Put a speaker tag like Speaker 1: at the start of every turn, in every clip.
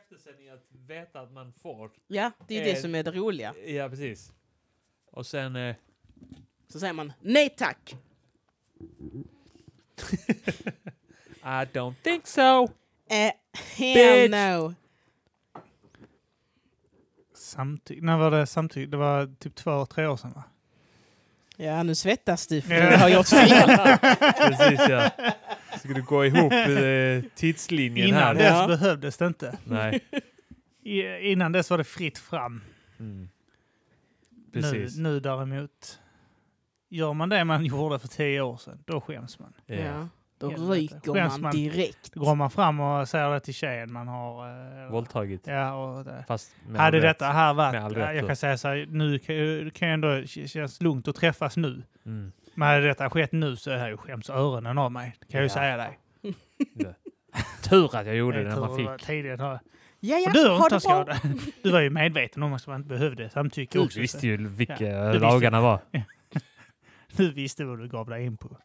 Speaker 1: eftersändning att veta att man får.
Speaker 2: Ja, det är ju det
Speaker 1: Eh,
Speaker 2: som är det roliga.
Speaker 1: Ja, precis. Och sen... Eh,
Speaker 2: Så säger man nej tack.
Speaker 1: I don't think so!
Speaker 2: Eh,
Speaker 1: Bitch.
Speaker 2: hell no.
Speaker 3: Samtycke. När var det samtycke? Det var typ två, tre år sedan va?
Speaker 2: Ja, nu svettas du för
Speaker 3: Ja.
Speaker 2: du har gjort fel.
Speaker 1: Precis ja. Ska du gå ihop eh, tidslinjen
Speaker 3: Innan
Speaker 1: här?
Speaker 3: dess
Speaker 2: Ja.
Speaker 3: behövdes det inte.
Speaker 1: Nej.
Speaker 3: I, innan dess var det fritt fram.
Speaker 1: Mm.
Speaker 3: Nu,
Speaker 1: Precis.
Speaker 3: nu däremot. Gör man det man gjorde för tio år sedan, då skäms man.
Speaker 1: Ja.
Speaker 2: ja. Då
Speaker 3: Helvete.
Speaker 2: ryker
Speaker 3: Skäms
Speaker 2: man
Speaker 3: man.
Speaker 2: direkt.
Speaker 3: Då går man fram och säger det till tjejen man har... eh,
Speaker 1: Våldtagit.
Speaker 3: Ja, och det.
Speaker 1: Fast med
Speaker 3: Hade
Speaker 1: all rätt.
Speaker 3: detta här varit...
Speaker 1: Med all
Speaker 3: ja,
Speaker 1: rätt
Speaker 3: jag
Speaker 1: då.
Speaker 3: kan säga så här, nu kan, jag- kan jag ändå... k- känns lugnt att träffas nu.
Speaker 1: Mm.
Speaker 3: Men hade detta skett nu så hade jag ju skämts öronen av mig. Det kan jag ju
Speaker 1: Ja.
Speaker 3: säga dig.
Speaker 1: Tur att jag gjorde det
Speaker 3: Jag
Speaker 1: när man
Speaker 3: tror det var
Speaker 1: fick.
Speaker 3: Tidigare. har-
Speaker 2: Ja, ja,
Speaker 3: Och du
Speaker 2: ha
Speaker 3: har inte
Speaker 2: det bra.
Speaker 3: skada. Du var ju medveten om att man inte behövde samtycke
Speaker 1: Du
Speaker 3: också.
Speaker 1: visste ju vilka
Speaker 3: Ja, du visste.
Speaker 1: lagarna var.
Speaker 3: så Du visste vad du gav dig in på.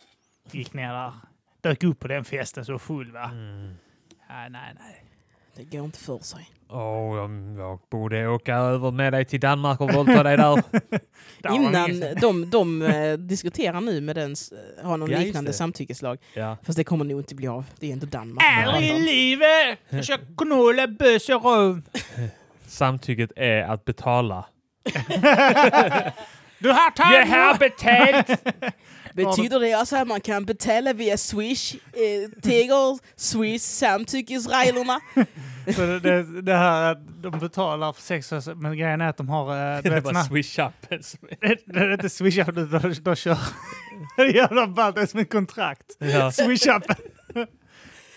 Speaker 3: Gick ner där. Dök upp på den festen så full va?
Speaker 1: Mm.
Speaker 3: Ja, nej, nej.
Speaker 2: Det går inte för sig.
Speaker 1: Åh, jag, jag borde åka över med dig till Danmark och våldta dig där.
Speaker 3: Där var
Speaker 2: Innan,
Speaker 3: ingen-
Speaker 2: de, de eh, diskuterar nu med den, s- eh, har någon
Speaker 1: Ja, just
Speaker 2: liknande
Speaker 1: det.
Speaker 2: samtyckeslag.
Speaker 1: Ja.
Speaker 2: Fast det kommer nog inte bli av. Det är inte Danmark.
Speaker 3: Är i livet! Jag ska knulla bös och röv.
Speaker 1: Samtycket är att betala.
Speaker 3: Du har tagit yeah,
Speaker 1: betalt!
Speaker 2: Betyder det alltså att man kan betala via Swish? Eh, Tegel, Swish, samtyckesreglerna?
Speaker 3: det, det, det här att de betalar för sex, och så- men grejen är att de har... eh, Du
Speaker 1: Det
Speaker 3: vet,
Speaker 1: var
Speaker 3: såna,
Speaker 1: swish-appen som
Speaker 3: det, det är inte swishup, de, de, de kör... Det är jävla ballt, det är som ett kontrakt.
Speaker 1: Ja.
Speaker 3: Swish-appen. Alltså,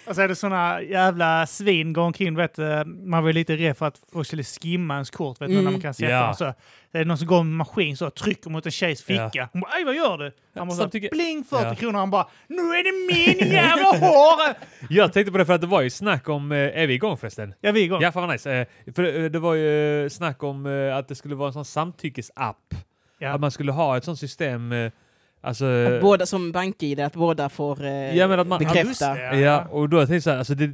Speaker 3: Och så är det såna jävla svin går omkring, du vet, eh, man var ju lite rädd för att folk skulle skimma ens kort, vet du, när man kan sätta
Speaker 1: Ja.
Speaker 3: den så. Det är någon som går med maskin så och trycker mot en tjejs ficka. Hon bara, "Aj, vad gör du? Han bara, så,
Speaker 1: Samtycke.
Speaker 3: bling 40
Speaker 1: Ja.
Speaker 3: kronor, han bara, nu är det min jävla hår!
Speaker 1: Jag tänkte på det för att det var ju snack om... eh, Är vi igång förresten?
Speaker 3: Ja, vi är igång.
Speaker 1: Ja, fan vad nice. Eh, För eh, det var ju snack om eh, att det skulle vara en sån samtyckesapp.
Speaker 3: Ja.
Speaker 1: Att man skulle ha ett sånt system. eh, Alltså... eh,
Speaker 2: Båda som bank-id, att båda får eh,
Speaker 1: Ja, men att man-
Speaker 3: Ja, just
Speaker 2: bekräfta.
Speaker 3: det,
Speaker 1: Ja, och då tänkte jag så här, alltså det...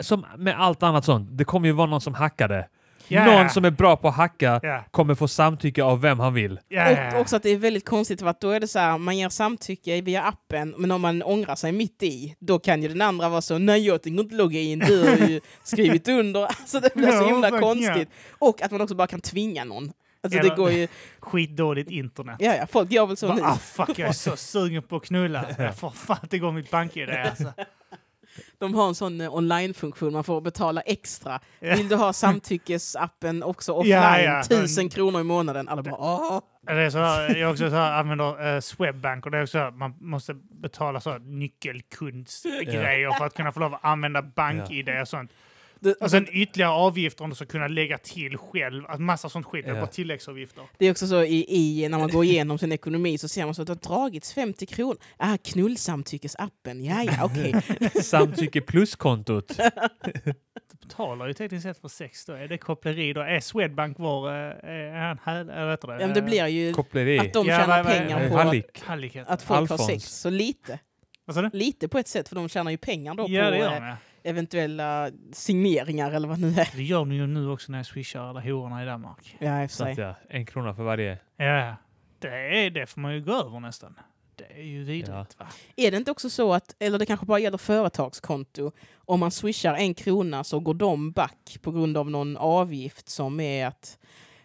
Speaker 1: Som med allt annat sånt, det kommer ju vara någon som hackade.
Speaker 3: Ja.
Speaker 1: Någon som är bra på att hacka
Speaker 3: Ja.
Speaker 1: kommer få samtycke av vem han vill.
Speaker 3: Ja, ja, ja.
Speaker 2: Och också att det är väldigt konstigt för att då är det så här, man ger samtycke via appen, men om man ångrar sig mitt i, då kan ju den andra vara så, nej jag tänker inte logga in, du har ju skrivit under. Alltså det blir så
Speaker 3: Ja,
Speaker 2: himla
Speaker 3: verkligen.
Speaker 2: konstigt. Och att man också bara kan tvinga någon. Alltså
Speaker 3: Eller-
Speaker 2: det går ju,
Speaker 3: Skitdåligt internet.
Speaker 2: ja ja, folk gör väl så
Speaker 3: Bara,
Speaker 2: nu.
Speaker 3: ah, fuck, jag är så sugen på att knulla. Alltså. Jag får fan inte igång mitt bank-id alltså.
Speaker 2: De har en sån eh, online-funktion, man får betala extra.
Speaker 3: Ja.
Speaker 2: Vill du ha samtyckesappen också offline,
Speaker 3: Ja, ja.
Speaker 2: tusen kronor i månaden. Alla bara, åh.
Speaker 3: Ja, Det är så här, jag också så här, använder eh, Swedbank och det är också så här, man måste betala så här nyckelkundsgrejer för att kunna få lov att använda bank-id och sånt.
Speaker 2: Det,
Speaker 3: Och sen ytterligare avgifter om du ska kunna lägga till själv. Alltså, massa sånt skit. Det är
Speaker 1: Ja.
Speaker 3: bara tilläggsavgifter.
Speaker 2: det är också så i, i, när man går igenom sin ekonomi så ser man så att det har dragits 50 kronor. Ah, knullsamtyckesappen, ja ja okej.
Speaker 1: Samtycke plus-kontot.
Speaker 3: Du betalar ju tekniskt sett för sex då. Är det koppleri då? Är Swedbank vår... eh, Är han häl... Eller vad heter det?
Speaker 2: Ja, men det blir ju
Speaker 1: Koppleri.
Speaker 2: att de
Speaker 3: Ja,
Speaker 2: tjänar
Speaker 3: vad- vad-
Speaker 2: pengar
Speaker 1: Eh,
Speaker 2: på att,
Speaker 1: Hallik.
Speaker 3: Hallik heter
Speaker 2: att folk har
Speaker 1: Alfons.
Speaker 2: sex. Så lite,
Speaker 3: det. Vad sa du?
Speaker 2: lite på ett sätt, för de tjänar ju pengar då
Speaker 3: Ja,
Speaker 2: på
Speaker 3: det gör
Speaker 2: eh,
Speaker 3: de ja.
Speaker 2: eventuella signeringar eller vad det nu är.
Speaker 3: Det gör de ju nu också när jag swishar alla hororna i Danmark.
Speaker 2: Ja, i och för
Speaker 1: Så att,
Speaker 2: sig.
Speaker 1: ja, en krona för varje.
Speaker 3: Ja, Ja, det, är, det får man ju gå över nästan. Det är ju vidrigt
Speaker 1: Ja.
Speaker 3: va?
Speaker 2: Är det inte också så att, eller det kanske bara gäller företagskonto, om man swishar en krona så går de back på grund av någon avgift som är att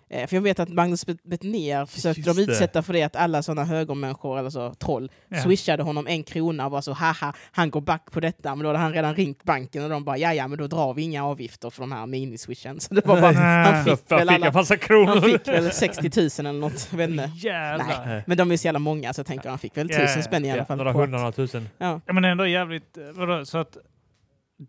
Speaker 2: eh, för jag vet att Magnus Bet- Betnér försökte
Speaker 1: Just
Speaker 2: de
Speaker 1: det.
Speaker 2: utsätta för det att alla sådana högermänniskor, eller så troll,
Speaker 3: Ja.
Speaker 2: swishade honom en krona och var så haha, han går back på detta, men då hade han redan ringt banken och de bara ja ja, men då drar vi inga avgifter för de här miniswishen. Så det var bara, han
Speaker 1: Så
Speaker 2: fick
Speaker 1: fick
Speaker 2: väl
Speaker 1: jag en
Speaker 2: alla,
Speaker 1: massa
Speaker 2: han
Speaker 1: kronor.
Speaker 2: fick väl 60 000 eller något, jag vet inte.
Speaker 3: Jävlar.
Speaker 1: Nej.
Speaker 2: Men de är ju så jävla många så jag tänker han fick väl
Speaker 3: Ja, ja,
Speaker 2: tusen spänn i alla
Speaker 1: Ja,
Speaker 2: fall.
Speaker 1: några
Speaker 2: på att-
Speaker 1: hundra, några tusen.
Speaker 3: Ja, men ändå jävligt... eh, Vadå, så att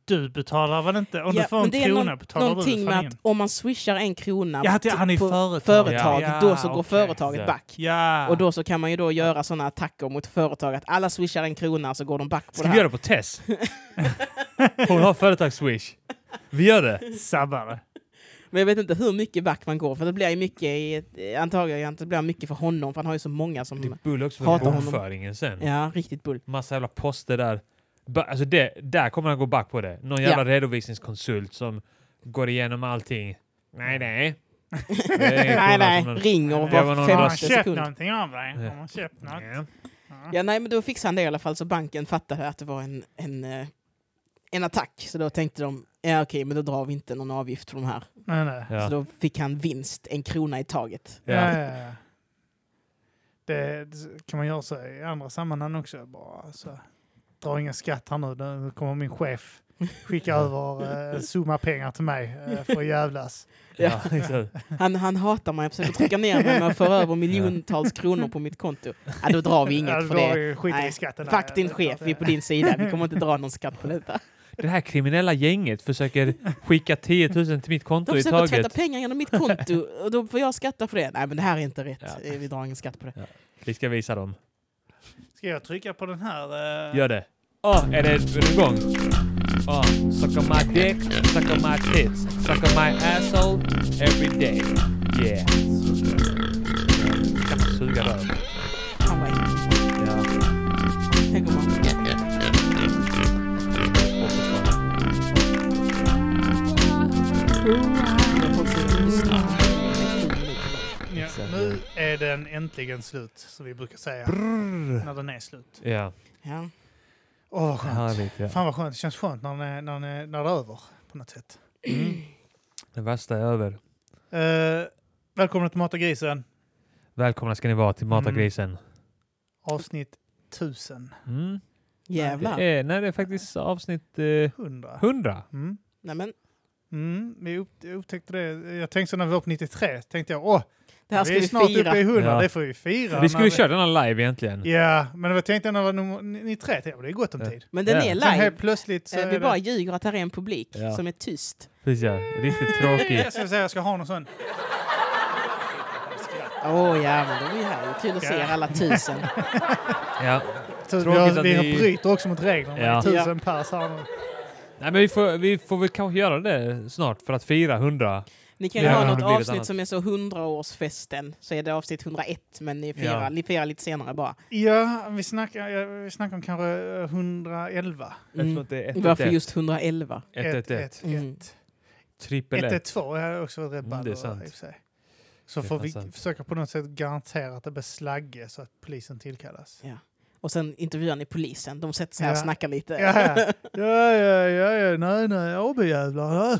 Speaker 3: du betalar väl inte? Om
Speaker 2: Ja,
Speaker 3: du får
Speaker 2: men
Speaker 3: en
Speaker 2: det är
Speaker 3: krona
Speaker 2: någon-
Speaker 3: betalar
Speaker 2: Någonting
Speaker 3: du väl
Speaker 2: med
Speaker 3: fan
Speaker 2: att
Speaker 3: in?
Speaker 2: om man swishar en krona
Speaker 3: Ja, att han är
Speaker 2: på
Speaker 3: företag.
Speaker 2: företag,
Speaker 3: Ja,
Speaker 2: då så går
Speaker 3: okej.
Speaker 2: företaget
Speaker 1: Ja.
Speaker 2: back.
Speaker 3: Ja.
Speaker 2: Och då så kan man ju då göra sådana attacker mot företag att alla swishar en krona så går de back på
Speaker 1: Ska
Speaker 2: det
Speaker 1: vi
Speaker 2: här.
Speaker 1: göra det på Tess? Hon har företags-swish. Vi gör det.
Speaker 2: Mm.
Speaker 3: Sabbar det.
Speaker 2: Men jag vet inte hur mycket back man går för det blir ju mycket, i, antagligen att det blir mycket för honom för han har ju så många som...
Speaker 1: Det är bull också för
Speaker 2: Hatar honom.
Speaker 1: bokföringen sen.
Speaker 2: Ja, riktigt bull.
Speaker 1: Massa jävla poster där. Ba- Alltså det, där kommer han gå back på det. Någon jävla
Speaker 2: Ja.
Speaker 1: redovisningskonsult som går igenom allting. Nej, nej.
Speaker 2: Nej, nej, ringer
Speaker 3: alltså, Det
Speaker 1: var någon
Speaker 2: var
Speaker 3: Har man
Speaker 1: annan-
Speaker 2: femte
Speaker 3: köpt
Speaker 2: sekund.
Speaker 3: någonting av dig? Har man köpt något?
Speaker 1: Ja.
Speaker 3: Ja.
Speaker 2: Ja, nej, men då fixade han det i alla fall så banken fattade att det var en, en, eh, en attack. Så då tänkte de, ja okej, men då drar vi inte någon avgift för de här.
Speaker 3: Nej, nej.
Speaker 1: Ja.
Speaker 2: Så då fick han vinst, en krona i taget.
Speaker 1: Ja.
Speaker 3: Ja, ja, ja. Det, det kan man göra så i andra sammanhang också. Bara, alltså, dra inga skatt här nu, nu kommer min chef skicka
Speaker 2: Mm.
Speaker 3: över eh, en summa pengar till mig eh, för att jävlas.
Speaker 1: Ja, exakt.
Speaker 2: Han, han hatar mig, jag försöker trycka ner mig men jag för över miljontals kronor på mitt konto. Ja, då drar vi
Speaker 3: Ja,
Speaker 2: inget för
Speaker 3: då
Speaker 2: det.
Speaker 3: vi skiter
Speaker 2: Nej,
Speaker 3: i skatten. där.
Speaker 2: Fuck din
Speaker 3: Det är klart
Speaker 2: chef, vi är
Speaker 3: det.
Speaker 2: på din sida. Vi kommer inte dra någon skatt på detta.
Speaker 1: Det här kriminella gänget försöker skicka 10 000 till mitt konto
Speaker 2: De
Speaker 1: i
Speaker 2: försöker tvätta
Speaker 1: taget.
Speaker 2: pengar genom mitt konto och då får jag skatta för det. Nej, men det här är inte rätt.
Speaker 1: Ja.
Speaker 2: Eh, Vi drar ingen skatt på det.
Speaker 1: Vi ska visa dem.
Speaker 3: Ska jag trycka på den här? eh?
Speaker 1: Gör det. Åh, är det igång? Oh, suck on my dick, suck on my tits, suck on my asshole every day. Yeah. Kan man suga röv?
Speaker 2: Han var äcklig.
Speaker 1: Ja.
Speaker 2: Tänk om han- folk som lyssnar.
Speaker 3: Ja,
Speaker 2: Liksom.
Speaker 1: Exakt.
Speaker 3: nu är den äntligen slut, som vi brukar säga. När den är slut.
Speaker 1: Ja,
Speaker 2: Ja.
Speaker 3: Åh, vad skönt.
Speaker 1: härligt. Ja.
Speaker 3: Fan vad skönt. Det känns skönt när, den är- när, den är- när det är över, på något sätt.
Speaker 1: Det värsta är över.
Speaker 3: Eh, välkomna till Mata grisen,
Speaker 1: Välkomna ska ni vara till Mata
Speaker 3: Mm.
Speaker 1: grisen.
Speaker 3: avsnitt 1000.
Speaker 1: Mm.
Speaker 2: Jävlar.
Speaker 1: Det är, nej, det är faktiskt avsnitt eh,
Speaker 3: 100.
Speaker 1: 100.
Speaker 3: Mm.
Speaker 2: Nej, men
Speaker 3: Mm, vi upp, jag upptäckte det. Jag tänkte så när vi var på 93, tänkte jag åh,
Speaker 2: det här
Speaker 3: vi
Speaker 2: ska
Speaker 3: är
Speaker 2: vi
Speaker 3: snart
Speaker 2: fira.
Speaker 3: uppe i 100,
Speaker 1: Ja.
Speaker 3: det får vi fira.
Speaker 1: Vi skulle
Speaker 3: När
Speaker 1: köra den här live egentligen.
Speaker 3: Ja, men jag tänkte när det var nummer 93, tänkte jag, det är gott om
Speaker 1: Ja.
Speaker 3: tid.
Speaker 2: Men den
Speaker 1: Ja.
Speaker 2: är
Speaker 3: Sen
Speaker 2: live.
Speaker 3: helt plötsligt så
Speaker 2: Eh,
Speaker 3: är
Speaker 2: Vi
Speaker 3: det...
Speaker 2: bara ljuger att här är en publik
Speaker 1: Ja.
Speaker 2: som är tyst.
Speaker 1: Precis ja, riktigt tråkig.
Speaker 3: Jag ska säga, jag ska ha någon sån.
Speaker 2: Åh oh, jävlar, de är ju här. Det är Kul att se er alla tusen.
Speaker 1: Ja.
Speaker 3: Så vi,
Speaker 1: Tråkigt
Speaker 3: har,
Speaker 1: att
Speaker 3: vi
Speaker 1: ni-
Speaker 3: bryter också mot reglerna. Det är
Speaker 1: Ja.
Speaker 3: Tusen pers här nu.
Speaker 1: Nej, men vi får, vi får väl kanske göra det snart för att fira 100.
Speaker 2: Ni kan ju
Speaker 3: Ja,
Speaker 2: ha
Speaker 3: det
Speaker 2: något
Speaker 1: blir ett
Speaker 2: avsnitt
Speaker 1: annat.
Speaker 2: som är så 100-årsfesten, så är det avsnitt 101, men ni firar,
Speaker 1: Ja.
Speaker 2: ni firar lite senare bara.
Speaker 3: Ja, vi snackar, ja, vi snackar om kanske eh, 111.
Speaker 2: Mm.
Speaker 1: det är
Speaker 2: Varför just 111?
Speaker 1: 111.
Speaker 2: Mm.
Speaker 3: 112
Speaker 1: Trippel 1.
Speaker 3: har jag också varit rätt
Speaker 1: Mm,
Speaker 3: ball
Speaker 1: det är
Speaker 3: över,
Speaker 1: sant.
Speaker 3: i och för sig. Så
Speaker 1: Det är
Speaker 3: får
Speaker 1: fan
Speaker 3: vi
Speaker 1: sant.
Speaker 3: försöka på något sätt garantera att det blir slagge så att polisen tillkallas.
Speaker 2: Och sen intervjuar ni polisen, de sätter sig här och
Speaker 3: Ja.
Speaker 2: snackar lite.
Speaker 3: Ja, ja, ja, ja, ja. nej, nej, AB-jävlar.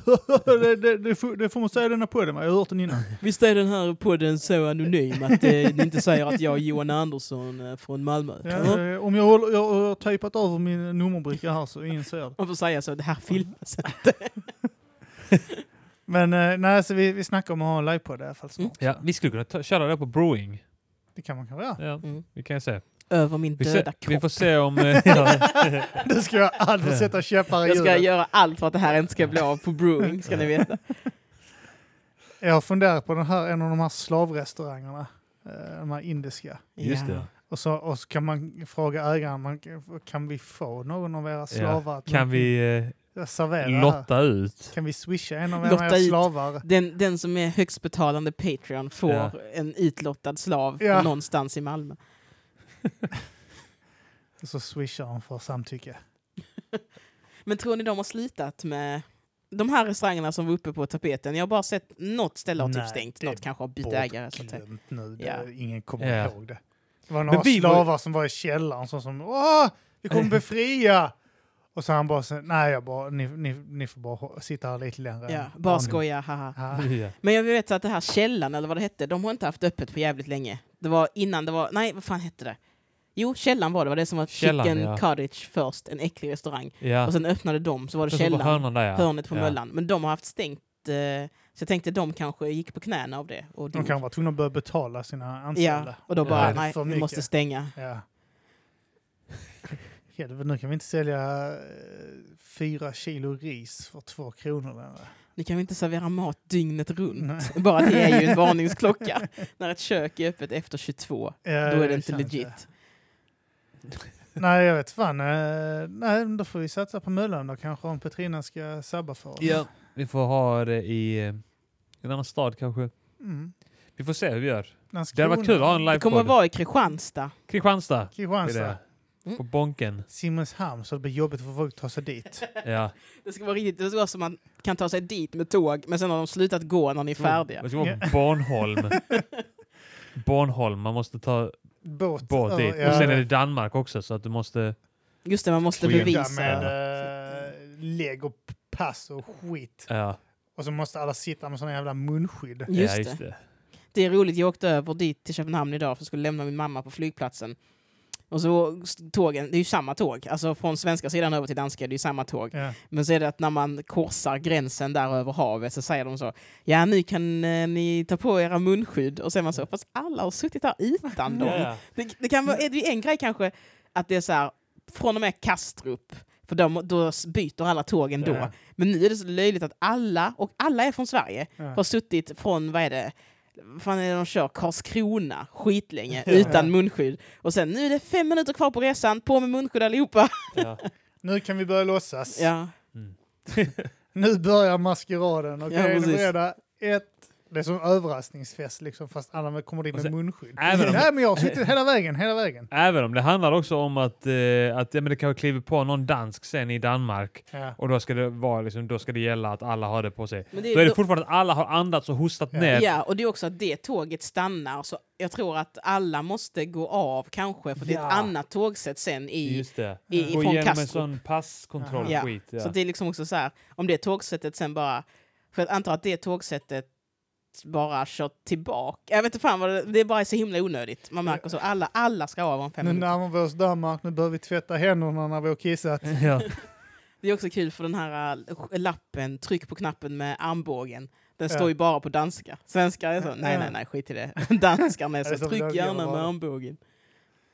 Speaker 3: Det, det, det, får- det får man säga i denna podden, va? jag har hört den innan.
Speaker 2: Visst är den här podden så anonym att eh, ni inte säger att jag är Johan Andersson eh, från Malmö?
Speaker 3: Ja, eh, om jag, håller, jag har tejpat över min nummerbricka här så ingen ser det.
Speaker 2: Man får säga så, det här filmas.
Speaker 3: Men eh, nej, så vi, vi snackar om att ha en livepodd i alla fall snart.
Speaker 2: Mm.
Speaker 1: Ja, vi skulle kunna ta, köra det på Brewing.
Speaker 3: Det kan man kanske göra.
Speaker 1: Ja,
Speaker 2: Mm.
Speaker 1: vi kan ju se.
Speaker 2: Över min
Speaker 1: Vi,
Speaker 2: döda
Speaker 1: se, vi
Speaker 2: kropp.
Speaker 1: får se om... eh, ja.
Speaker 3: Det ska jag aldrig sätta käppar i
Speaker 2: Jag ska
Speaker 3: hjulet.
Speaker 2: göra allt för att det här inte ska bli av på brewing, ska ni veta.
Speaker 3: Jag funderar på den här, en av de här slavrestaurangerna. eh, De här indiska.
Speaker 1: Just det.
Speaker 3: Och så, och så kan man fråga ägaren, man, kan vi få någon av era slavar att
Speaker 1: Kan vi eh,
Speaker 3: servera här?
Speaker 1: lotta ut?
Speaker 3: Kan vi swisha en av
Speaker 2: Lotta
Speaker 3: era
Speaker 2: hit.
Speaker 3: slavar?
Speaker 2: Den, den som är högst betalande Patreon får
Speaker 1: Ja.
Speaker 2: en utlottad slav
Speaker 3: Ja.
Speaker 2: någonstans i Malmö.
Speaker 3: Och så swishar hon för samtycke.
Speaker 2: Men tror ni de har slutat med de här restaurangerna som var uppe på tapeten? Jag har bara sett något ställe har typ
Speaker 3: Nej,
Speaker 2: stängt,
Speaker 3: det är
Speaker 2: något kanske har bytt ägare. Så att säga.
Speaker 3: Bortglömt nu, det,
Speaker 2: Ja.
Speaker 3: ingen kommer
Speaker 1: Ja.
Speaker 3: ihåg det. Det var några
Speaker 1: vi var-
Speaker 3: slavar som var i källaren som, som Åh, vi kommer befria! Och så han bara, så, nej jag bara, ni, ni, ni får bara hå- sitta här lite längre.
Speaker 2: Ja,
Speaker 3: Ja,
Speaker 2: bara
Speaker 3: ni-
Speaker 2: skoja, haha.
Speaker 3: Ja.
Speaker 1: Ja.
Speaker 2: Men jag vet att det här källan eller vad det hette, de har inte haft öppet på jävligt länge. Det var innan det var, nej vad fan hette det? Jo, källan var det, det var det som var
Speaker 1: Källan,
Speaker 2: Chicken
Speaker 1: ja.
Speaker 2: Cottage först, en äcklig restaurang.
Speaker 1: Ja.
Speaker 2: Och sen öppnade de, så var det
Speaker 1: Sen så på
Speaker 2: källan,
Speaker 1: hörnan där ja.
Speaker 2: hörnet på
Speaker 1: ja.
Speaker 2: möllan. Men de har haft stängt, eh, så jag tänkte de kanske gick på knäna av det. Och
Speaker 3: De
Speaker 2: dog.
Speaker 3: kan vara tvungna att börja betala sina anställda.
Speaker 2: Ja, och då
Speaker 1: Ja,
Speaker 2: bara,
Speaker 1: det är
Speaker 2: nej,
Speaker 3: för
Speaker 2: vi måste
Speaker 3: mycket.
Speaker 2: stänga.
Speaker 3: Ja. Helvete, nu kan vi inte sälja eh, fyra kilo ris för två kronor längre.
Speaker 2: Nu kan vi inte servera mat dygnet runt.
Speaker 3: Nej.
Speaker 2: Bara det är ju en varningsklocka. När ett kök är öppet efter 22,
Speaker 3: Ja,
Speaker 2: då är det
Speaker 3: jag
Speaker 2: inte
Speaker 3: känner
Speaker 2: legit.
Speaker 3: Nej, jag vet fan. eh, Nej, men då får vi satsa på Möllan då kanske om Petrina ska sabba för oss.
Speaker 1: Ja. Vi får ha det i eh, en annan stad kanske.
Speaker 3: Mm.
Speaker 1: Vi får se hur vi gör. Det
Speaker 3: Landskrona.
Speaker 1: hade varit kul att ha en
Speaker 2: Det kommer
Speaker 1: livepodd.
Speaker 2: vara i Kristianstad.
Speaker 1: Kristianstad. är
Speaker 3: Kristianstad.
Speaker 1: det.
Speaker 2: Mm.
Speaker 1: På bonken.
Speaker 3: Simrishamn så det blir jobbigt för folk att ta sig dit.
Speaker 1: Ja.
Speaker 2: Det ska vara riktigt, det ska vara så man kan ta sig dit med tåg, men sen har de slutat gå när ni är färdiga.
Speaker 1: Det ska vara Bornholm. Bornholm, man måste ta
Speaker 3: Båt,
Speaker 1: båt dit.
Speaker 3: över-
Speaker 1: Och sen
Speaker 3: ja,
Speaker 1: är det Danmark också, så att du måste...
Speaker 2: Just det, man måste
Speaker 1: Skit.
Speaker 2: bevisa.
Speaker 3: Med eh, lägg och pass och skit.
Speaker 1: Ja,
Speaker 3: Och så måste alla sitta med såna jävla munskydd.
Speaker 2: Just
Speaker 1: ja,
Speaker 2: det.
Speaker 1: just det.
Speaker 2: Det är roligt, jag åkte över dit till Köpenhamn idag för jag skulle lämna min mamma på flygplatsen. Och så tågen, det är ju samma tåg, alltså från svenska sidan över till danska, det är ju samma tåg.
Speaker 3: Ja.
Speaker 2: Men så är det att när man korsar gränsen där över havet så säger de så, ja nu kan eh, ni ta på era munskydd. Och så är man så, fast alla har suttit där utan dem.
Speaker 1: Ja,
Speaker 2: Det, det kan vara är det en grej kanske, att det är så här, från och med Kastrup, för de, då byter alla tågen då.
Speaker 3: Ja.
Speaker 2: Men nu är det så löjligt att alla, och alla är från Sverige,
Speaker 3: Ja.
Speaker 2: har suttit från, vad är det, vad fan är det de kör, Karlskrona, skitlänge,
Speaker 3: Ja.
Speaker 2: utan munskydd. Och sen nu är det fem minuter kvar på resan, på med munskydd allihopa.
Speaker 1: ja.
Speaker 3: Nu kan vi börja låtsas.
Speaker 2: Ja,
Speaker 3: Nu börjar maskeraden. Okej,
Speaker 2: Ja,
Speaker 3: är ni
Speaker 2: precis.
Speaker 3: beredda? Ett. Det är som en överraskningsfest liksom, fast alla med- kommer dit
Speaker 1: Och
Speaker 3: med
Speaker 1: sen-
Speaker 3: munskydd.
Speaker 1: även om-
Speaker 3: Nej, men jag har suttit hela vägen, hela vägen.
Speaker 1: Även om det handlar också om att, eh, att ja, men det kanske kliver på någon dansk sen i Danmark.
Speaker 3: Ja.
Speaker 1: Och då ska det, vara, liksom, då ska det gälla att alla har det på sig.
Speaker 2: Men det är-
Speaker 1: då är det
Speaker 2: då-
Speaker 1: fortfarande att alla har andats och hostat
Speaker 3: Ja.
Speaker 1: ner.
Speaker 2: ja, och det är också att det tåget stannar, så jag tror att alla måste gå av kanske, för det är ett
Speaker 1: Ja.
Speaker 2: annat tågsätt sen i,
Speaker 1: Just det.
Speaker 2: i,
Speaker 1: Gå
Speaker 2: från
Speaker 1: igenom en
Speaker 2: Kastrup.
Speaker 1: sån passkontroll
Speaker 2: Ja.
Speaker 1: skit. Ja.
Speaker 2: Så det är liksom också så här, om det tågsättet sen bara, för jag antar att det tågsättet bara kört tillbaka. Jag vet inte fan vad det, det är bara så himla onödigt. Man märker så, alla, alla ska av om fem
Speaker 3: Nu
Speaker 2: minuter.
Speaker 3: närmar vi oss Danmark, nu behöver vi tvätta händerna när vi har kissat.
Speaker 1: ja.
Speaker 2: Det är också kul för den här äh, lappen, tryck på knappen med armbågen. Den
Speaker 3: Ja.
Speaker 2: står ju bara på danska. Svenska är så, nej
Speaker 3: Ja.
Speaker 2: nej nej, skit i det. Danskarna är
Speaker 3: Ja, det är
Speaker 2: så,
Speaker 3: så
Speaker 2: tryck
Speaker 3: löjligt
Speaker 2: gärna
Speaker 3: att
Speaker 2: med
Speaker 3: vara.
Speaker 2: armbågen.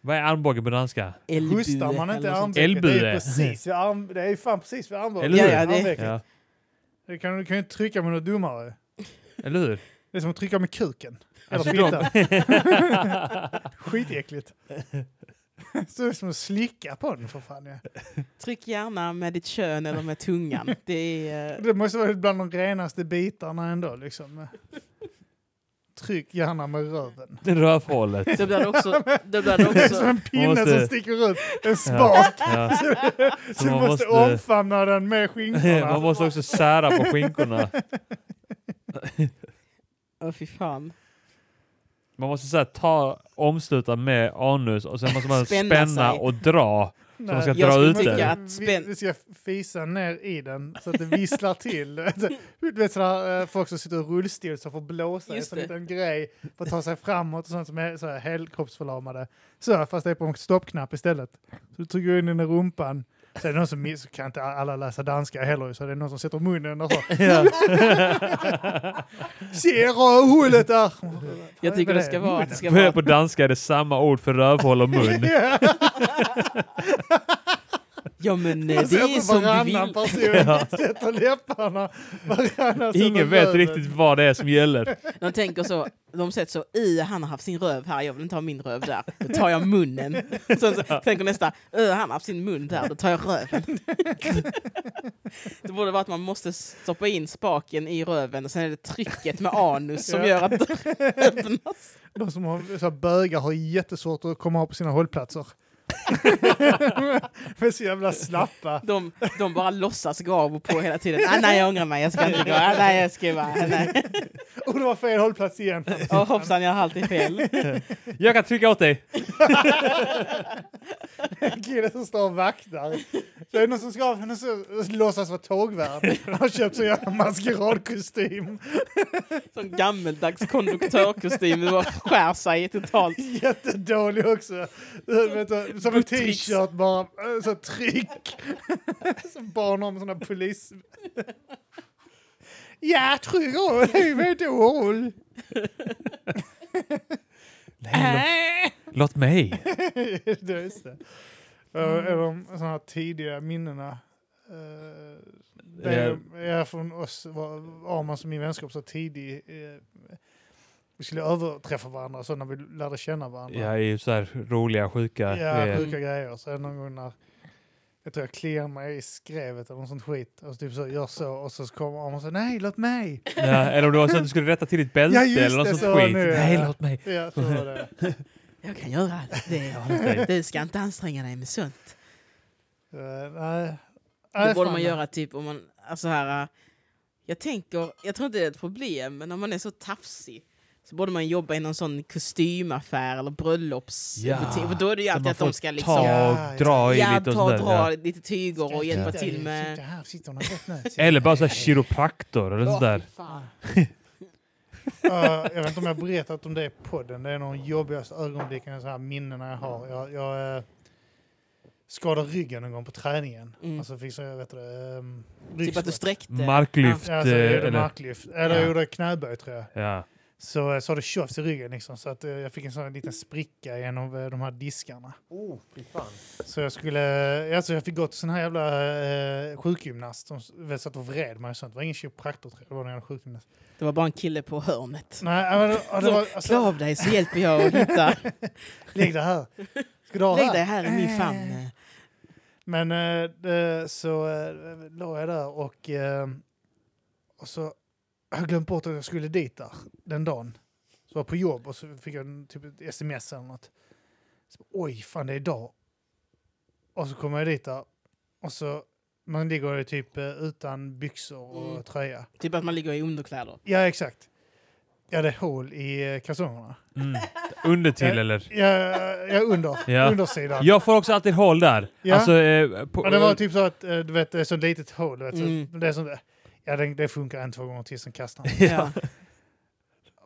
Speaker 1: Vad är armbåge på danska?
Speaker 2: Elbue
Speaker 3: Hostar man inte
Speaker 2: eller
Speaker 3: i
Speaker 2: något sånt.
Speaker 3: armvecket? Det är
Speaker 1: Elbue.
Speaker 3: ju precis vid arm, det är ju fan precis vid armbågen.
Speaker 1: Eller hur?
Speaker 2: Ja, ja, det-
Speaker 3: Armvecket.
Speaker 1: Ja.
Speaker 3: Du kan du kan ju inte trycka med något dummare.
Speaker 1: Eller hur?
Speaker 3: Det är som att trycka med kuken. Eller
Speaker 1: Alltså,
Speaker 3: fittan. Skitäckligt. Så det är som att slicka på den för fan. Ja.
Speaker 2: Tryck gärna med ditt kön eller med tungan. Det är, äh,
Speaker 3: Det måste vara bland de renaste bitarna ändå liksom. Tryck gärna med röven.
Speaker 1: Det är rövhålet.
Speaker 2: då blir det också... Då blir det
Speaker 3: Det är
Speaker 2: också
Speaker 3: som en pinne
Speaker 1: måste-
Speaker 3: som sticker ut. En spak.
Speaker 1: Ja.
Speaker 3: Så du
Speaker 1: man måste-
Speaker 3: måste omfamna den med
Speaker 1: Man
Speaker 3: skinkorna.
Speaker 1: måste också sära på skinkorna.
Speaker 2: Åh fy fan.
Speaker 1: Man måste så här, ta, omsluta med anus och sen måste man
Speaker 2: Spänna
Speaker 1: spänna,
Speaker 2: sig.
Speaker 1: och dra.
Speaker 3: Nej.
Speaker 1: man ska
Speaker 2: Jag
Speaker 1: dra
Speaker 2: skulle
Speaker 1: ut
Speaker 2: tycka
Speaker 1: den.
Speaker 2: att spänn-
Speaker 3: Vi ska fisa ner i den så att det visslar till. Du vet sådär, eh, folk som sitter i rullstol som får blåsa i en
Speaker 2: Just
Speaker 3: sån
Speaker 2: det.
Speaker 3: liten grej för att ta sig framåt och sånt som är såhär helkroppsförlamade. Så fast det är på en stoppknapp istället. Så du trycker in den i rumpan. Så är det någon som miss- så kan inte alla läsa danska heller så det är någon som sätter munnen och så.
Speaker 1: Ja.
Speaker 3: Ser rövhålet där!
Speaker 2: Jag tycker det ska vara att det ska
Speaker 1: För
Speaker 2: vara
Speaker 1: på danska är det samma ord för rövhål och mun.
Speaker 3: Ja,
Speaker 2: Ja men eh,
Speaker 3: alltså,
Speaker 2: det är som du
Speaker 3: varannan
Speaker 2: vill.
Speaker 3: person sätter läpparna. Varannan sätter
Speaker 1: Ingen vet
Speaker 3: löven.
Speaker 1: riktigt vad det är som gäller.
Speaker 2: De tänker så, de sätter så i, han har haft sin röv här, jag vill inte ha min röv där. Då tar jag munnen. Sen så tänker nästa, ö, han har haft sin mun där, då tar jag röven. Det borde vara att man måste stoppa in spaken i röven och sen är det trycket med anus som
Speaker 3: Ja.
Speaker 2: gör att dörren öppnas.
Speaker 3: De som har, så här, bögar har jättesvårt att komma upp på sina hållplatser. De är så jävla slappa.
Speaker 2: De, de bara låtsas gå av och på hela tiden. Ah, nej, jag ångrar mig, jag ska inte gå. Ah, nej, jag ska bara... Ah, nej.
Speaker 3: Och det var fel hållplats igen.
Speaker 2: Och hoppsan, jag har alltid fel.
Speaker 1: Jag kan trycka åt dig.
Speaker 3: En kille som står och vaktar. Det är någon som ska av henne och låtsas vara tågvärd. Han har köpt så jävla maskeradkostym.
Speaker 2: Sån gammeldags konduktörkostym, det bara skär sig totalt.
Speaker 3: Jättedålig också. Eh, Vet du, Som en
Speaker 2: Buttricks.
Speaker 3: t-shirt bara. eh, Så här tryck. Som barn har med sådana polis... Ja, tryck av dig med dål.
Speaker 2: Äh.
Speaker 1: Låt mig.
Speaker 3: det är just det. Mm. Är de sådana här tidiga minnena? eh, det är, är från oss, var Arman som min vänskap så tidig. eh, vi skulle överträffa varandra så när vi lärde känna varandra.
Speaker 1: Jag är ju så här roliga, sjuka.
Speaker 3: Ja,
Speaker 1: eh,
Speaker 3: sjuka grejer. Så är det någon gång när jag tror jag kliar mig i skrevet eller något sånt skit. Och så typ så gör så och så kommer Arman och säger nej, låt mig.
Speaker 1: ja, eller om det var så att du skulle rätta till ditt bälte
Speaker 3: Ja, just
Speaker 1: eller något
Speaker 3: det,
Speaker 1: sånt
Speaker 3: så
Speaker 1: skit.
Speaker 3: nu, ja.
Speaker 1: Nej, låt mig.
Speaker 3: Ja, så var det.
Speaker 2: Jag kan göra allt det. Du ska inte anstränga dig med sånt.
Speaker 3: Eh, nej.
Speaker 2: Det
Speaker 3: Nej,
Speaker 2: borde
Speaker 3: fan.
Speaker 2: man göra typ om man, alltså här, äh, jag tänker, jag tror inte det är ett problem, men om man är så tafsig så borde man jobba i någon sån kostymaffär eller bröllopsbutik.
Speaker 1: Ja,
Speaker 2: för då är det ju
Speaker 1: Där
Speaker 2: alltid
Speaker 1: man
Speaker 2: att de
Speaker 1: får
Speaker 2: ska liksom,
Speaker 3: Ja,
Speaker 1: ta och dra i
Speaker 2: ja,
Speaker 1: lite och
Speaker 2: ta och
Speaker 1: sådär.
Speaker 2: dra
Speaker 1: Ja.
Speaker 2: lite tyger och
Speaker 3: Ska
Speaker 2: hjälpa
Speaker 3: sitta
Speaker 2: till
Speaker 3: i-
Speaker 2: med...
Speaker 3: Sitta här, sitter hon rätt nu? Sitter
Speaker 1: Eller bara
Speaker 3: här.
Speaker 1: såhär kiropraktor eller
Speaker 2: Åh,
Speaker 1: sådär.
Speaker 2: fy fan.
Speaker 3: Ja, jag vet inte om jag har berättat om det i podden. Det är nog de jobbigaste ögonblicken, så här minnena jag har. Jag, jag eh, skadade ryggen en gång på träningen.
Speaker 2: Mm.
Speaker 3: Alltså fick så, jag vet det, um,
Speaker 2: Typ att du sträckte.
Speaker 1: Marklyft.
Speaker 3: Ja, alltså, jag gjorde
Speaker 1: eller,
Speaker 3: marklyft. Eller
Speaker 1: Ja.
Speaker 3: jag gjorde knäböj tror jag.
Speaker 1: ja.
Speaker 3: Så, eh, så har det tjofs i ryggen liksom. Så att eh, jag fick en sån här liten spricka genom eh, de här diskarna.
Speaker 4: Oh, fy fan.
Speaker 3: Så jag skulle, alltså jag fick gå till sån här jävla eh, sjukgymnast som s- väl satt och vred mig och sånt. Det var ingen kiropraktor tror jag, det var någon jävla sjukgymnast.
Speaker 2: Det var bara en kille på hörnet.
Speaker 3: Nej, men, och det var,
Speaker 2: Klä
Speaker 3: alltså,
Speaker 2: av dig så hjälper jag att hitta.
Speaker 3: lägg det här. Ska du ha
Speaker 2: Lägg
Speaker 3: här?
Speaker 2: dig här i min famn.
Speaker 3: Eh. Men eh, det, så eh, låg jag där och, eh, och så jag glömde bort att jag skulle dit där den dagen. Så var jag på jobb och så fick jag en, typ ett sms eller något. Så, Oj, fan det är idag. Och så kommer jag dit där och så man ligger ju typ eh, utan byxor och
Speaker 2: Mm.
Speaker 3: tröja.
Speaker 2: Typ att man ligger i underkläder.
Speaker 3: Ja, exakt. Jag hade hål i eh, kalsongerna.
Speaker 1: Mm. Under till
Speaker 2: Eh,
Speaker 3: Ja.
Speaker 1: eller?
Speaker 3: Jag, jag under,
Speaker 1: Ja.
Speaker 3: undersidan.
Speaker 1: Jag får också alltid hål där.
Speaker 3: Ja.
Speaker 1: Alltså, eh, på,
Speaker 3: Ja, det var typ så att eh, du vet, det är så litet hål. Du vet, så,
Speaker 2: Mm.
Speaker 3: det, är sånt, där. ja, det, det funkar en, två gånger till, sen kastar han.
Speaker 2: Ja.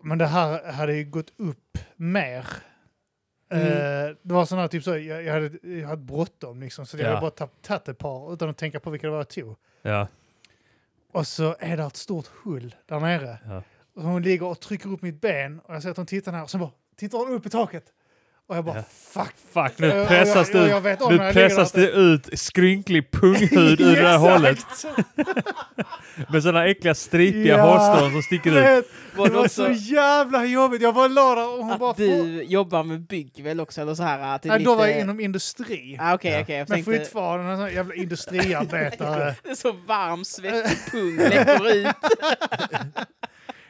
Speaker 3: Men det här hade ju gått upp mer.
Speaker 1: Mm.
Speaker 3: Eh, det var sån här, typ så, jag, jag hade, jag hade bråttom liksom, så jag
Speaker 1: Ja.
Speaker 3: hade bara tapp- tagit ett par utan att tänka på vilka det var jag tog.
Speaker 1: ja.
Speaker 3: Och så är det ett stort hull där nere.
Speaker 1: Ja.
Speaker 3: Och hon ligger och trycker upp mitt ben och jag ser att hon tittar ner och så bara tittar hon upp i taket. Och jag bara
Speaker 1: Ja.
Speaker 3: fuck.
Speaker 1: Fuck,
Speaker 3: Eh, och
Speaker 1: nu
Speaker 3: jag-
Speaker 1: pressas
Speaker 3: och
Speaker 1: du
Speaker 3: jag vet om
Speaker 1: nu
Speaker 3: när jag ligger där
Speaker 1: pressas
Speaker 3: att det-
Speaker 1: det ut skrynklig punghud ur det här
Speaker 3: Exakt!
Speaker 1: hålet med sådana äckliga stripiga
Speaker 3: Ja.
Speaker 1: hårstrån som sticker ut.
Speaker 3: Det
Speaker 2: Var det
Speaker 3: var
Speaker 2: också
Speaker 3: så jävla jobbigt. Jag bara la där och hon bara...
Speaker 2: att du jobbar med bygg väl också? Eller så här, att det är
Speaker 3: Nej,
Speaker 2: lite...
Speaker 3: då var jag inom industri.
Speaker 2: Ah, okej, okej. jag
Speaker 3: men
Speaker 2: tänkte...
Speaker 3: fortfarande en sån jävla industriarbetare.
Speaker 2: Det är så varm, svettig pung läcker ut.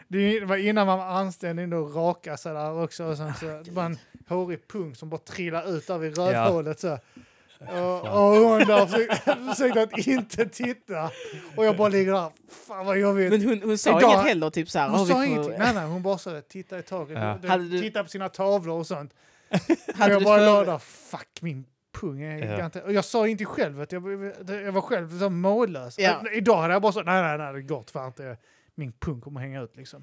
Speaker 3: det var innan man var anställd in och raka sig där också. Och sen så, det var en hårig pung som bara trillade ut där vid rövhålet så. Och, och hon där försökte, försökte att inte titta. Och jag bara ligger där. Fan vad jobbigt.
Speaker 2: Men hon, hon sa
Speaker 3: Idag-
Speaker 2: inget heller, typ så här... "Har
Speaker 3: hon
Speaker 2: vi
Speaker 3: sa
Speaker 2: får-
Speaker 3: ingenting. Nej, nej, hon bara sa det. Titta i taket.
Speaker 1: Ja.
Speaker 3: Du-
Speaker 2: Hade du-
Speaker 3: Titta på sina tavlor och sånt. Och
Speaker 2: Hade
Speaker 3: jag
Speaker 2: du
Speaker 3: bara
Speaker 2: för-
Speaker 3: la där. Fuck min pung. Jag,
Speaker 1: Ja.
Speaker 3: kan inte, och jag sa inte själv att jag, jag var själv så mållös.
Speaker 2: Ja.
Speaker 3: Men Idag hade jag bara sagt nej, nej, nej, det går tyvärr inte. Min pung kommer hänga ut liksom.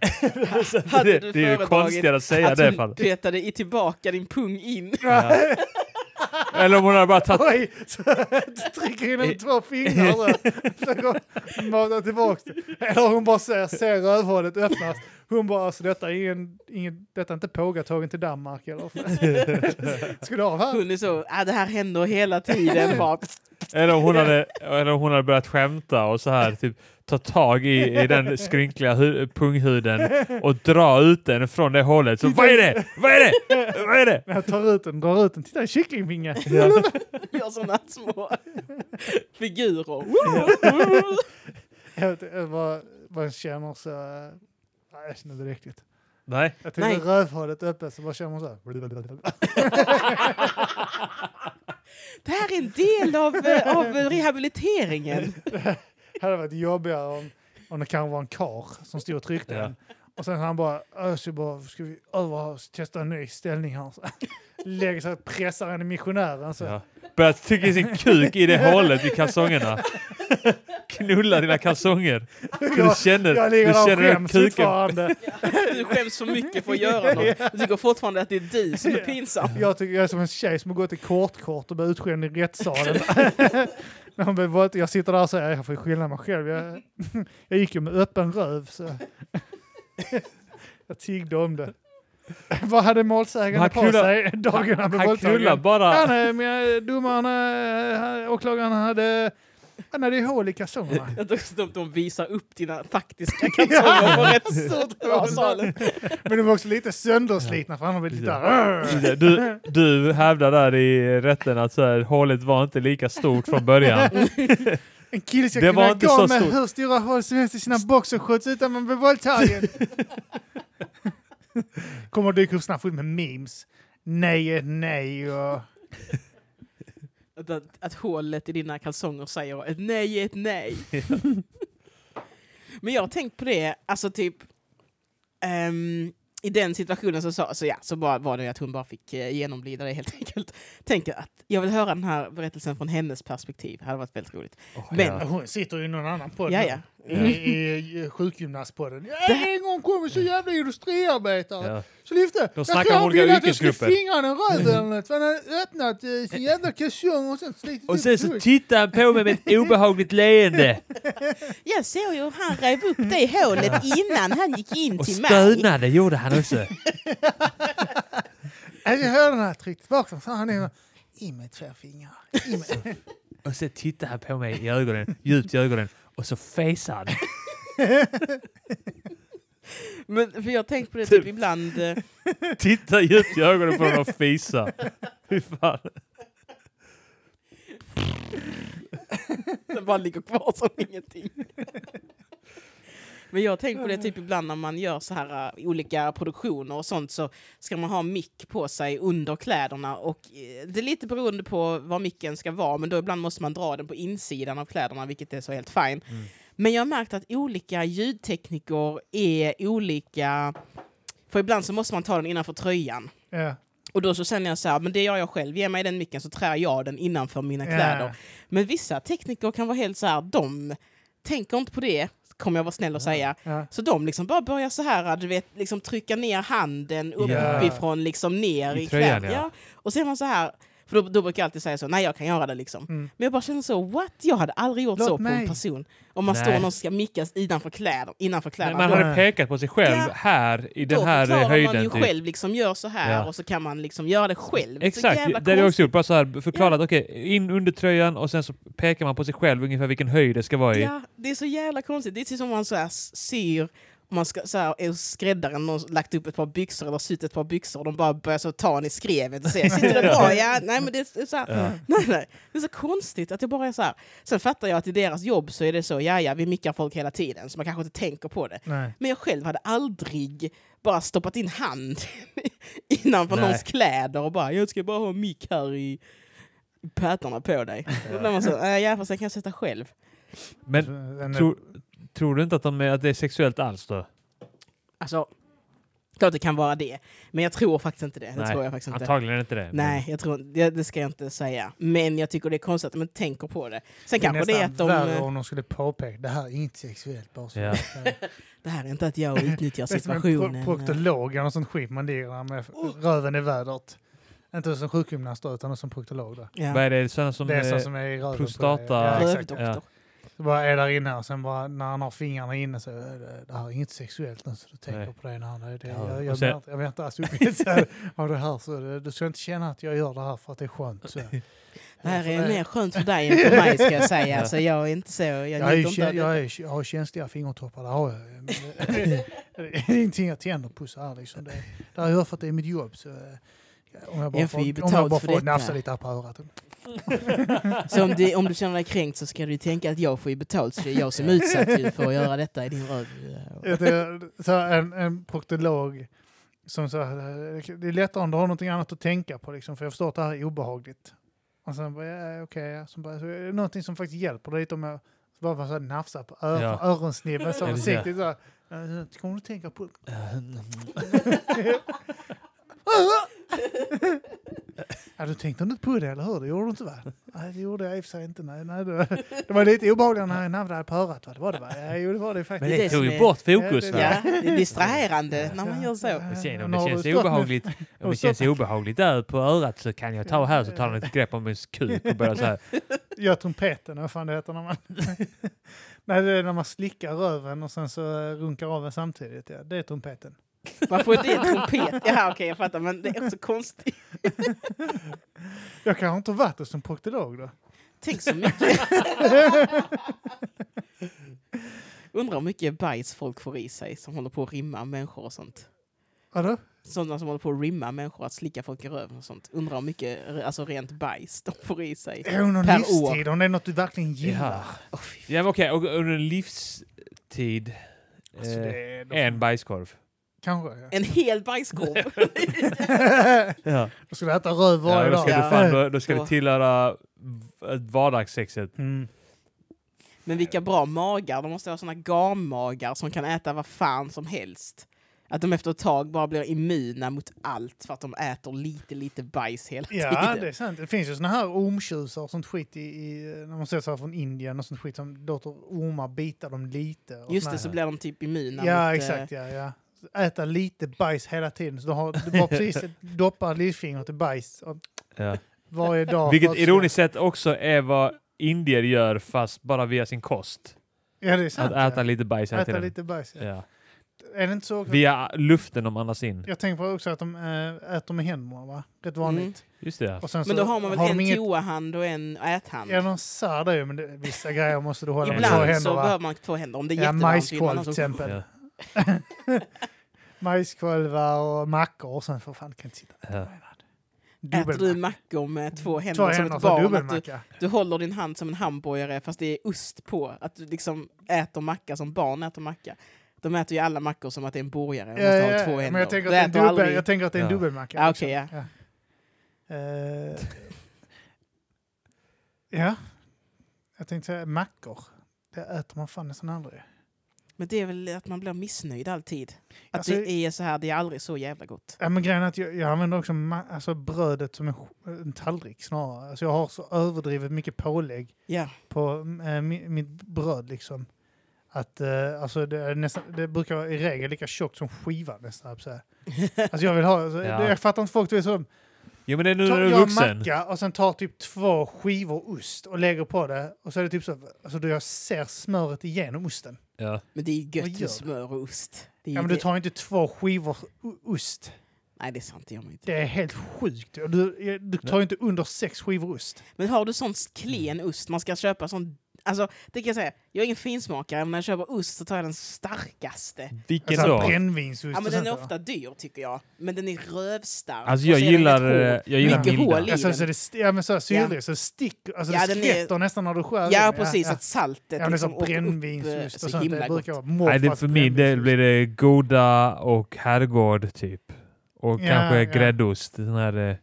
Speaker 2: Hade
Speaker 1: Det,
Speaker 2: du
Speaker 1: det är ju
Speaker 2: föredragit
Speaker 1: konstigare att säga
Speaker 2: att
Speaker 1: det i alla
Speaker 2: hon
Speaker 1: fall.
Speaker 2: petade i tillbaka din pung in.
Speaker 1: Ja. Eller om hon hade bara tagit...
Speaker 3: Oj! Så jag trycker in med två fingrar så här. försöker mata tillbaka det. Eller hon bara ser, ser rövhålet öppnas. Hon bara, alltså detta är, ingen, ingen, detta är inte pågatågen till Danmark eller? Ska du av här?
Speaker 2: Hon är så, ah, det här händer hela tiden. Bara,
Speaker 1: Eller om hon hade, eller om hon hade börjat skämta och så här typ ta tag i, i den skrynkliga hu- punghuden och dra ut den från det hålet. Så vad är det? Vad är det? Vad är det?
Speaker 3: När jag tar ut den, drar ut den, titta en kycklingvinge!
Speaker 2: gör sådana små figurer.
Speaker 3: Jag vet inte vad man känner så... eh, Nej, jag känner direkt riktigt.
Speaker 1: Nej.
Speaker 3: Jag
Speaker 2: Nej.
Speaker 3: tänkte rövhålet öppet så bara känner man så här.
Speaker 2: Det här är en del av, eh, av rehabiliteringen.
Speaker 3: Det hade varit jobbigare om, om det kanske var en kar som stod och tryckte
Speaker 1: Ja.
Speaker 3: den. Och sen han bara, "Ö, så bara, ska vi över här och testa en ny ställning här? Så Lägger sig och pressar en i missionären. Så.
Speaker 1: Ja. Börja trycka i sin kuk i det hålet i kalsongerna. Knulla dina kalsonger. Du
Speaker 3: Jag-
Speaker 1: känner,
Speaker 3: Jag
Speaker 1: du
Speaker 3: ligger där och
Speaker 1: känner hur
Speaker 3: skäms
Speaker 1: kuken...
Speaker 3: fortfarande.
Speaker 2: Du skäms för mycket för att göra något. Du tycker fortfarande att det är du som är pinsam.
Speaker 3: Jag, tycker, jag är som en tjej som har gått i kortkort och blivit utskämd i rättssalen. När hon blev våldtagen. jag sitter där och säger jag får ju skylla mig själv. Jag, jag gick ju med öppen röv. Så. jag tiggde om det. Vad hade målsägande
Speaker 1: Han
Speaker 3: på
Speaker 1: knullar-
Speaker 3: sig dagen han blev
Speaker 1: Han knullar
Speaker 3: våldtagen?
Speaker 1: bara...
Speaker 3: Han, eh, men, domaren, eh, han- åklagaren hade, han hade ju hål i kalsongerna.
Speaker 2: Att de, de, de visar upp dina faktiska kalsonger på rätt stort på salen.
Speaker 3: Men de var också lite sönderslitna för han har blivit lite där.
Speaker 1: Du, du hävdar där i rätten att så här, hålet var inte lika stort från början.
Speaker 3: En kille ska
Speaker 1: Det var
Speaker 3: kunna
Speaker 1: inte
Speaker 3: gå
Speaker 1: så
Speaker 3: med
Speaker 1: stort.
Speaker 3: hur stora hål som helst i sina boxershorts utan man blir våldtagen. Kommer dyka upp snabbt fullt med memes. nej är ett nej och
Speaker 2: Att, att, att hålet i dina kalsonger säger ett nej är ett nej. Men jag har tänkt på det, alltså typ ehm, i den situationen så, sa, så, ja, så bara var det ju att hon bara fick eh, genomlida det helt enkelt. Tänker att jag vill höra den här berättelsen från hennes perspektiv. Det hade varit väldigt roligt. Men-
Speaker 1: ja.
Speaker 3: hon sitter ju i någon annan podd
Speaker 2: Ja, ja.
Speaker 3: nu. I, i, i sjukgymnastpodden. Jag är en gång kom så jävla industriarbetare.
Speaker 1: Ja.
Speaker 3: Så lyfte
Speaker 1: De snackar om olika yrkesgrupper.
Speaker 3: fingrarna i röven eller något. för Han hade öppnat eh, sin jävla kalsong och sen slitit
Speaker 1: Och
Speaker 3: upp
Speaker 1: sen så
Speaker 3: tugg.
Speaker 1: tittar han på mig med ett obehagligt leende
Speaker 2: Jag såg ju hur han rev upp det hålet innan han gick in
Speaker 1: och
Speaker 2: till mig.
Speaker 1: stönade gjorde han också.
Speaker 3: Alltså, jag hörde när han tryckte tillbaka den så han är i med två fingrar. I med.
Speaker 1: Och sen tittar han på mig i ögonen, djupt i ögonen och så fesar han.
Speaker 2: Men, för jag har tänkt på det typ ibland. eh,
Speaker 1: Tittar djupt i ögonen på honom och fisar. Fy fan.
Speaker 2: Den bara ligger kvar som ingenting. Men jag har tänkt på det typ ibland när man gör så här äh, olika produktioner och sånt så ska man ha mick på sig under kläderna och eh, det är lite beroende på var micken ska vara men då ibland måste man dra den på insidan av kläderna vilket är så helt fine. Men jag har märkt att olika ljudtekniker är olika, för ibland så måste man ta den innanför tröjan.
Speaker 3: Ja.
Speaker 2: Och då så känner jag så här, men det gör jag själv, ge mig den micken så trär jag den innanför mina
Speaker 3: Ja.
Speaker 2: kläder. Men vissa tekniker kan vara helt så här, de tänker inte på det, kommer jag vara snäll och säga.
Speaker 3: Ja.
Speaker 2: Så de liksom bara börjar så här, du vet, liksom trycka ner handen
Speaker 1: Ja.
Speaker 2: uppifrån, liksom ner
Speaker 1: I
Speaker 2: i,
Speaker 1: tröjan,
Speaker 2: kläder.
Speaker 1: ja.
Speaker 2: Ja. Och så är man så här, för då, då brukar jag alltid säga så, nej jag kan göra det liksom.
Speaker 3: Mm.
Speaker 2: Men jag bara känner så, what? Jag hade aldrig gjort
Speaker 3: Låt
Speaker 2: så på
Speaker 3: mig.
Speaker 2: en person. Om man
Speaker 1: Nej.
Speaker 2: står och någon ska mickas innanför kläder, innanför kläderna.
Speaker 1: Man
Speaker 2: då-
Speaker 1: hade pekat på sig själv
Speaker 2: Ja.
Speaker 1: här i
Speaker 2: då
Speaker 1: den här
Speaker 2: förklarar
Speaker 1: höjden.
Speaker 2: man ju
Speaker 1: typ.
Speaker 2: själv, liksom gör så här
Speaker 1: Ja.
Speaker 2: och så kan man liksom göra det själv. så jävla
Speaker 1: Exakt, det har jag
Speaker 2: konstigt.
Speaker 1: också gjort. Bara så här förklarat, okej, in under tröjan och sen så pekar man på sig själv ungefär vilken höjd det ska vara i.
Speaker 2: Ja, det är så jävla konstigt. Det är typ som om man så här syr, om man ska, så här, är hos skräddaren och lagt upp ett par byxor eller sytt ett par byxor och de bara börjar så ta en i skrevet och säger sitter det bra? Ja, nej men det är så här, nej, nej. Det är så konstigt att det bara är så här. Sen fattar jag att i deras jobb så är det så, ja ja, vi mickar folk hela tiden så man kanske inte tänker på det.
Speaker 3: Nej.
Speaker 2: Men jag själv hade aldrig bara stoppat in hand innanför
Speaker 1: Nej.
Speaker 2: någons kläder och bara jag ska bara ha mick här i i pattarna på dig. Då blir man så, äh, ja fast jag kan sätta själv.
Speaker 1: Men
Speaker 3: Den-
Speaker 1: tror, tror du inte att, de är, att det är sexuellt alls då?
Speaker 2: Alltså, klart det kan vara det. Men jag tror faktiskt inte det. Det
Speaker 1: Nej,
Speaker 2: tror jag faktiskt inte.
Speaker 1: Antagligen inte det.
Speaker 2: Nej, jag tror, det, det ska jag inte säga. Men jag tycker det är konstigt att man inte tänker på det. Sen
Speaker 3: Det är
Speaker 2: kanske det är att
Speaker 3: nästan
Speaker 2: de...
Speaker 3: värre
Speaker 2: eh,
Speaker 3: om de skulle påpeka det här är inte sexuellt. Bara så.
Speaker 1: Ja.
Speaker 2: Det här är inte att jag utnyttjar
Speaker 3: Det är som en pro-
Speaker 2: situationen. eh. Oh!
Speaker 3: proktolog eller något sånt skit man ligger med. Röven i vädret. Inte som sjukgymnast då, utan som proktolog. Då.
Speaker 1: Vad
Speaker 2: Ja.
Speaker 1: är det sådana som...
Speaker 3: Det är sånt
Speaker 1: eh,
Speaker 3: som är i röven. på dig.
Speaker 1: prostata-
Speaker 3: Ja, exakt.
Speaker 2: Rövdoktor.
Speaker 1: Ja.
Speaker 3: Så bara är där inne och sen bara när han har fingrarna inne så är det, det här är inget sexuellt nu så du tänker
Speaker 1: Nej.
Speaker 3: på det när han är det.
Speaker 1: Ja.
Speaker 3: Jag,
Speaker 1: Och
Speaker 3: jag,
Speaker 1: sen-
Speaker 3: menar inte- jag menar inte alls upphetsad av det här så det, du ska inte känna att jag gör det här för att det är skönt. Så.
Speaker 2: Det här
Speaker 3: För
Speaker 2: är mer skönt för dig än för mig ska jag säga. Så jag är inte så... Jag,
Speaker 3: Jag, är, ju
Speaker 2: njuter inte
Speaker 3: kä-
Speaker 2: av det.
Speaker 3: jag, är, jag har känsliga fingertoppar, det har jag. Men det- Det är ingenting jag tänder på så här liksom. Det, det har jag för att det är mitt jobb. Så, eh, om jag bara
Speaker 2: Jag får ju
Speaker 3: får, om jag
Speaker 2: betalt
Speaker 3: bara
Speaker 2: för
Speaker 3: får
Speaker 2: detta.
Speaker 3: nafsa lite här på örat.
Speaker 2: Så om du, om du känner dig kränkt så ska du tänka att jag får ju betalt så det är jag som är utsatt ju för att göra detta i din röv.
Speaker 3: Vet du, Så en, en proktolog som sa det är lättare om du har någonting annat att tänka på liksom, för jag förstår att det här är obehagligt. Och sen bara, ja, okej, ja. Sen bara, så är det någonting som faktiskt hjälper dig lite om jag bara, bara så här, nafsar på ö-
Speaker 1: Ja.
Speaker 3: öronsnibben så
Speaker 1: Ja, det är
Speaker 3: försiktigt så här. "Eh, Kommer du tänka på
Speaker 1: Eh,
Speaker 3: Ja, du tänkte inte på det, eller hur? Det gjorde du inte, va? Nej, det gjorde jag i och för sig inte. Nej, nej, det, var, det var lite obehagligt när jag nafsade på örat, va? Det var det, va? Ja, jo, det var det
Speaker 1: Men
Speaker 3: faktiskt.
Speaker 2: Det är
Speaker 1: det
Speaker 2: det
Speaker 1: tog
Speaker 2: som
Speaker 1: ju
Speaker 2: är-
Speaker 1: bort fokus
Speaker 3: Ja,
Speaker 1: va?
Speaker 3: det-
Speaker 2: Ja, det är distraherande när man gör så.
Speaker 1: Men sen om
Speaker 3: Nu
Speaker 1: det
Speaker 3: har du
Speaker 1: känns
Speaker 3: stått med-
Speaker 1: obehagligt, om det känns obehagligt där på örat så kan jag ta här så tar han ett grepp om min kuk och börjar så här.
Speaker 3: Gör trumpeten, vad fan det heter när man... Nej, det är när man slickar röven och sen så eh, runkar av den samtidigt. Ja. Det är trumpeten.
Speaker 2: Varför är det trumpet? Ja, okej, jag fattar, men det är också konstigt.
Speaker 3: Jag kanske inte varit det som proktolog då.
Speaker 2: Tänk så mycket. Undrar hur mycket bajs folk får i sig som håller på att rimma människor och sånt.
Speaker 3: Vadå?
Speaker 2: Sådana som håller på att rimma människor, att slicka folk i röven och sånt. Undrar hur mycket alltså, rent bajs de får i sig.
Speaker 3: Det är ju någon
Speaker 2: Per
Speaker 3: livstid, om det är något du verkligen gillar.
Speaker 1: Ja. Ja men okej, och under en livstid
Speaker 3: Alltså,
Speaker 1: eh,
Speaker 3: det är-
Speaker 1: en bajskorv.
Speaker 3: Kanske. Ja.
Speaker 2: En hel bajskorv.
Speaker 1: Ja.
Speaker 3: Jag skulle äta röv varje
Speaker 1: Ja, då,
Speaker 3: dag.
Speaker 1: ska du fan, då, då ska
Speaker 2: Ja.
Speaker 1: du tillhöra v- vardagssexet.
Speaker 3: Mm.
Speaker 2: Men
Speaker 3: Eh,
Speaker 2: vilka bra magar. De måste ha såna gammagar som kan äta vad fan som helst. Att de efter ett tag bara blir immuna mot allt för att de äter lite, lite bajs hela
Speaker 3: Ja,
Speaker 2: tiden.
Speaker 3: det är sant. Det finns ju såna här ormtjusar och sånt skit i, i, när man ser så här från Indien och sånt skit som låter ormar bita dem lite. Och
Speaker 2: Just
Speaker 3: såna
Speaker 2: det,
Speaker 3: här.
Speaker 2: så blir de typ immuna
Speaker 3: Ja,
Speaker 2: mot... eh,
Speaker 3: exakt. Ja, ja. Äta lite bajs hela tiden. Så du, har, du bara precis doppar lillfingret i bajs och
Speaker 1: Ja.
Speaker 3: varje dag.
Speaker 1: Vilket
Speaker 3: Varje-
Speaker 1: ironiskt sett också är vad indier gör fast bara via sin kost.
Speaker 3: Ja, det är sant.
Speaker 1: Att äta lite bajs
Speaker 3: ja.
Speaker 1: hela
Speaker 3: äta
Speaker 1: tiden.
Speaker 3: lite bajs. Ja.
Speaker 1: Ja.
Speaker 3: Är det inte så? också-
Speaker 1: Via luften de andas in.
Speaker 3: Jag tänker på också att de äh, äter med händerna, va? Rätt vanligt.
Speaker 1: Just det. ja.
Speaker 3: Och sen
Speaker 2: Mm. Men
Speaker 3: så
Speaker 2: då har man väl
Speaker 3: de
Speaker 2: en
Speaker 3: inget-
Speaker 2: toahand och en äthand?
Speaker 3: Ja, de sär det ju, men det, vissa grejer måste du hålla med två
Speaker 2: Ibland
Speaker 3: händer,
Speaker 2: så
Speaker 3: va?
Speaker 2: behöver man två händer. Om det är
Speaker 3: Ja,
Speaker 2: jättevarmt vill man
Speaker 3: majskolv
Speaker 2: ha
Speaker 3: till
Speaker 2: så-
Speaker 3: exempel.
Speaker 1: Ja.
Speaker 3: Majskolvar och mackor och sen för fan kan jag inte sitta och äta
Speaker 1: Ja.
Speaker 3: med en hand.
Speaker 2: Äter du
Speaker 3: Dubbelmacka.
Speaker 2: mackor med två händer
Speaker 3: Två
Speaker 2: som
Speaker 3: händer
Speaker 2: ett
Speaker 3: så
Speaker 2: barn? Att du,
Speaker 3: dubbelmacka.
Speaker 2: du håller din hand som en hamburgare fast det är ost på. Att du liksom äter macka som barn äter macka. De äter ju alla mackor som att det är en burgare. De
Speaker 3: Ja,
Speaker 2: måste
Speaker 3: ja,
Speaker 2: ha
Speaker 3: ja.
Speaker 2: två händer.
Speaker 3: Men jag tänker,
Speaker 2: Du
Speaker 3: att det
Speaker 2: äter
Speaker 3: är en dubbel,
Speaker 2: aldrig-
Speaker 3: jag tänker att det är en
Speaker 1: Ja.
Speaker 3: dubbelmacka.
Speaker 2: Ja, Ah,
Speaker 3: också.
Speaker 2: okej, ja.
Speaker 3: Eh, ja. Jag tänkte säga mackor. Det äter man fan nästan aldrig.
Speaker 2: Men det är väl att man blir missnöjd alltid. Att
Speaker 3: Alltså-
Speaker 2: det är så här, det är aldrig så jävla gott.
Speaker 3: Ja, men grejen är att jag, jag använder också ma- alltså brödet som en, sk- en tallrik snarare. Alltså jag har så överdrivet mycket pålägg
Speaker 2: Ja,
Speaker 3: på eh, mi- mitt bröd liksom. Att eh, alltså det, är nästan, det brukar vara i regel lika tjockt som skivan nästan. typ Så här. Alltså jag vill ha, alltså,
Speaker 1: Ja.
Speaker 3: jag fattar inte folk du är så,
Speaker 1: Jo men det är nu
Speaker 3: tar,
Speaker 1: när du
Speaker 3: gör
Speaker 1: är
Speaker 3: en
Speaker 1: vuxen.
Speaker 3: macka och sen tar typ två skivor ost och lägger på det. Och så är det typ så, alltså då jag ser smöret igenom osten.
Speaker 1: Ja.
Speaker 2: men det är ju
Speaker 3: Vad
Speaker 2: gött
Speaker 3: gör
Speaker 2: med smör och ost. Det är
Speaker 3: Ja
Speaker 2: ju
Speaker 3: men du
Speaker 2: det.
Speaker 3: tar inte två skivor o- ost.
Speaker 2: Nej, det är sant. Det gör man inte.
Speaker 3: Det är helt sjukt. Och Du, du tar ju inte under sex skivor ost.
Speaker 2: Men har du sån klen ost, man ska köpa sån... Alltså, det kan jag säga. Jag är ingen finsmakare, men när jag köper ost så tar jag den starkaste.
Speaker 1: Vilken
Speaker 3: Alltså
Speaker 1: då?
Speaker 3: brännvinsost
Speaker 2: Ja, men
Speaker 3: och
Speaker 2: den
Speaker 3: sånt
Speaker 2: är
Speaker 3: där.
Speaker 2: ofta dyr, tycker jag. Men den är rövstark.
Speaker 1: Alltså
Speaker 2: och
Speaker 1: jag
Speaker 2: så är den
Speaker 1: gillar,
Speaker 2: rätt
Speaker 1: eh,
Speaker 2: hård.
Speaker 1: jag gillar
Speaker 2: Mycket hål
Speaker 1: milda.
Speaker 2: i
Speaker 3: Ja, sen Alltså, så är
Speaker 2: den.
Speaker 3: det, st- ja men så här syrlig, så det sticker, alltså
Speaker 2: Ja,
Speaker 3: det
Speaker 2: den är-
Speaker 3: skvätter nästan när du skär i
Speaker 2: Ja,
Speaker 3: den,
Speaker 2: precis. Att
Speaker 3: Ja,
Speaker 2: saltet
Speaker 3: men det är
Speaker 2: liksom
Speaker 3: så
Speaker 2: åker upp eh,
Speaker 3: brännvinsost och
Speaker 2: så
Speaker 3: sånt. Det
Speaker 2: himla gott.
Speaker 3: brukar vara
Speaker 1: Nej, det,
Speaker 3: morfars
Speaker 1: för min del
Speaker 3: brännvinsost.
Speaker 1: blir det goda och herrgård typ. Och
Speaker 3: Ja,
Speaker 1: kanske
Speaker 3: ja.
Speaker 1: gräddost. Den här eh,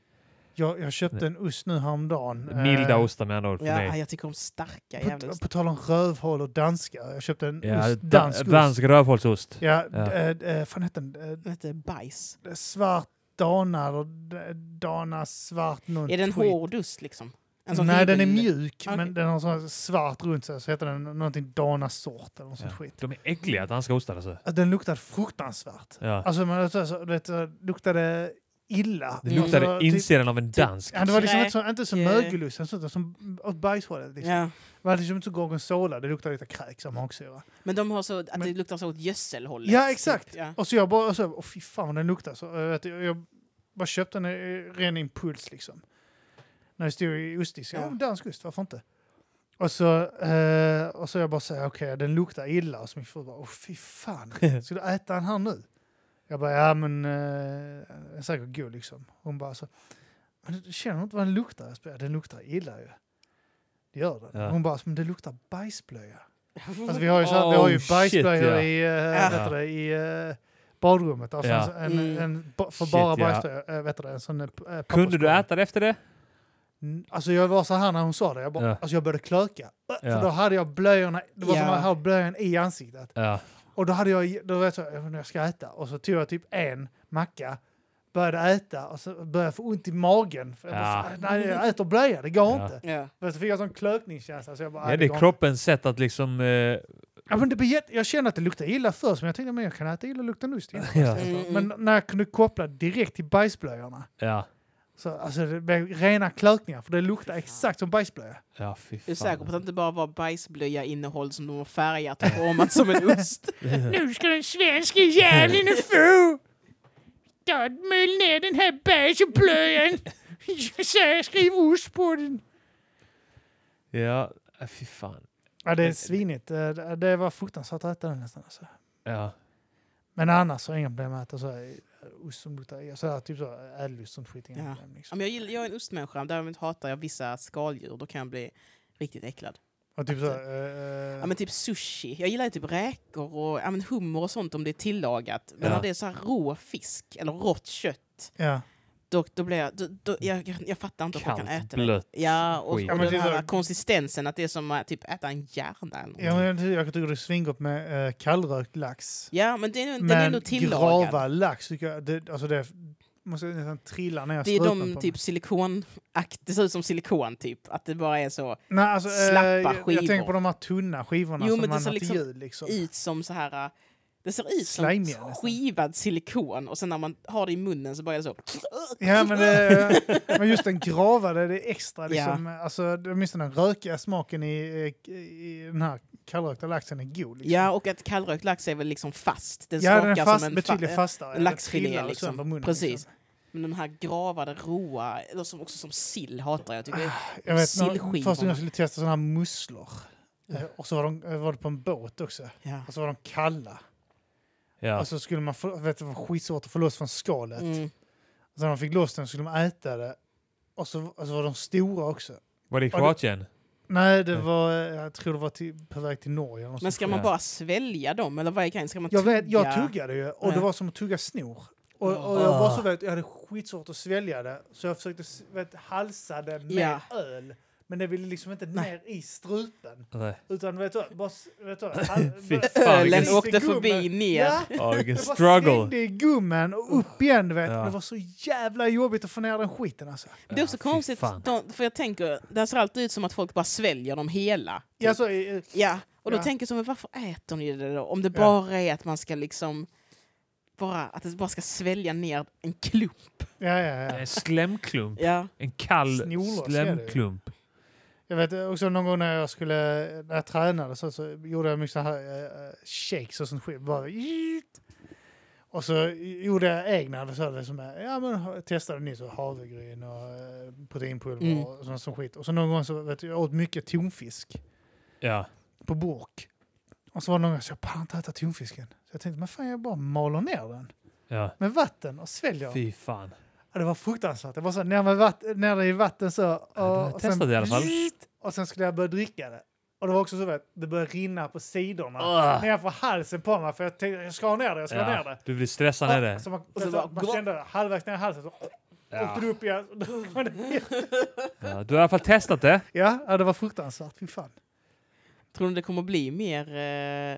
Speaker 3: Jag, jag köpte en ost nu häromdagen. eh,
Speaker 1: milda ostar med andra ord för
Speaker 2: Ja,
Speaker 1: mig.
Speaker 2: nej, jag tycker om starka jävla
Speaker 3: På,
Speaker 2: ostar.
Speaker 3: på tal om rövhål och danskar. Jag köpte en
Speaker 1: Ja,
Speaker 3: ost,
Speaker 1: da-
Speaker 3: dansk ost.
Speaker 1: dansk rövhålsost.
Speaker 3: Ja,
Speaker 1: Ja.
Speaker 3: ja. Äh, fan hette den?
Speaker 2: Den heter bajs.
Speaker 3: Eh, svart dana eller d- dana svart någon
Speaker 2: Är den
Speaker 3: skit.
Speaker 2: hård ost liksom? En sån
Speaker 3: Nej, den är
Speaker 2: riven-
Speaker 3: mjuk,
Speaker 2: Okej.
Speaker 3: men den har sån här svart runt sig. Så heter den någonting dana sort eller något sånt
Speaker 1: Ja.
Speaker 3: skit.
Speaker 1: De är äckliga danska ostar alltså.
Speaker 3: Alltså, den luktade fruktansvärt.
Speaker 1: Ja.
Speaker 3: Alltså man så, så, vet, så, luktade illa.
Speaker 1: Det
Speaker 2: Mm.
Speaker 1: luktade
Speaker 3: alltså, typ-
Speaker 1: insidan av en dansk.
Speaker 3: Ja, det var liksom
Speaker 2: Nej.
Speaker 3: inte, så, inte som
Speaker 2: Ja.
Speaker 3: mögelost, utan så- som åt bajshålet. Liksom.
Speaker 2: Ja.
Speaker 3: Det var liksom inte så gorgonzola, det luktade lite kräks och magsyra.
Speaker 2: Men de har så att det
Speaker 3: Men-
Speaker 2: luktar så åt gödselhållet.
Speaker 3: Ja, exakt.
Speaker 2: Typ. Ja.
Speaker 3: Och så jag bara, och så, åh fy fan vad den luktar. Så, jag, vet, jag, jag bara köpte den i ren impuls liksom. När jag stod i ostdisken,
Speaker 2: Ja.
Speaker 3: ja. dansk ost, varför inte? Och så, eh, och så jag bara säger okej, den luktar illa. Och så min fru bara, åh fy fan, ska du äta den här nu? Jag bara, ja men, eh, den är säkert god liksom. Hon bara så, men du känner inte vad den luktar? Jag bara, den luktar illa ju. Det gör den.
Speaker 1: Ja.
Speaker 3: Hon bara, alltså, men det luktar bajsblöja. Alltså vi har ju, så här, vi har ju
Speaker 1: Oh, shit,
Speaker 3: bajsblöjor
Speaker 1: ja.
Speaker 3: i,
Speaker 2: Ja.
Speaker 3: äh, vet du, det, i eh, badrummet. Där
Speaker 1: Ja.
Speaker 3: fanns en,
Speaker 2: Mm.
Speaker 3: en, ba- för
Speaker 1: Shit,
Speaker 3: bara
Speaker 1: ja.
Speaker 3: bajsblöjor, äh, vet du, det, en sån äh,
Speaker 1: Kunde du äta det efter det?
Speaker 3: Alltså jag var så här när hon sa det, jag, bara,
Speaker 1: Ja.
Speaker 3: alltså jag började klöka. Äh,
Speaker 1: Ja.
Speaker 3: För då hade jag blöjorna, det var som
Speaker 2: Ja.
Speaker 3: att jag hade blöjan i ansiktet.
Speaker 1: Ja.
Speaker 3: Och då hade jag, då var jag så, här, jag vet inte, jag ska äta. Och så tog jag typ en macka, började äta och så började jag få ont i magen. För jag, bara,
Speaker 1: Ja.
Speaker 3: fan, nej, jag äter blöja, det går
Speaker 1: Ja.
Speaker 3: inte.
Speaker 2: Ja.
Speaker 3: Men Så fick jag sån klökningskänsla. Så jag bara,
Speaker 1: Ja,
Speaker 3: nej,
Speaker 1: det
Speaker 3: går
Speaker 1: är
Speaker 3: inte.
Speaker 1: kroppens sätt att liksom... Eh,
Speaker 3: Ja, men det blir jätte- jag kände att det luktade illa först, men jag tänkte att jag kan äta illa och lukta ost.
Speaker 1: ja.
Speaker 2: Mm,
Speaker 3: Men när jag kunde koppla direkt till bajsblöjorna,
Speaker 1: Ja.
Speaker 3: så, alltså, det blev rena klökningar, för det luktar exakt som bajsblöja.
Speaker 1: ja, fy
Speaker 2: Är
Speaker 1: fan.
Speaker 2: du säker på att det inte bara var bajsblöja-innehåll som de har färgat och format som en ost?
Speaker 4: Nu ska den svenska jäveln få! Ta möll ner den här bärsblöjan. Så här, skriv ost på den.
Speaker 1: Ja, äh, fy fan.
Speaker 3: Ja, det är svinigt. Eh, Det, det var fruktansvärt att äta den nästan. Alltså.
Speaker 1: Ja.
Speaker 3: Men annars så har jag inga problem med att äta så här, eh, ost som luktar, så här, typ så här, ädelost som skit. Inga
Speaker 2: Ja.
Speaker 3: problem, liksom.
Speaker 2: Ja, men jag, gillar, jag är en ostmänniska, däremot hatar jag vissa skaldjur. Då kan jag bli riktigt äcklad.
Speaker 3: Och typ så, eh,
Speaker 2: Ja, men typ sushi. Jag gillar ju typ räkor och ja, men hummer och sånt om det är tillagat. Men
Speaker 1: Ja.
Speaker 2: när det är så här rå fisk eller rått kött,
Speaker 3: ja.
Speaker 2: då, då blir jag... Då, då, jag, jag, jag fattar inte att man kan
Speaker 1: Kallt,
Speaker 2: äta det.
Speaker 1: blött
Speaker 2: Ja, och, och
Speaker 1: skit.
Speaker 3: Ja, men
Speaker 2: den
Speaker 3: det är så-
Speaker 2: här konsistensen, att det är som att typ äta en hjärna eller
Speaker 3: Ja,
Speaker 2: någonting.
Speaker 3: men jag, jag tycker det är svingott med eh, kallrökt lax.
Speaker 2: Ja, men den, den är
Speaker 3: Men
Speaker 2: nog tillagad.
Speaker 3: grava lax tycker jag, det, alltså det måste nästan trilla ner i
Speaker 2: Det är
Speaker 3: strupen på
Speaker 2: de
Speaker 3: mig.
Speaker 2: typ silikon... akt- Det ser ut som silikon typ. Att det bara är så
Speaker 3: Nej, alltså, eh,
Speaker 2: slappa
Speaker 3: jag, jag tänker
Speaker 2: skivor.
Speaker 3: på de här tunna skivorna
Speaker 2: Jo,
Speaker 3: som
Speaker 2: men det
Speaker 3: man
Speaker 2: ser
Speaker 3: har till
Speaker 2: liksom
Speaker 3: jul. Liksom.
Speaker 2: ut som så här... äh, Det ser ut som
Speaker 3: Slimiga nästan.
Speaker 2: skivad silikon och sen när man har det i munnen så börjar det så...
Speaker 3: Ja, men, det, men just den gravade, det är extra liksom. Alltså, det- åtminstone den rökiga smaken i, i, i den här kallrökta laxen är god. Liksom.
Speaker 2: Ja, och att kallrökt lax är väl liksom fast. Den
Speaker 3: ja,
Speaker 2: smakar
Speaker 3: den är fast,
Speaker 2: som en
Speaker 3: betydligt
Speaker 2: fa-
Speaker 3: fastare.
Speaker 2: en laxfilé,
Speaker 3: Det trillar
Speaker 2: liksom.
Speaker 3: sönder munnen,
Speaker 2: Precis.
Speaker 3: liksom.
Speaker 2: Men den här gravade, råa, eller som, också som sill hatar jag. Tycker det är-
Speaker 3: Jag vet, när,
Speaker 2: Sillskivorna.
Speaker 3: första gången jag skulle testa sådana här musslor. Eh, Och så var, de, var det på en båt också.
Speaker 2: ja.
Speaker 3: Och så var de kalla.
Speaker 1: Ja.
Speaker 3: Och så skulle man få, vet du, det var skitsvårt att få loss från skalet.
Speaker 2: Mm.
Speaker 3: Och sen när man fick loss den skulle man äta det. Och så, och så var de stora också.
Speaker 1: Var det i Kroatien?
Speaker 3: Nej, det
Speaker 1: Nej.
Speaker 3: var, eh, jag tror det var till, på väg till Norge. Eller något
Speaker 2: Men
Speaker 3: sånt.
Speaker 2: ska man
Speaker 1: Ja.
Speaker 2: bara svälja dem eller vad är grejen? Ska man
Speaker 3: jag,
Speaker 2: tugga?
Speaker 3: vet, jag tuggade ju och det
Speaker 2: Ja.
Speaker 3: var som att tugga snor. Och, och jag
Speaker 1: Ah.
Speaker 3: var så vet, jag hade skitsvårt att svälja det. Så jag försökte s- vet, halsa det med
Speaker 2: Ja.
Speaker 3: öl. Men det ville liksom inte
Speaker 2: Nej.
Speaker 3: ner i strupen.
Speaker 1: Nej.
Speaker 3: Utan vet du, vad, bara, s- vet du, vad, hal-
Speaker 1: Fy
Speaker 3: bara-
Speaker 1: fan,
Speaker 2: Ölen
Speaker 1: vilken-
Speaker 2: åkte förbi ner.
Speaker 3: Ja,
Speaker 1: Ja, vilken
Speaker 3: jag bara
Speaker 1: struggle.
Speaker 3: slängde i gummen och upp igen. Du vet.
Speaker 1: Ja.
Speaker 3: Det var så jävla jobbigt att få ner den skiten alltså.
Speaker 2: Det är också
Speaker 1: Ja, fy
Speaker 2: konstigt,
Speaker 1: fan.
Speaker 2: de, för jag tänker, det ser alltid ut som att folk bara sväljer dem hela.
Speaker 3: Ja, så, eh,
Speaker 2: Ja, och då
Speaker 3: Ja.
Speaker 2: tänker jag så, men varför äter ni det då? Om det
Speaker 3: Ja.
Speaker 2: bara är att man ska liksom, bara, att det bara ska svälja ner en klump.
Speaker 3: ja, ja, ja.
Speaker 1: En slemklump.
Speaker 2: Ja.
Speaker 1: En kall
Speaker 3: Snorlås är det ju.
Speaker 1: slemklump.
Speaker 3: Jag vet eh, också någon gång när jag skulle, när jag tränade så, så gjorde jag mycket så här eh, eh, shakes och sånt skit. Bara, "Jiit." och så gjorde jag egna, så det som är, ja men ha- testade nyss så havregryn och eh, proteinpulver
Speaker 2: Mm.
Speaker 3: och sånt som skit. Och så någon gång så vet du, jag åt mycket tonfisk
Speaker 1: Ja.
Speaker 3: på burk. Och så var det någon gång så jag pallar inte äta tonfisken. Så jag tänkte, men fan jag bara maler ner den
Speaker 1: ja.
Speaker 3: med vatten och sväljer.
Speaker 1: Fy fan.
Speaker 3: Ja, det var fruktansvärt. Det var så här, ner, med vatt, ner i vatten så. Och,
Speaker 1: du har
Speaker 3: och
Speaker 1: testat
Speaker 3: sen,
Speaker 1: i alla fall.
Speaker 3: Och sen skulle jag börja dricka det. Och det var också så att det började rinna på sidorna.
Speaker 1: Ah.
Speaker 3: Ner för halsen på mig. För jag tänkte, jag ska ha ner det, jag ska ha ner
Speaker 1: Ja.
Speaker 3: det.
Speaker 1: Du blir stressad ner det.
Speaker 3: Så man,
Speaker 2: så
Speaker 3: så
Speaker 2: bara-
Speaker 3: man kände halvvägs ner i halsen så
Speaker 1: Ja.
Speaker 3: åkte det upp igen.
Speaker 1: Ja. Du har i alla fall testat det.
Speaker 3: ja, ja, det var fruktansvärt. Fy fan.
Speaker 2: Tror ni det kommer bli mer... Eh,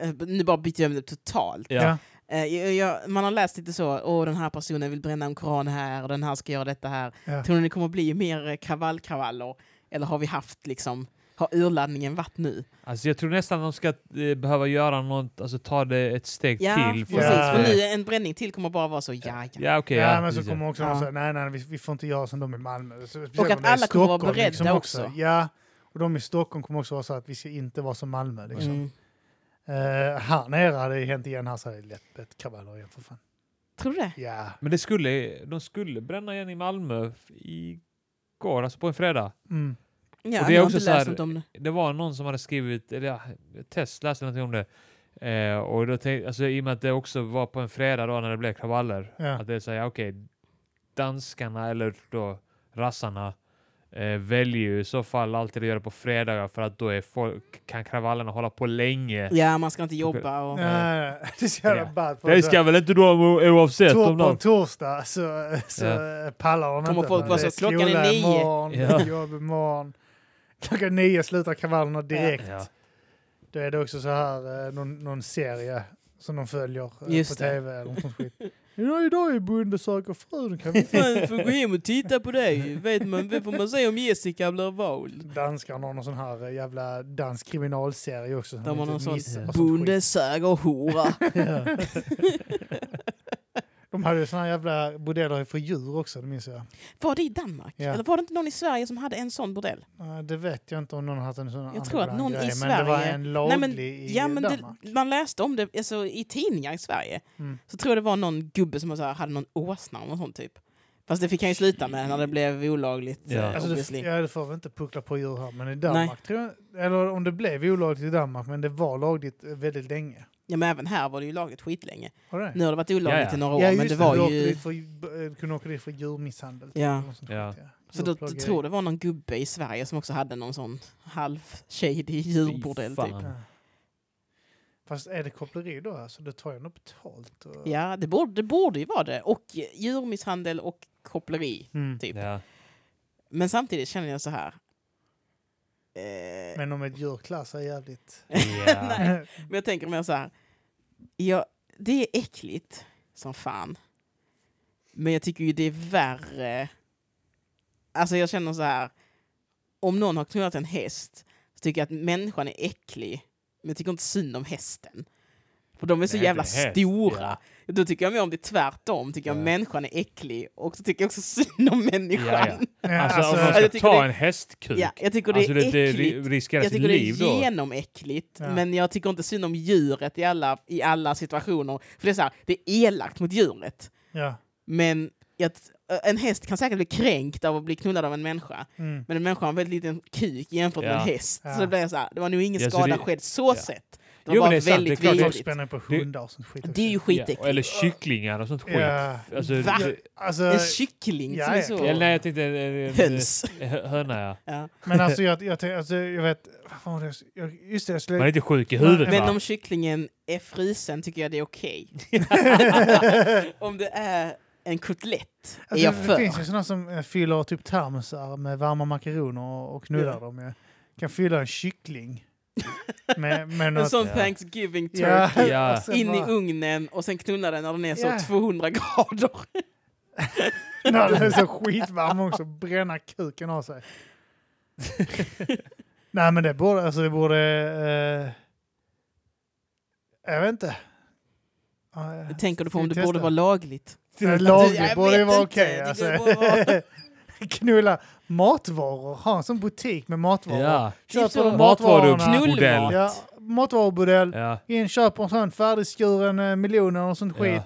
Speaker 2: eh, nu bara byter jag ämne totalt.
Speaker 1: Ja.
Speaker 2: Eh, jag, jag, man har läst lite så, åh den här personen vill bränna en koran här och den här ska göra detta här.
Speaker 3: Ja.
Speaker 2: Tror ni det kommer bli mer eh, kravallkravaller? Eller har vi haft liksom, har urladdningen varit nu?
Speaker 1: Alltså jag tror nästan de ska eh, behöva göra något, alltså ta det ett steg
Speaker 2: Ja,
Speaker 1: till.
Speaker 2: precis.
Speaker 3: Ja.
Speaker 2: För nu, en bränning till kommer bara vara så, ja, ja.
Speaker 1: Ja, okej.
Speaker 3: ja,
Speaker 1: ja,
Speaker 3: men så
Speaker 1: precis, ja.
Speaker 3: kommer också
Speaker 2: Ja.
Speaker 3: de säga nej, nej, vi, vi får inte göra som de i Malmö. Så-
Speaker 2: Och att
Speaker 3: om det är
Speaker 2: alla kommer vara
Speaker 3: Stockholm liksom
Speaker 2: beredda också.
Speaker 3: Ja, och de i Stockholm kommer också vara så att vi ska inte vara som Malmö. Liksom.
Speaker 2: Mm.
Speaker 3: Eh, här nere hade det hänt igen, här så hade det lätt blivit kravaller igen för fan.
Speaker 2: Tror du det?
Speaker 3: Ja.
Speaker 1: Men det skulle, de skulle bränna igen i Malmö f- igår, alltså på en fredag.
Speaker 3: Mm.
Speaker 2: Ja,
Speaker 1: Och det är
Speaker 2: jag har
Speaker 1: också
Speaker 2: inte
Speaker 1: så här-
Speaker 2: läst något om det.
Speaker 1: Det var någon som hade skrivit, eller ja, Tess läste någonting om det. Eh, och då tänkte, alltså, I och med att det också var på en fredag då när det blev kravaller.
Speaker 3: Ja.
Speaker 1: Att det är så här, okej, danskarna eller då rassarna eh, väljer ju i så fall alltid att göra det på fredagar för att då är folk, kan kravallerna hålla på länge.
Speaker 2: Ja, man ska inte jobba och...
Speaker 3: Nej, nej, det är så jävla
Speaker 1: Ja.
Speaker 3: ballt.
Speaker 1: Det ska väl inte de o- oavsett
Speaker 3: eh, Tor-
Speaker 1: om
Speaker 3: på en
Speaker 1: de...
Speaker 3: torsdag så, så eh, pallar de
Speaker 2: Kommer
Speaker 3: inte.
Speaker 2: folk vara
Speaker 3: Det
Speaker 2: så, klockan är
Speaker 3: skola
Speaker 2: nio.
Speaker 3: Imorgon,
Speaker 1: Ja.
Speaker 3: jobb imorgon. Klockan nio slutar kravallerna direkt.
Speaker 1: Ja.
Speaker 3: Då är det också så här eh, någon, någon serie som de följer eh,
Speaker 2: Just
Speaker 3: på
Speaker 2: det.
Speaker 3: tv eller något sånt skit. Ja, idag är Bonde söker fru. Då kan vi
Speaker 2: Fan, får gå hem och titta på dig. Vet man, vad får man säga om Jessica blir vald?
Speaker 3: danskarna har någon sån här eh, jävla dansk kriminalserie också. som
Speaker 2: De har
Speaker 3: inte
Speaker 2: någon sån
Speaker 3: missar och sånt skit.
Speaker 2: Bonde säger hora.
Speaker 3: De hade ju såna här jävla bordeller för djur också, det minns jag.
Speaker 2: Var det i Danmark?
Speaker 3: Ja.
Speaker 2: Eller var det inte någon i Sverige som hade en sån bordell?
Speaker 3: Nej, Det vet jag inte om någon har haft en sån
Speaker 2: Jag tror att någon i
Speaker 3: underground-grej,
Speaker 2: Sverige...
Speaker 3: Men det var en laglig
Speaker 2: men,
Speaker 3: i
Speaker 2: ja, men
Speaker 3: Danmark.
Speaker 2: det, Man läste om det alltså, i tidningar i Sverige.
Speaker 3: Mm.
Speaker 2: Så tror jag det var någon gubbe som så här, hade någon åsna eller någon sån typ. Fast det fick han ju sluta med när det blev olagligt.
Speaker 1: Ja.
Speaker 2: eh,
Speaker 3: Alltså det,
Speaker 2: obviously.
Speaker 3: ja, det får vi inte puckla på djur här, men i Danmark tror jag, eller om det blev olagligt i Danmark, men det var lagligt eh, väldigt länge.
Speaker 2: ja, men även här var det ju lagligt skitlänge.
Speaker 3: Har det?
Speaker 2: Nu har det varit olagligt
Speaker 1: Ja, ja.
Speaker 2: i några år,
Speaker 3: Ja, just
Speaker 2: men det var
Speaker 3: du åkte
Speaker 2: ju...
Speaker 3: dit för, eh, kunde åka dit för djurmisshandel.
Speaker 2: Ja.
Speaker 3: eller något sånt
Speaker 1: Ja.
Speaker 3: skit,
Speaker 2: Så då jag tror det var någon gubbe i Sverige som också hade någon sån halv-shady djurbordell. Typ.
Speaker 1: fan.
Speaker 3: Ja. Fast är det koppleri då? Alltså, det tar jag nog betalt. Och...
Speaker 2: Ja, det borde, det borde ju vara det. Och djurmisshandel och koppleri.
Speaker 3: Mm.
Speaker 2: Typ.
Speaker 1: Ja.
Speaker 2: Men samtidigt känner jag så här. Eh,
Speaker 3: Men om ett djur klassar jävligt...
Speaker 1: Ja.
Speaker 2: Nej. Men jag tänker mer så här. Ja, det är äckligt som fan. Men jag tycker ju det är värre. Alltså jag känner så här. Om någon har knullat en häst så tycker jag att människan är äcklig. Men jag tycker inte synd om hästen. För de är så
Speaker 1: Nej,
Speaker 2: jävla
Speaker 1: inte häst,
Speaker 2: stora. Då tycker jag mer om det tvärtom. Tycker jag
Speaker 1: Ja.
Speaker 2: människan är äcklig. Och så tycker jag också synd om människan.
Speaker 1: Ja, ja.
Speaker 3: Ja,
Speaker 1: Alltså, om
Speaker 3: alltså,
Speaker 1: man
Speaker 2: jag
Speaker 1: ska
Speaker 2: tycker
Speaker 1: ta
Speaker 2: det-
Speaker 1: en hästkuk.
Speaker 2: Ja, jag tycker det
Speaker 1: alltså,
Speaker 2: är
Speaker 1: det, det
Speaker 2: äckligt.
Speaker 1: ri- riskerar
Speaker 2: Jag
Speaker 1: sitt
Speaker 2: tycker
Speaker 1: liv
Speaker 2: det är
Speaker 1: då.
Speaker 2: genomäckligt,
Speaker 3: Ja.
Speaker 2: men jag tycker inte synd om djuret i alla, i alla situationer. För det är så här, det är elakt mot djuret.
Speaker 3: ja.
Speaker 2: Men jag, t- en häst kan säkert bli kränkt av att bli knullad av en människa.
Speaker 3: Mm.
Speaker 2: Men en människa har en väldigt liten kuk jämfört med
Speaker 1: Ja.
Speaker 2: en häst.
Speaker 3: Ja.
Speaker 2: Så det blir så här, det var nog ingen
Speaker 1: Ja, så
Speaker 2: skada
Speaker 1: det-
Speaker 2: skedd så
Speaker 1: ja.
Speaker 2: sett. Det
Speaker 1: Jo, men
Speaker 2: var bara
Speaker 1: det är sant, det är
Speaker 2: väldigt
Speaker 1: klart det-
Speaker 3: Folk
Speaker 2: vidrigt.
Speaker 3: spänner på hundar och sånt skit.
Speaker 2: Det är ju
Speaker 3: också.
Speaker 2: skitäckligt.
Speaker 1: Ja, eller kycklingar och sånt skit.
Speaker 3: Ja.
Speaker 1: Alltså,
Speaker 2: Va?
Speaker 1: det-
Speaker 3: Alltså,
Speaker 2: En kyckling
Speaker 3: Ja,
Speaker 2: som är
Speaker 3: ja.
Speaker 2: så...
Speaker 1: ja, nej, jag tänkte en, en, en,
Speaker 2: Höns.
Speaker 1: en hö- höna, ja.
Speaker 2: Ja.
Speaker 3: men alltså jag, jag, tänker- alltså, jag vet... Vad fan var det? jag- Just det, jag
Speaker 1: Man är
Speaker 3: skulle...
Speaker 1: inte sjuk i huvudet,
Speaker 2: Men
Speaker 1: va?
Speaker 2: om kycklingen är frusen tycker jag det är okej. om det är en kotlett är
Speaker 3: Alltså,
Speaker 2: jag
Speaker 3: det finns
Speaker 2: för.
Speaker 3: ju sådana som eh, fyller typ termosar med varma makaroner och- och knullar
Speaker 2: Ja.
Speaker 3: dem. Jag kan fylla en kyckling med, med
Speaker 2: En
Speaker 3: något...
Speaker 2: sån
Speaker 1: Ja.
Speaker 2: Thanksgiving turkey.
Speaker 1: Ja.
Speaker 3: och sen
Speaker 2: In i
Speaker 3: bara-
Speaker 2: ugnen och sen knulla den när den är så
Speaker 3: Ja.
Speaker 2: 200 grader.
Speaker 3: När den är så skitvarm också, bränna kuken av sig. Nej men det borde, alltså det borde... Eh, jag vet inte. Uh,
Speaker 2: Tänker du på om
Speaker 3: Ska vi
Speaker 2: det borde
Speaker 3: testa?
Speaker 2: vara lagligt?
Speaker 3: Lagligt
Speaker 2: Jag
Speaker 3: borde ju
Speaker 2: vet
Speaker 3: vara
Speaker 2: inte,
Speaker 3: okej.
Speaker 2: det
Speaker 3: alltså.
Speaker 2: går bra.
Speaker 3: Knulla matvaror, ha en sån butik med matvaror.
Speaker 1: Ja.
Speaker 3: Köper
Speaker 2: Typ så.
Speaker 3: de matvarorna.
Speaker 2: Knullmat.
Speaker 1: Matvarubsmodell.
Speaker 3: Ja, matvarubordell.
Speaker 1: Ja.
Speaker 3: In, köper en sån färdigskuren eh, miljoner och sånt
Speaker 1: Ja.
Speaker 3: skit.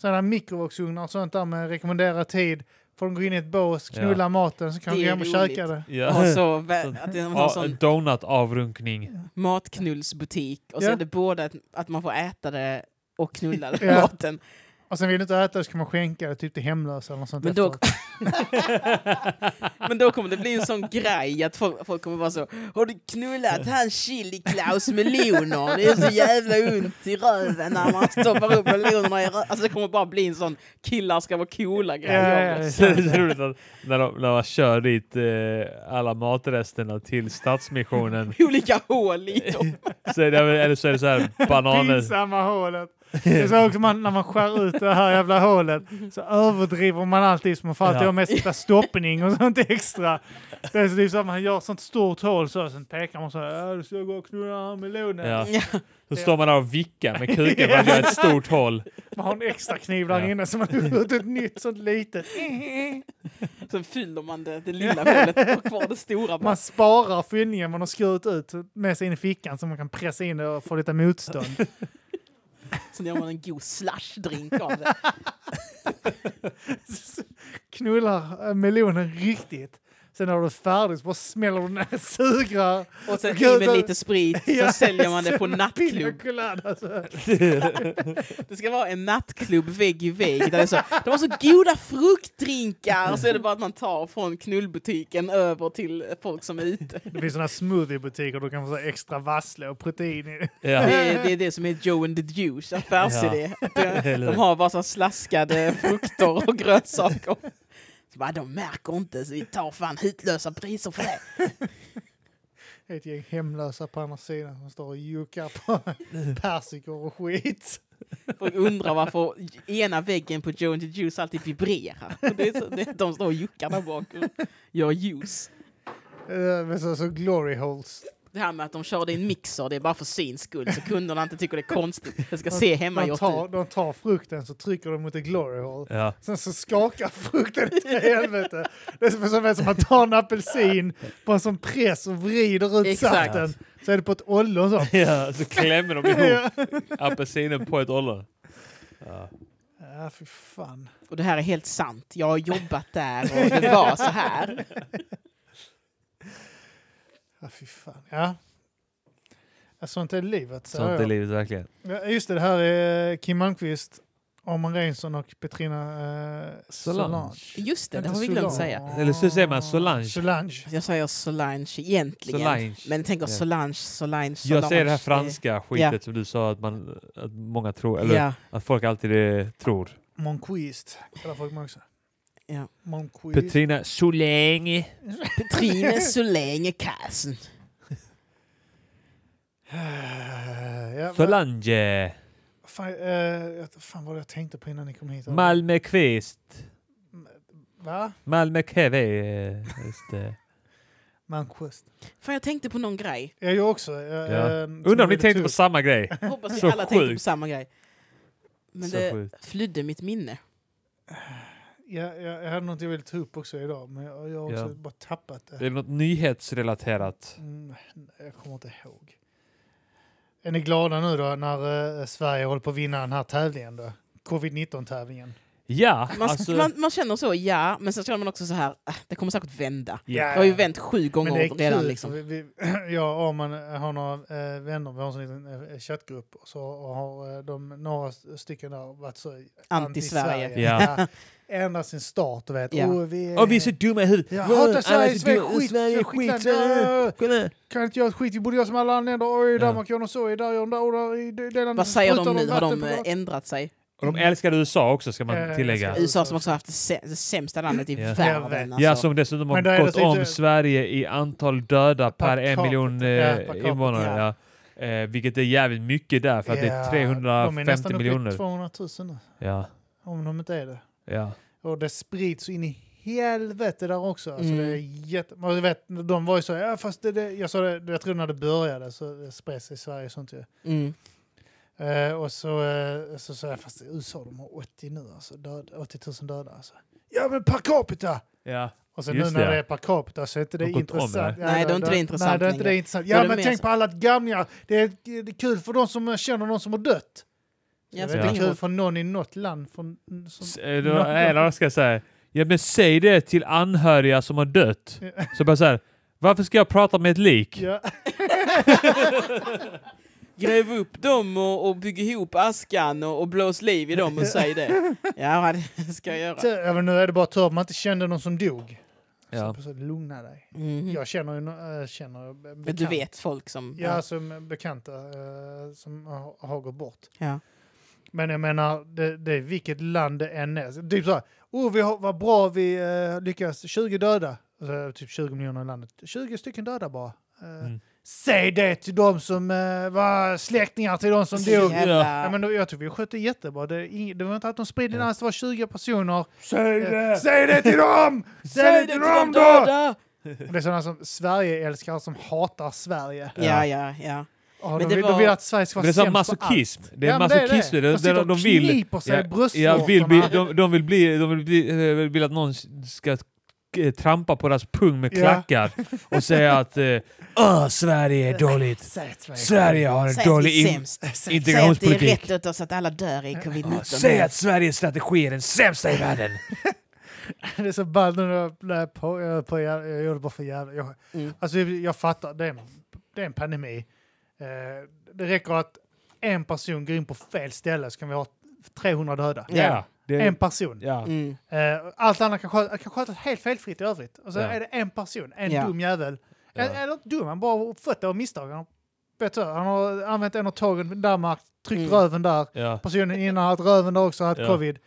Speaker 3: Sådana mikrovågsugnar och sånt där med rekommenderad tid. Får de gå in i ett bås, knulla maten, så kan
Speaker 2: Det
Speaker 3: de
Speaker 2: är
Speaker 3: gå hem och
Speaker 2: roligt.
Speaker 3: käka det.
Speaker 2: Och
Speaker 1: Ja.
Speaker 2: så vä- att det är någon
Speaker 1: Ja, en
Speaker 2: sån
Speaker 1: donut-avrunkning.
Speaker 2: matknullsbutik och så
Speaker 3: Ja.
Speaker 2: är det både att, att man får äta det och knulla den
Speaker 3: Ja.
Speaker 2: maten.
Speaker 3: Och sen vill du inte äta det så kan man skänka det typ till hemlösa eller något sånt
Speaker 2: Men då-
Speaker 3: efteråt.
Speaker 2: Men då kommer det bli en sån grej att folk, folk kommer vara så Har du knullat han chili Klaus meloner? Det är så jävla ont i röven när man stoppar upp melonerna i röven. Alltså det kommer bara bli en sån killar ska vara coola grej.
Speaker 3: Ja, ja, ja.
Speaker 1: Så det är så roligt att när, de, när man kör dit eh, alla matresterna till Stadsmissionen
Speaker 2: Olika hål i dem.
Speaker 1: så är det, eller så är det så här bananer.
Speaker 3: Pinsamma hålet. Det är så också man, när man skär ut det här jävla hålet så överdriver man alltid som man får alltid
Speaker 1: Ja.
Speaker 3: ha med sig där stoppning och sånt extra. Det är så typ så att man gör ett sånt stort hål så, sen pekar man så här, "Ja, du ska gå och knulla den här melonen.
Speaker 1: Ja.
Speaker 2: Ja.
Speaker 1: Så står man där och vickar med kuken för att göra ett stort hål.
Speaker 3: Man har en extra kniv där
Speaker 1: Ja.
Speaker 3: inne så man har ut ett nytt sånt litet.
Speaker 2: Sen fyller man det, det lilla hålet och kvar det stora. Bara.
Speaker 3: Man sparar fyllningen man har skurit ut med sig in i fickan så man kan pressa in det och få lite motstånd.
Speaker 2: Sen gör man en god slushdrink av det.
Speaker 3: knullar eh, melonen riktigt. Sen har du färdigt så bara smäller du ner sugrör.
Speaker 2: Och sen
Speaker 3: Gud,
Speaker 2: i med
Speaker 3: det-
Speaker 2: lite sprit. Sen säljer man det på nattklubb. Det ska vara en nattklubb vägg i vägg. Där det, är så, de har så goda fruktdrinkar. Och så är det bara att man tar från knullbutiken över till folk som är ute.
Speaker 3: Det finns sådana smoothiebutiker du kan få så här extra vassle och protein i.
Speaker 2: Det
Speaker 1: Ja.
Speaker 2: är det, är det som är Joe and the Juice affärsidé. Att de-
Speaker 1: Eller-
Speaker 2: De har bara så slaskade frukter och grönsaker. Så bara, de märker inte så vi tar fan hutlösa priser för det.
Speaker 3: Ett gäng hemlösa på andra sidan som står och juckar på
Speaker 1: Mm.
Speaker 3: persikor och skit.
Speaker 2: Folk undrar varför ena väggen på Joe and the Juice alltid vibrerar. Det är så, det, de står och juckar där bak och gör juice.
Speaker 3: Eh, Med så, så glory holes.
Speaker 2: Det här med att de körde i en mixer, det är bara för syns skull. Så kunderna inte tycker det är konstigt. Det ska se
Speaker 3: De
Speaker 2: hemmagjort
Speaker 3: tar,
Speaker 1: typ-
Speaker 2: ut.
Speaker 3: de tar frukten så trycker de mot ett glory hole.
Speaker 1: Ja.
Speaker 3: Sen så skakar frukten till helvete. Det är som- som att man tar en apelsin på en sån press och vrider ut
Speaker 2: Exakt.
Speaker 3: saften. Så är det på ett ollon så.
Speaker 1: ja, så klämmer de ihop apelsinen på ett ollon.
Speaker 3: Ja, för fan.
Speaker 2: Och det här är helt sant. Jag har jobbat där och det var så här.
Speaker 3: Ja, fy fan. Ja. Ja, Sånt är livet. Så
Speaker 1: Sånt är livet verkligen.
Speaker 3: Ja, just det, det här är Kim Malmqvist Arman Reinsson och Petrina eh, Solange.
Speaker 2: Just det, det
Speaker 3: Inte
Speaker 2: har vi glömt
Speaker 3: Solange.
Speaker 2: säga.
Speaker 1: Eller så säger man Solange.
Speaker 3: Solange.
Speaker 2: Jag säger Solange egentligen.
Speaker 1: Solange.
Speaker 2: Men tänk
Speaker 1: Ja.
Speaker 2: oss Solange, Solange, Solange. eh,
Speaker 1: Jag säger det här franska skitet som du sa att, man, att många tror, eller
Speaker 2: Ja,
Speaker 1: att folk alltid eh, tror.
Speaker 3: Monquist kallar folk mig också.
Speaker 2: Ja.
Speaker 3: Monquist.
Speaker 1: Petrina Solange.
Speaker 2: Petrine Solange Kassen.
Speaker 3: Eh, ja, vad-
Speaker 1: Solange.
Speaker 3: Fan, eh, jag- fan vad jag tänkte på innan ni kom hit.
Speaker 1: Malmökvist. eh,
Speaker 3: Va?
Speaker 1: Malmökvist.
Speaker 3: Malmquist.
Speaker 2: Fan, jag tänkte på någon grej.
Speaker 3: Jag gör också. Eh,
Speaker 1: Ja.
Speaker 3: Ja.
Speaker 1: Undrar om ni tänkte på samma grej?
Speaker 2: Hoppas
Speaker 1: Så
Speaker 2: vi alla tänkte på
Speaker 1: sjukt.
Speaker 2: samma grej. Men
Speaker 1: Så
Speaker 2: det
Speaker 1: sjukt.
Speaker 2: flydde mitt minne.
Speaker 3: Ja, jag, jag hade något jag ville ta upp också idag, men jag, jag har också
Speaker 1: Ja.
Speaker 3: bara tappat
Speaker 1: Det
Speaker 3: det.
Speaker 1: är något nyhetsrelaterat.
Speaker 3: Mm, jag kommer inte ihåg. Är ni glada nu då när eh, Sverige håller på att vinna den här tävlingen då? Covid-19-tävlingen.
Speaker 1: Ja,
Speaker 2: Man,
Speaker 1: alltså.
Speaker 2: man, man känner så, ja, men sen känner man också så här, "Ah, det kommer säkert vända.
Speaker 1: Ja.
Speaker 2: Det har ju vänt sju gånger
Speaker 3: Men det är kul,
Speaker 2: redan.
Speaker 3: för
Speaker 2: Liksom.
Speaker 3: vi, vi, jag och Arman eh, har några eh, vänner, vi har en sån liten eh, chattgrupp, och så har eh, de, några stycken där varit så
Speaker 2: Anti-Sverige.
Speaker 1: Ja.
Speaker 3: Ja. Ända sin start, du vet.
Speaker 2: Ja.
Speaker 3: Åh, vi,
Speaker 1: Åh, vi är så dumma i huvudet.
Speaker 3: Jag
Speaker 1: Åh, alla
Speaker 3: hatar
Speaker 1: är
Speaker 3: Sverige,
Speaker 1: så
Speaker 3: Sverige är
Speaker 1: dumma.
Speaker 3: skit,
Speaker 1: Sverige är skit.
Speaker 3: skitland.
Speaker 1: Kolla.
Speaker 3: Kan inte göra ett skit, vi borde göra som alla andra länder. Oj,
Speaker 1: Ja.
Speaker 3: Danmark gör något så, i där gör de där, och där, i det landet
Speaker 2: Vad säger
Speaker 3: sprutar
Speaker 2: de nu? Har
Speaker 3: vatten
Speaker 2: de
Speaker 3: på
Speaker 2: eh,
Speaker 3: gatan.
Speaker 2: ändrat sig?
Speaker 1: Och de älskar USA också ska
Speaker 3: Eh,
Speaker 1: man
Speaker 3: Mm. jag
Speaker 1: tillägga.
Speaker 3: ska-
Speaker 2: USA som också har haft det, sä- det sämsta landet i
Speaker 1: Ja. Ja,
Speaker 2: världen. Alltså.
Speaker 1: Ja, som dessutom har
Speaker 3: Men då är det
Speaker 1: gått
Speaker 3: så
Speaker 1: om
Speaker 3: inte-
Speaker 1: Sverige i antal döda per en
Speaker 3: capita.
Speaker 1: miljon eh,
Speaker 3: Ja, per capita.
Speaker 1: invånare. Ja. Eh, vilket är jävligt mycket där för att det
Speaker 3: Ja,
Speaker 1: är
Speaker 3: De är nästan
Speaker 1: 350
Speaker 3: uppe i
Speaker 1: miljoner.
Speaker 3: 200 000 nu,
Speaker 1: Ja,
Speaker 3: om de inte är det.
Speaker 1: ja.
Speaker 3: Och det sprids så in i helvete där också. Alltså
Speaker 2: Mm.
Speaker 3: det är jätte... Man vet, de var ju så, ja fast det, det, jag sa det, jag tror när det började så det spreds i Sverige och sånt ju.
Speaker 2: Mm.
Speaker 3: Eh, och så eh, så sa jag, fast i USA de har 80 nu alltså, död, 80 000 döda alltså. Ja men per capita!
Speaker 1: ja.
Speaker 3: Och så nu
Speaker 1: Just
Speaker 3: när
Speaker 1: det,
Speaker 3: det
Speaker 1: ja.
Speaker 3: är per capita så är inte det
Speaker 1: Har gått om,
Speaker 3: intressant.
Speaker 2: eller? Nej, då är inte det intressant
Speaker 3: Nej, det är inte det
Speaker 2: längre.
Speaker 3: intressant.
Speaker 2: Då är
Speaker 3: Ja
Speaker 2: det
Speaker 3: men
Speaker 2: mer
Speaker 3: tänk
Speaker 2: så-
Speaker 3: på alla gamlingar. Det är, det är kul för de som känner någon som har dött.
Speaker 2: Ja,
Speaker 3: det är
Speaker 2: spelar
Speaker 3: inte
Speaker 2: ingen
Speaker 3: kul
Speaker 2: roll.
Speaker 3: för någon i något land. Från, som,
Speaker 1: S- eh, då- Eller vad ska jag säga? Ja, men säg det till anhöriga som har dött.
Speaker 3: Ja.
Speaker 1: Så bara så här, varför ska jag prata med ett lik?
Speaker 3: ja.
Speaker 2: Gräv upp dem och, och bygg ihop askan och, och blås liv i dem och säg det. Ja, det ska jag göra.
Speaker 3: Ja, men nu är det bara tur att man inte kände någon som dog.
Speaker 1: Ja.
Speaker 3: Så, så lugna dig.
Speaker 2: Mhm.
Speaker 3: Jag känner ju no- äh, känner be-
Speaker 2: Men
Speaker 3: bekant.
Speaker 2: du vet folk som...
Speaker 3: Ja, som bekanta eh, som har, har gått bort.
Speaker 2: ja.
Speaker 3: Men jag menar, det, det är vilket land det än är. Typ så här, oh, vi har, vad bra vi eh, lyckas, 20 döda. Alltså, typ 20 miljoner i landet. 20 stycken döda bara. Eh,
Speaker 1: Mm.
Speaker 3: Säg det till de som eh, var släktingar till de som
Speaker 2: Så
Speaker 3: dog.
Speaker 2: jävla-
Speaker 3: Ja, men då, jag tror vi skötte jättebra. Det, är ing- det var inte att de spridde alls, det var 20 personer.
Speaker 1: Säg
Speaker 3: Eh, Säg det till dem! Säg det till dem då!
Speaker 2: döda!
Speaker 3: Det är sådana som Sverige älskar som hatar Sverige.
Speaker 2: Ja, ja, ja.
Speaker 3: Ja, de,
Speaker 2: Men det
Speaker 3: vill,
Speaker 2: var-
Speaker 3: de vill att Sverige ska
Speaker 1: Men
Speaker 3: vara
Speaker 1: det är
Speaker 3: sämst
Speaker 1: sån
Speaker 3: på allt.
Speaker 1: masochism. Det är
Speaker 3: Ja, men det är
Speaker 1: masochism.
Speaker 3: det.
Speaker 1: Det är
Speaker 3: De sitter
Speaker 1: de, de
Speaker 3: och
Speaker 1: vill...
Speaker 3: kniper sig i
Speaker 1: ja,
Speaker 3: bröstvårtorna.
Speaker 1: vill bli, de, de vill bli... De vill, bli, eh, vill att någon ska eh, trampa på deras pung med
Speaker 3: Ja.
Speaker 1: klackar och säga att eh, Åh, Sverige är dåligt.
Speaker 3: Säg att Sverige
Speaker 1: Sverige har en
Speaker 2: Säg att
Speaker 1: dålig
Speaker 2: vi är
Speaker 1: in-
Speaker 2: sämst. Säg att det är
Speaker 1: integrationspolitik.
Speaker 2: rätt åt oss att alla dör i
Speaker 1: Ja,
Speaker 2: covid-19.
Speaker 1: Säg att Sveriges strategi är den sämsta i världen.
Speaker 3: Det är så ballt när jag när jag på, jag, höll på, jag, jag gör det bara för jävla... Jag,
Speaker 2: Mm.
Speaker 3: alltså, jag, jag fattar, det är, en, det är en pandemi. Eh, det räcker att en person går in på fel ställe så kan vi ha 300 döda.
Speaker 1: Ja,
Speaker 3: En
Speaker 1: det,
Speaker 3: person.
Speaker 1: ja.
Speaker 2: Mm.
Speaker 3: Eh, Allt annat kan skötas, kan skötas helt felfritt i övrigt. Och så
Speaker 1: Ja.
Speaker 3: är det en person, en
Speaker 2: Ja.
Speaker 3: dum jävel.
Speaker 1: Ja.
Speaker 3: Eller- Eller inte dum, han bara har fött det av misstag. Han, har- vet du, han har använt en av tågen i Danmark, tryckt
Speaker 2: Mm.
Speaker 3: röven där.
Speaker 1: Ja.
Speaker 3: Personen innan har haft röven där också, har haft
Speaker 1: Ja.
Speaker 3: covid.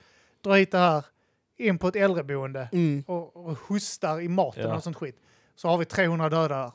Speaker 3: Drar hit det här, in på ett äldreboende
Speaker 2: Mm.
Speaker 3: och, och hostar i maten
Speaker 1: Ja.
Speaker 3: och sånt skit. Så har vi 300 döda där.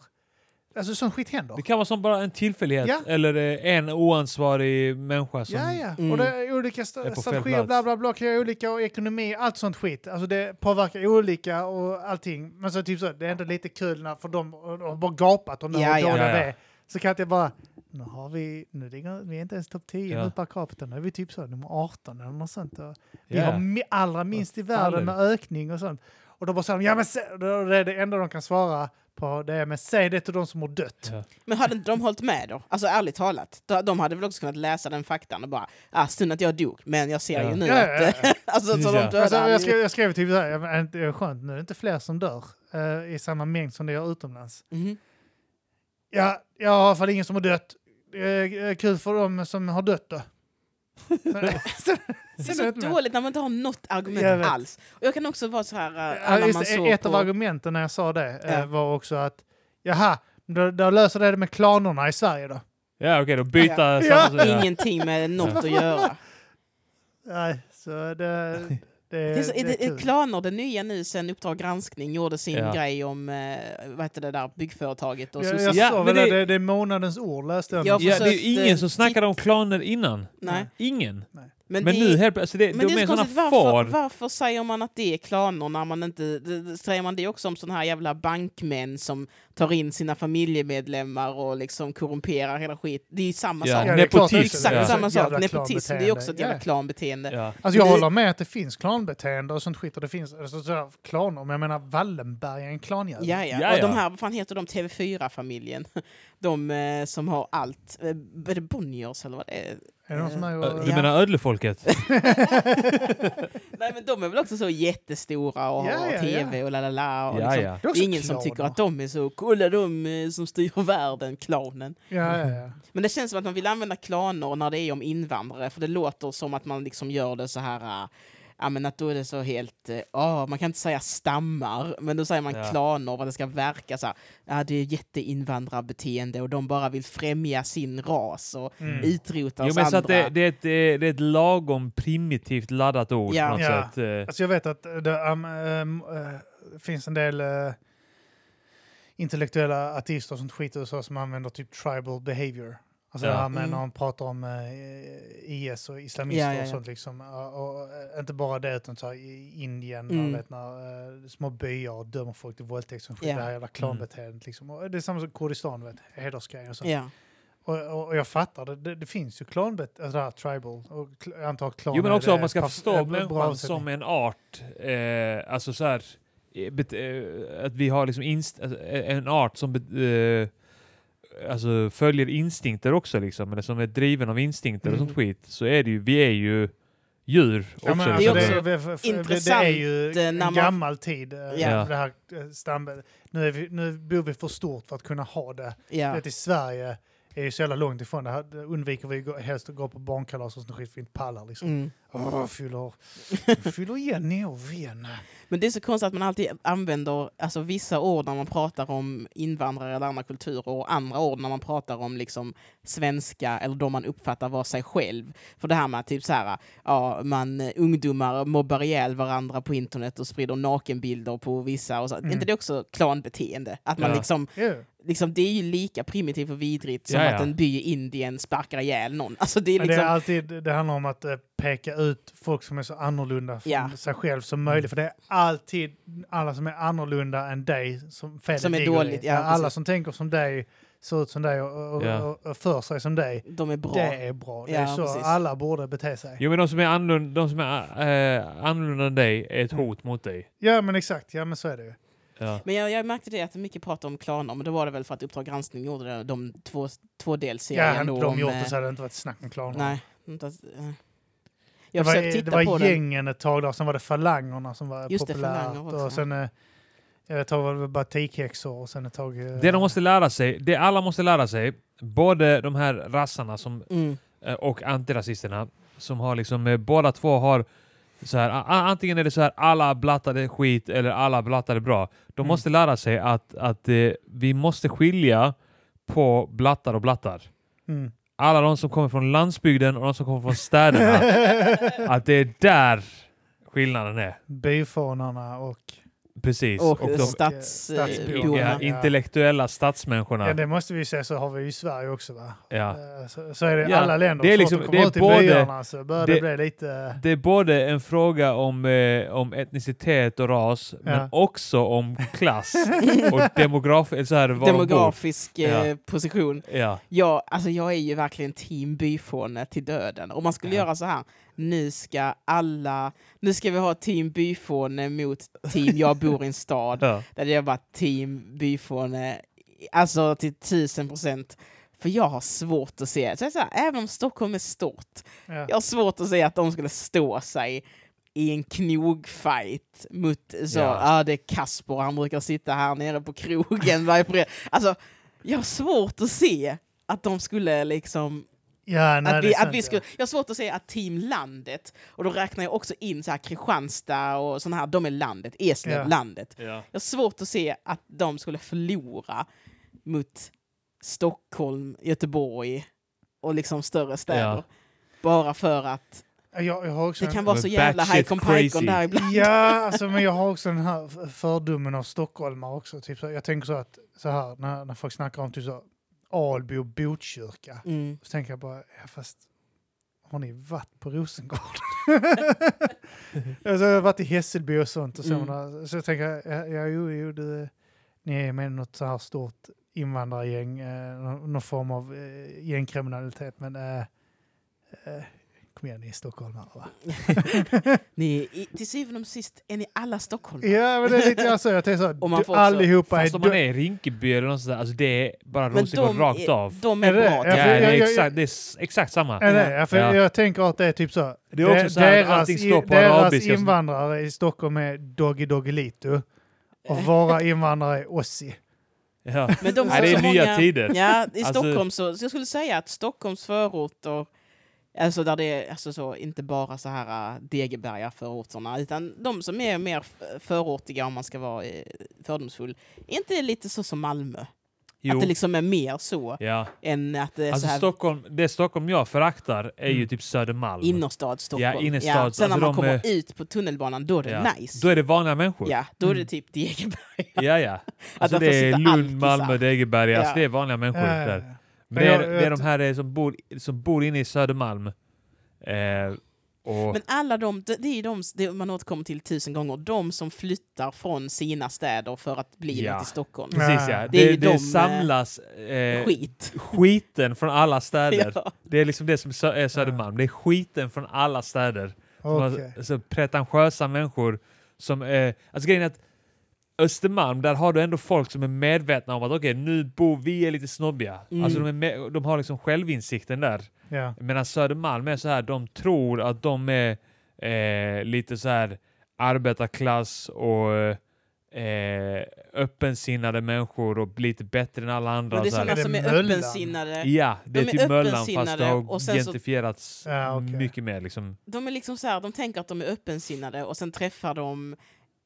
Speaker 3: Alltså sånt skit händer.
Speaker 1: Det kan vara som bara en tillfällighet
Speaker 3: Ja.
Speaker 1: eller eh, en oansvarig människa som...
Speaker 3: Ja, ja.
Speaker 2: Mm.
Speaker 3: Och det är olika st-
Speaker 1: Är på fel
Speaker 3: strategier,
Speaker 1: plats.
Speaker 3: bla bla bla, kan göra olika och ekonomi, allt sånt skit. Alltså det påverkar olika och allting. Men så typ så, det är ändå lite kul när, för de och de har bara gapat om det,
Speaker 2: Ja,
Speaker 3: hur
Speaker 2: ja.
Speaker 3: dåliga
Speaker 1: Ja, ja.
Speaker 3: det är. Så kan jag typ bara, nu har vi, nu ligger, vi är inte ens topp 10
Speaker 1: Ja.
Speaker 3: nu per capita, nu är vi typ så nummer 18 eller något sånt. Och vi
Speaker 1: Ja.
Speaker 3: har mi- allra minst i
Speaker 1: Vad fan
Speaker 3: världen
Speaker 1: är
Speaker 3: med ökning och sånt. Och då bara säger de, ja men se, och då är det det enda de kan svara på, det är men säg det till de som har dött.
Speaker 1: Ja.
Speaker 2: Men hade inte de hållit med då? Alltså ärligt talat, de- de hade väl också kunnat läsa den faktan och bara ah, synd att jag dog, men jag ser
Speaker 1: Ja.
Speaker 2: ju nu
Speaker 3: Ja, ja,
Speaker 2: att...
Speaker 3: ja.
Speaker 2: alltså, så
Speaker 1: Precis,
Speaker 2: de
Speaker 1: ja.
Speaker 2: dödar
Speaker 3: Alltså,
Speaker 2: han ju.
Speaker 3: jag, skrev, jag skrev typ så här, jag- jag- det är skönt, nu är det inte fler som dör eh, i samma mängd som det gör utomlands.
Speaker 2: Mhm.
Speaker 3: Ja, jag har i alla fall ingen som har dött. Eh, eh, kul för dem som har dött då. Så-
Speaker 2: Det är
Speaker 3: så
Speaker 2: så
Speaker 3: vet man-
Speaker 2: dåligt när man inte har något argument
Speaker 3: Jag vet.
Speaker 2: alls. Och jag kan också vara så här... äh,
Speaker 3: Ja,
Speaker 2: när
Speaker 3: just,
Speaker 2: man
Speaker 3: det.
Speaker 2: såg
Speaker 3: ett
Speaker 2: på...
Speaker 3: av argumenten när jag sa det eh,
Speaker 2: Ja.
Speaker 3: var också att jaha, då, då löser det det med klanerna i Sverige då.
Speaker 1: Ja, okej, då byta
Speaker 3: Ja.
Speaker 1: samma sida.
Speaker 2: Ingenting med något att göra.
Speaker 3: Nej, så det, det,
Speaker 1: Eh,
Speaker 2: Det är, så- är,
Speaker 3: det
Speaker 2: det,
Speaker 3: är
Speaker 2: är
Speaker 3: kul.
Speaker 2: Klaner, det nya nu sen Uppdrag granskning, gjorde sin
Speaker 1: Ja.
Speaker 2: grej om eh, vad heter det där byggföretaget och
Speaker 3: Jag,
Speaker 2: sosse-
Speaker 3: jag
Speaker 1: Ja,
Speaker 3: sa
Speaker 1: men
Speaker 3: väl det,
Speaker 1: det-
Speaker 3: det, det är månadens ord löste jag.
Speaker 2: Jag
Speaker 3: nu.
Speaker 1: Ja, det
Speaker 2: försökte-
Speaker 1: är ingen som snackade om klaner innan.
Speaker 2: Nej.
Speaker 1: Ingen.
Speaker 2: Men,
Speaker 1: Men
Speaker 2: det,
Speaker 1: nu helt plötsligt, alltså det,
Speaker 2: men
Speaker 1: de
Speaker 2: det är
Speaker 1: är
Speaker 2: så
Speaker 1: såna
Speaker 2: konstigt, varför,
Speaker 1: får.
Speaker 2: varför säger man att det är klaner när man inte... det- det- Säger man det också om sådana här jävla bankmän som tar in sina familjemedlemmar och liksom korrumperar hela skit? Det är ju samma
Speaker 1: Ja,
Speaker 2: sak.
Speaker 3: det är klart
Speaker 1: nepotism.
Speaker 3: det är så.
Speaker 2: Exakt
Speaker 1: Ja.
Speaker 2: samma sak.
Speaker 3: Jävla
Speaker 2: Nepotism, det är
Speaker 3: klanbeteende.
Speaker 2: också ett jävla
Speaker 3: Ja.
Speaker 2: klanbeteende.
Speaker 1: Ja.
Speaker 3: Alltså jag
Speaker 2: Men det-
Speaker 3: håller med att det finns klanbeteende och sånt skit och det finns alltså, så här, klaner, men jag menar Wallenberg är en klanjävel.
Speaker 2: Ja, ja.
Speaker 1: Ja,
Speaker 2: Och
Speaker 1: ja.
Speaker 2: de här, vad fan heter de, TV4-familjen? De eh, som har allt. Eh, är det Bonniers eller vad det är?
Speaker 3: Är det någon som är
Speaker 1: Ö,
Speaker 3: och,
Speaker 1: Äh, Du
Speaker 2: Ja.
Speaker 1: menar ödlefolket?
Speaker 2: Nej men de är väl också så jättestora och
Speaker 3: Ja,
Speaker 2: har
Speaker 3: ja,
Speaker 2: TV och la la la. och
Speaker 1: Ja,
Speaker 2: liksom.
Speaker 1: ja.
Speaker 3: Det är
Speaker 2: Det
Speaker 3: också
Speaker 2: är ingen
Speaker 3: klaner.
Speaker 2: som tycker att de är så, kolla de eh, som styr världen, klanen.
Speaker 3: Ja, ja, ja.
Speaker 2: Men det känns som att man vill använda klaner när det är om invandrare, för det låter som att man liksom gör det så här, äh, ja men att då är det så helt, äh, man kan inte säga stammar, men då säger man
Speaker 1: Ja.
Speaker 2: klaner och det ska verka så här, ja det är jätteinvandrarbeteende och de bara vill främja sin ras och
Speaker 3: Mm.
Speaker 2: utrota
Speaker 1: Jo,
Speaker 2: oss
Speaker 1: men så
Speaker 2: andra.
Speaker 1: att det, det, är ett, eh, det är ett lagom primitivt laddat ord
Speaker 2: Ja.
Speaker 1: på något
Speaker 3: Ja.
Speaker 1: sätt. eh.
Speaker 3: Alltså jag vet att det um, um, eh, finns en del eh, intellektuella ateister och sånt skit i USA som använder typ tribal behavior. Alltså
Speaker 1: Ja.
Speaker 3: det här med när
Speaker 2: Mm.
Speaker 3: man pratar om eh, IS och islamister
Speaker 2: Ja, ja,
Speaker 3: och
Speaker 2: ja.
Speaker 3: sånt liksom. Och, och, eh, inte bara det utan så här, i Indien,
Speaker 2: Mm.
Speaker 3: man vet, när, eh, små byar och dömer folk till våldtäkt och skit.
Speaker 2: Ja.
Speaker 3: Det här jävla
Speaker 1: Mm.
Speaker 3: klanbeteendet liksom. Och det är samma som Kurdistan, vet, hedersgrejen och sånt.
Speaker 2: Ja.
Speaker 3: Och, och, och jag fattar, det, det, det finns ju klanbet, alltså det här tribal. Och kl- jag antar att klan
Speaker 1: Jo, men
Speaker 3: är
Speaker 1: också
Speaker 3: det
Speaker 1: om man ska
Speaker 3: pass-
Speaker 1: förstå
Speaker 3: eh, bra
Speaker 1: människan
Speaker 3: avsättning.
Speaker 1: som en art. Eh, alltså så här, eh, bet, eh, att vi har liksom inst- alltså, eh, en art som bet, eh, alltså följer instinkter också, liksom, eller som är driven av instinkter och sånt skit. Så är det ju, vi är ju djur
Speaker 3: Mm. Ja,
Speaker 1: också.
Speaker 3: men
Speaker 2: Det är
Speaker 3: alltså,
Speaker 1: liksom.
Speaker 3: det,
Speaker 2: också
Speaker 3: det- det- det-
Speaker 2: intressant,
Speaker 3: Det är ju
Speaker 2: eh,
Speaker 3: en
Speaker 2: när man-
Speaker 3: gammal tid, eh,
Speaker 2: Ja.
Speaker 3: det här eh, stambe- nu, är vi, nu bor vi för stort för att kunna ha det. typ
Speaker 2: Ja.
Speaker 3: Vet, I Sverige är ju så jävla långt ifrån det här. Det undviker vi gå- helst att gå på barnkalas och sånt skit för vi inte pallar. Liksom.
Speaker 2: Mm.
Speaker 3: Åh, fyller, fyller igen i år igen.
Speaker 2: Men det är så konstigt att man alltid använder alltså, vissa ord när man pratar om invandrare eller andra kulturer och andra ord när man pratar om liksom, svenska eller de man uppfattar vara sig själv. För det här med att typ så här, ja, man, eh, ungdomar mobbar ihjäl varandra på internet och sprider nakenbilder på vissa. Och så. Är inte det också klanbeteende? Att man
Speaker 1: Ja.
Speaker 2: liksom,
Speaker 3: Jo.
Speaker 2: liksom, det är ju lika primitivt och vidrigt som
Speaker 1: Ja, ja.
Speaker 2: att en by i Indien sparkar ihjäl någon. Alltså, det är
Speaker 3: Men
Speaker 2: liksom,
Speaker 3: det, är alltid, det handlar om att eh, peka ut folk som är så annorlunda från
Speaker 2: Ja.
Speaker 3: sig själv som möjligt. För det är alltid alla som är annorlunda än dig som felet
Speaker 2: Som är
Speaker 3: ligger i.
Speaker 2: dåligt, ja,
Speaker 3: alla
Speaker 2: precis.
Speaker 3: som tänker som dig, ser ut som dig och, och,
Speaker 1: Ja.
Speaker 3: och, och för sig som dig.
Speaker 2: de är bra.
Speaker 3: Det är bra. Det är
Speaker 2: Ja,
Speaker 3: så
Speaker 2: precis.
Speaker 3: alla borde bete sig.
Speaker 1: Jo, men de som är annorlunda, de som är, eh, annorlunda än dig är ett hot mot dig.
Speaker 3: Ja, men exakt. Mm. Ja, men så är det ju.
Speaker 1: Ja.
Speaker 2: Men jag, jag märkte det att mycket prat om klaner, men då var det väl för att Uppdrag granskning gjorde det, de två, två
Speaker 3: Ja,
Speaker 2: delserierna.
Speaker 3: hade
Speaker 2: då
Speaker 3: inte de
Speaker 2: om,
Speaker 3: gjort
Speaker 2: eh,
Speaker 3: det så hade det inte varit snack om klanerna.
Speaker 2: Nej. Inte, att- eh.
Speaker 3: Det
Speaker 2: jag
Speaker 3: var,
Speaker 2: försökte
Speaker 3: det
Speaker 2: titta
Speaker 3: var
Speaker 2: på
Speaker 3: gängen ett tag där, sen var det falangerna som var
Speaker 2: Just det,
Speaker 3: populärt.
Speaker 2: falanger också,
Speaker 3: och sen, eh, jag vet, ett tag var det batikhäxor och sen ett tag... eh,
Speaker 1: Det de måste lära sig, det alla måste lära sig, både de här rassarna som,
Speaker 2: den. Mm.
Speaker 1: eh, och antirasisterna, som har liksom, eh, båda två har så här, a- a- antingen är det så här alla blattade skit eller alla blattade bra. De
Speaker 3: Mm.
Speaker 1: måste lära sig att, att eh, vi måste skilja på blattar och blattar.
Speaker 3: Mm.
Speaker 1: Alla de som kommer från landsbygden och de som kommer från städerna. att det är där skillnaden är.
Speaker 3: Byfånarna och...
Speaker 1: Precis.
Speaker 2: Och,
Speaker 1: Och de
Speaker 3: stadsborna.
Speaker 2: stadsborna.
Speaker 1: ja,
Speaker 3: in-
Speaker 1: intellektuella stadsmänniskorna.
Speaker 3: Ja, det måste vi ju säga, så har vi ju i Sverige också va?
Speaker 1: Ja.
Speaker 3: Eh, Så, så är det i
Speaker 1: Ja,
Speaker 3: alla länder.
Speaker 1: det är
Speaker 3: Så
Speaker 1: liksom-
Speaker 3: fort
Speaker 1: det
Speaker 3: kommer
Speaker 1: är
Speaker 3: ut i
Speaker 1: både-
Speaker 3: byarna så börjar det,
Speaker 1: det-
Speaker 3: bli lite...
Speaker 1: Det är både en fråga om, eh, om etnicitet och ras, men också om klass och demograf, eller så här, var
Speaker 2: Demografisk
Speaker 1: bor. Ja.
Speaker 2: eh, position.
Speaker 1: de bor. Ja.
Speaker 2: Ja, alltså jag är ju verkligen team byfåne till döden. Om man skulle göra så här, nu ska alla, nu ska vi ha team byfåne mot team jag bor i en stad.
Speaker 1: Ja.
Speaker 2: Där det är bara team byfåne, alltså till tusen procent. För jag har svårt att se, så jag säger, även om Stockholm är stort,
Speaker 3: Ja.
Speaker 2: jag har svårt att se att de skulle stå sig i en knogfight mot så, ja.
Speaker 1: Ja.
Speaker 2: det är Kasper, han brukar sitta här nere på krogen varje fredag. Alltså, jag har svårt att se att de skulle liksom
Speaker 3: Ja, nej,
Speaker 2: att
Speaker 3: det
Speaker 2: vi,
Speaker 3: är sant,
Speaker 2: att vi
Speaker 3: ja.
Speaker 2: skulle, jag har svårt att säga att Team Landet, och då räknar jag också in så här Kristianstad och sådana här, de är landet, Eslöv,
Speaker 3: Ja.
Speaker 2: landet.
Speaker 1: Ja.
Speaker 2: Jag har svårt att se att de skulle förlora mot Stockholm, Göteborg och liksom större städer.
Speaker 1: Ja.
Speaker 2: Bara för att
Speaker 3: Jag, jag har också
Speaker 2: det
Speaker 3: en-
Speaker 2: kan vara
Speaker 1: Men
Speaker 2: så jävla
Speaker 1: batshit
Speaker 2: hajkon pajkon
Speaker 1: crazy.
Speaker 2: där ibland.
Speaker 3: Ja, alltså, men jag har också den här f- fördomen av stockholmare också. Typ så, jag tänker så att så här, när, när folk snackar om typ så, Alby och Botkyrka,
Speaker 2: Mm.
Speaker 3: så tänker jag bara, ja, fast har ni varit på Rosengård? alltså, jag har varit i Hässelby och sånt. Och
Speaker 2: Mm.
Speaker 3: sådana, så jag tänker, ja, ja jo, jo det, ni är med i något så här stort invandrargäng, eh, någon, någon form av eh, gängkriminalitet, men eh, eh, kom igen, ni är stockholmare va?
Speaker 2: Ni, är i, till syvende och sist är ni alla Stockholm.
Speaker 3: Ja, men det är lite jag säger. Jag tänker så
Speaker 2: Mm. Och
Speaker 3: här,
Speaker 2: man
Speaker 3: du-
Speaker 2: får också-
Speaker 3: allihopa är...
Speaker 1: Fast om man
Speaker 3: dö-
Speaker 1: är i Rinkeby eller någonstans, alltså det är bara
Speaker 2: Men
Speaker 1: Rosengård
Speaker 2: de,
Speaker 1: rakt av.
Speaker 2: är, de
Speaker 3: Är
Speaker 2: är
Speaker 3: det?
Speaker 2: bra.
Speaker 1: Ja,
Speaker 3: Ja,
Speaker 1: det
Speaker 3: för jag-
Speaker 1: är
Speaker 3: jag-
Speaker 1: exakt, det är s- exakt samma.
Speaker 3: Ja, nej, ja, för
Speaker 1: Ja.
Speaker 3: Jag tänker att det är typ så.
Speaker 1: Det är också
Speaker 3: de-
Speaker 1: så här,
Speaker 3: deras
Speaker 1: allting står
Speaker 3: i-
Speaker 1: på
Speaker 3: deras
Speaker 1: arabiska.
Speaker 3: invandrare i Stockholm är Doggy Doggelito. Och våra invandrare är Ossi.
Speaker 1: Ja.
Speaker 2: Men de har
Speaker 1: Nej, det är
Speaker 2: så
Speaker 1: nya
Speaker 2: många-
Speaker 1: tider.
Speaker 2: Ja, i
Speaker 1: Alltså-
Speaker 2: Stockholm så, så jag skulle säga att Stockholms förorter, alltså där det är alltså så, inte bara så här äh, Degeberga förorterna, utan de som är mer f- förortiga om man ska vara eh, fördomsfull, är inte det lite så som Malmö?
Speaker 1: Jo.
Speaker 2: Att det liksom är mer så
Speaker 1: ja.
Speaker 2: än att det är
Speaker 1: Alltså
Speaker 2: så här
Speaker 1: Stockholm, det Stockholm jag föraktar är ju
Speaker 3: Mm.
Speaker 1: typ Södermalm.
Speaker 2: innerstad Stockholm.
Speaker 1: Ja, innerstad.
Speaker 2: Sen
Speaker 1: Alltså,
Speaker 2: när man
Speaker 1: de
Speaker 2: kommer
Speaker 1: är-
Speaker 2: ut på tunnelbanan, då är det
Speaker 1: ja.
Speaker 2: nice.
Speaker 1: Då är det Mm. vanliga människor.
Speaker 2: Ja, då är det typ Degeberga.
Speaker 1: Ja, ja. Alltså
Speaker 2: där får
Speaker 1: det är
Speaker 2: sitta
Speaker 1: Lund,
Speaker 2: alkisar.
Speaker 1: Malmö, Degeberga. Alltså
Speaker 2: Ja.
Speaker 1: det är vanliga människor
Speaker 3: Ja, ja,
Speaker 1: där.
Speaker 3: ja.
Speaker 1: Men det är,
Speaker 3: jag-
Speaker 1: det är
Speaker 3: jag-
Speaker 1: de här eh, som bor, som bor inne i Södermalm. Eh, och,
Speaker 2: Men alla de, det det är ju de s- det man återkommer till tusen gånger, de som flyttar från sina städer för att bli
Speaker 1: Ja.
Speaker 2: något i Stockholm.
Speaker 1: precis ja.
Speaker 3: Nej.
Speaker 1: Det,
Speaker 2: Det är
Speaker 1: det,
Speaker 2: ju de, eh,
Speaker 1: samlas eh,
Speaker 2: Skit.
Speaker 1: skiten från alla städer.
Speaker 2: Ja.
Speaker 1: Det är liksom det som sö- är Södermalm. Det är skiten från alla städer.
Speaker 3: Okej.
Speaker 1: Alltså, pretentiösa människor som... Eh, alltså grejen är att Östermalm, där har du ändå folk som är medvetna om att okej, nu bor vi är lite snobbiga.
Speaker 2: Mm.
Speaker 1: Alltså de, är med, de har liksom självinsikten där.
Speaker 3: Ja.
Speaker 1: Medan Södermalm är så här, de tror att de är eh, lite så här arbetarklass och eh, öppensinnade människor och lite bättre än alla andra.
Speaker 2: Men det är
Speaker 1: så här.
Speaker 2: sådana
Speaker 3: Är det
Speaker 2: som är
Speaker 3: Möllan?
Speaker 2: öppensinnade.
Speaker 1: Ja, det är
Speaker 2: De är
Speaker 1: typ Möllan fast det
Speaker 2: öppensinnade
Speaker 1: har
Speaker 2: och sen så-
Speaker 1: gentifierats
Speaker 3: Ja, okej.
Speaker 1: mycket mer. Liksom.
Speaker 2: De, är liksom så här, de tänker att de är öppensinnade och sen träffar de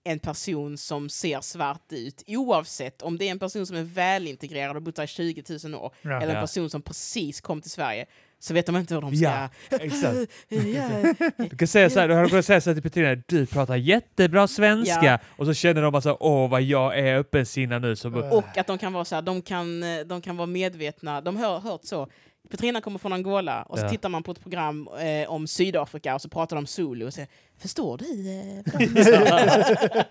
Speaker 2: en person som ser svart ut oavsett om det är en person som är välintegrerad och bott här i 20 000 år
Speaker 3: Ja.
Speaker 2: eller en
Speaker 1: Ja.
Speaker 2: person som precis kom till Sverige så vet de inte hur de ska...
Speaker 1: Ja, exakt.
Speaker 2: Ja.
Speaker 1: Du kan säga så här, du hade kunnat säga så här till Petrina, du pratar jättebra svenska.
Speaker 2: Ja.
Speaker 1: Och så känner de bara så här, åh vad jag är öppensinnad nu. Så, bara,
Speaker 2: Och att de kan vara så här, de kan, eh, de kan vara medvetna, de har hört så. Petrina kommer från Angola och så
Speaker 1: Ja.
Speaker 2: tittar man på ett program eh, om Sydafrika och så pratar de zulu och säger Förstår du? Eh, vad de säger?"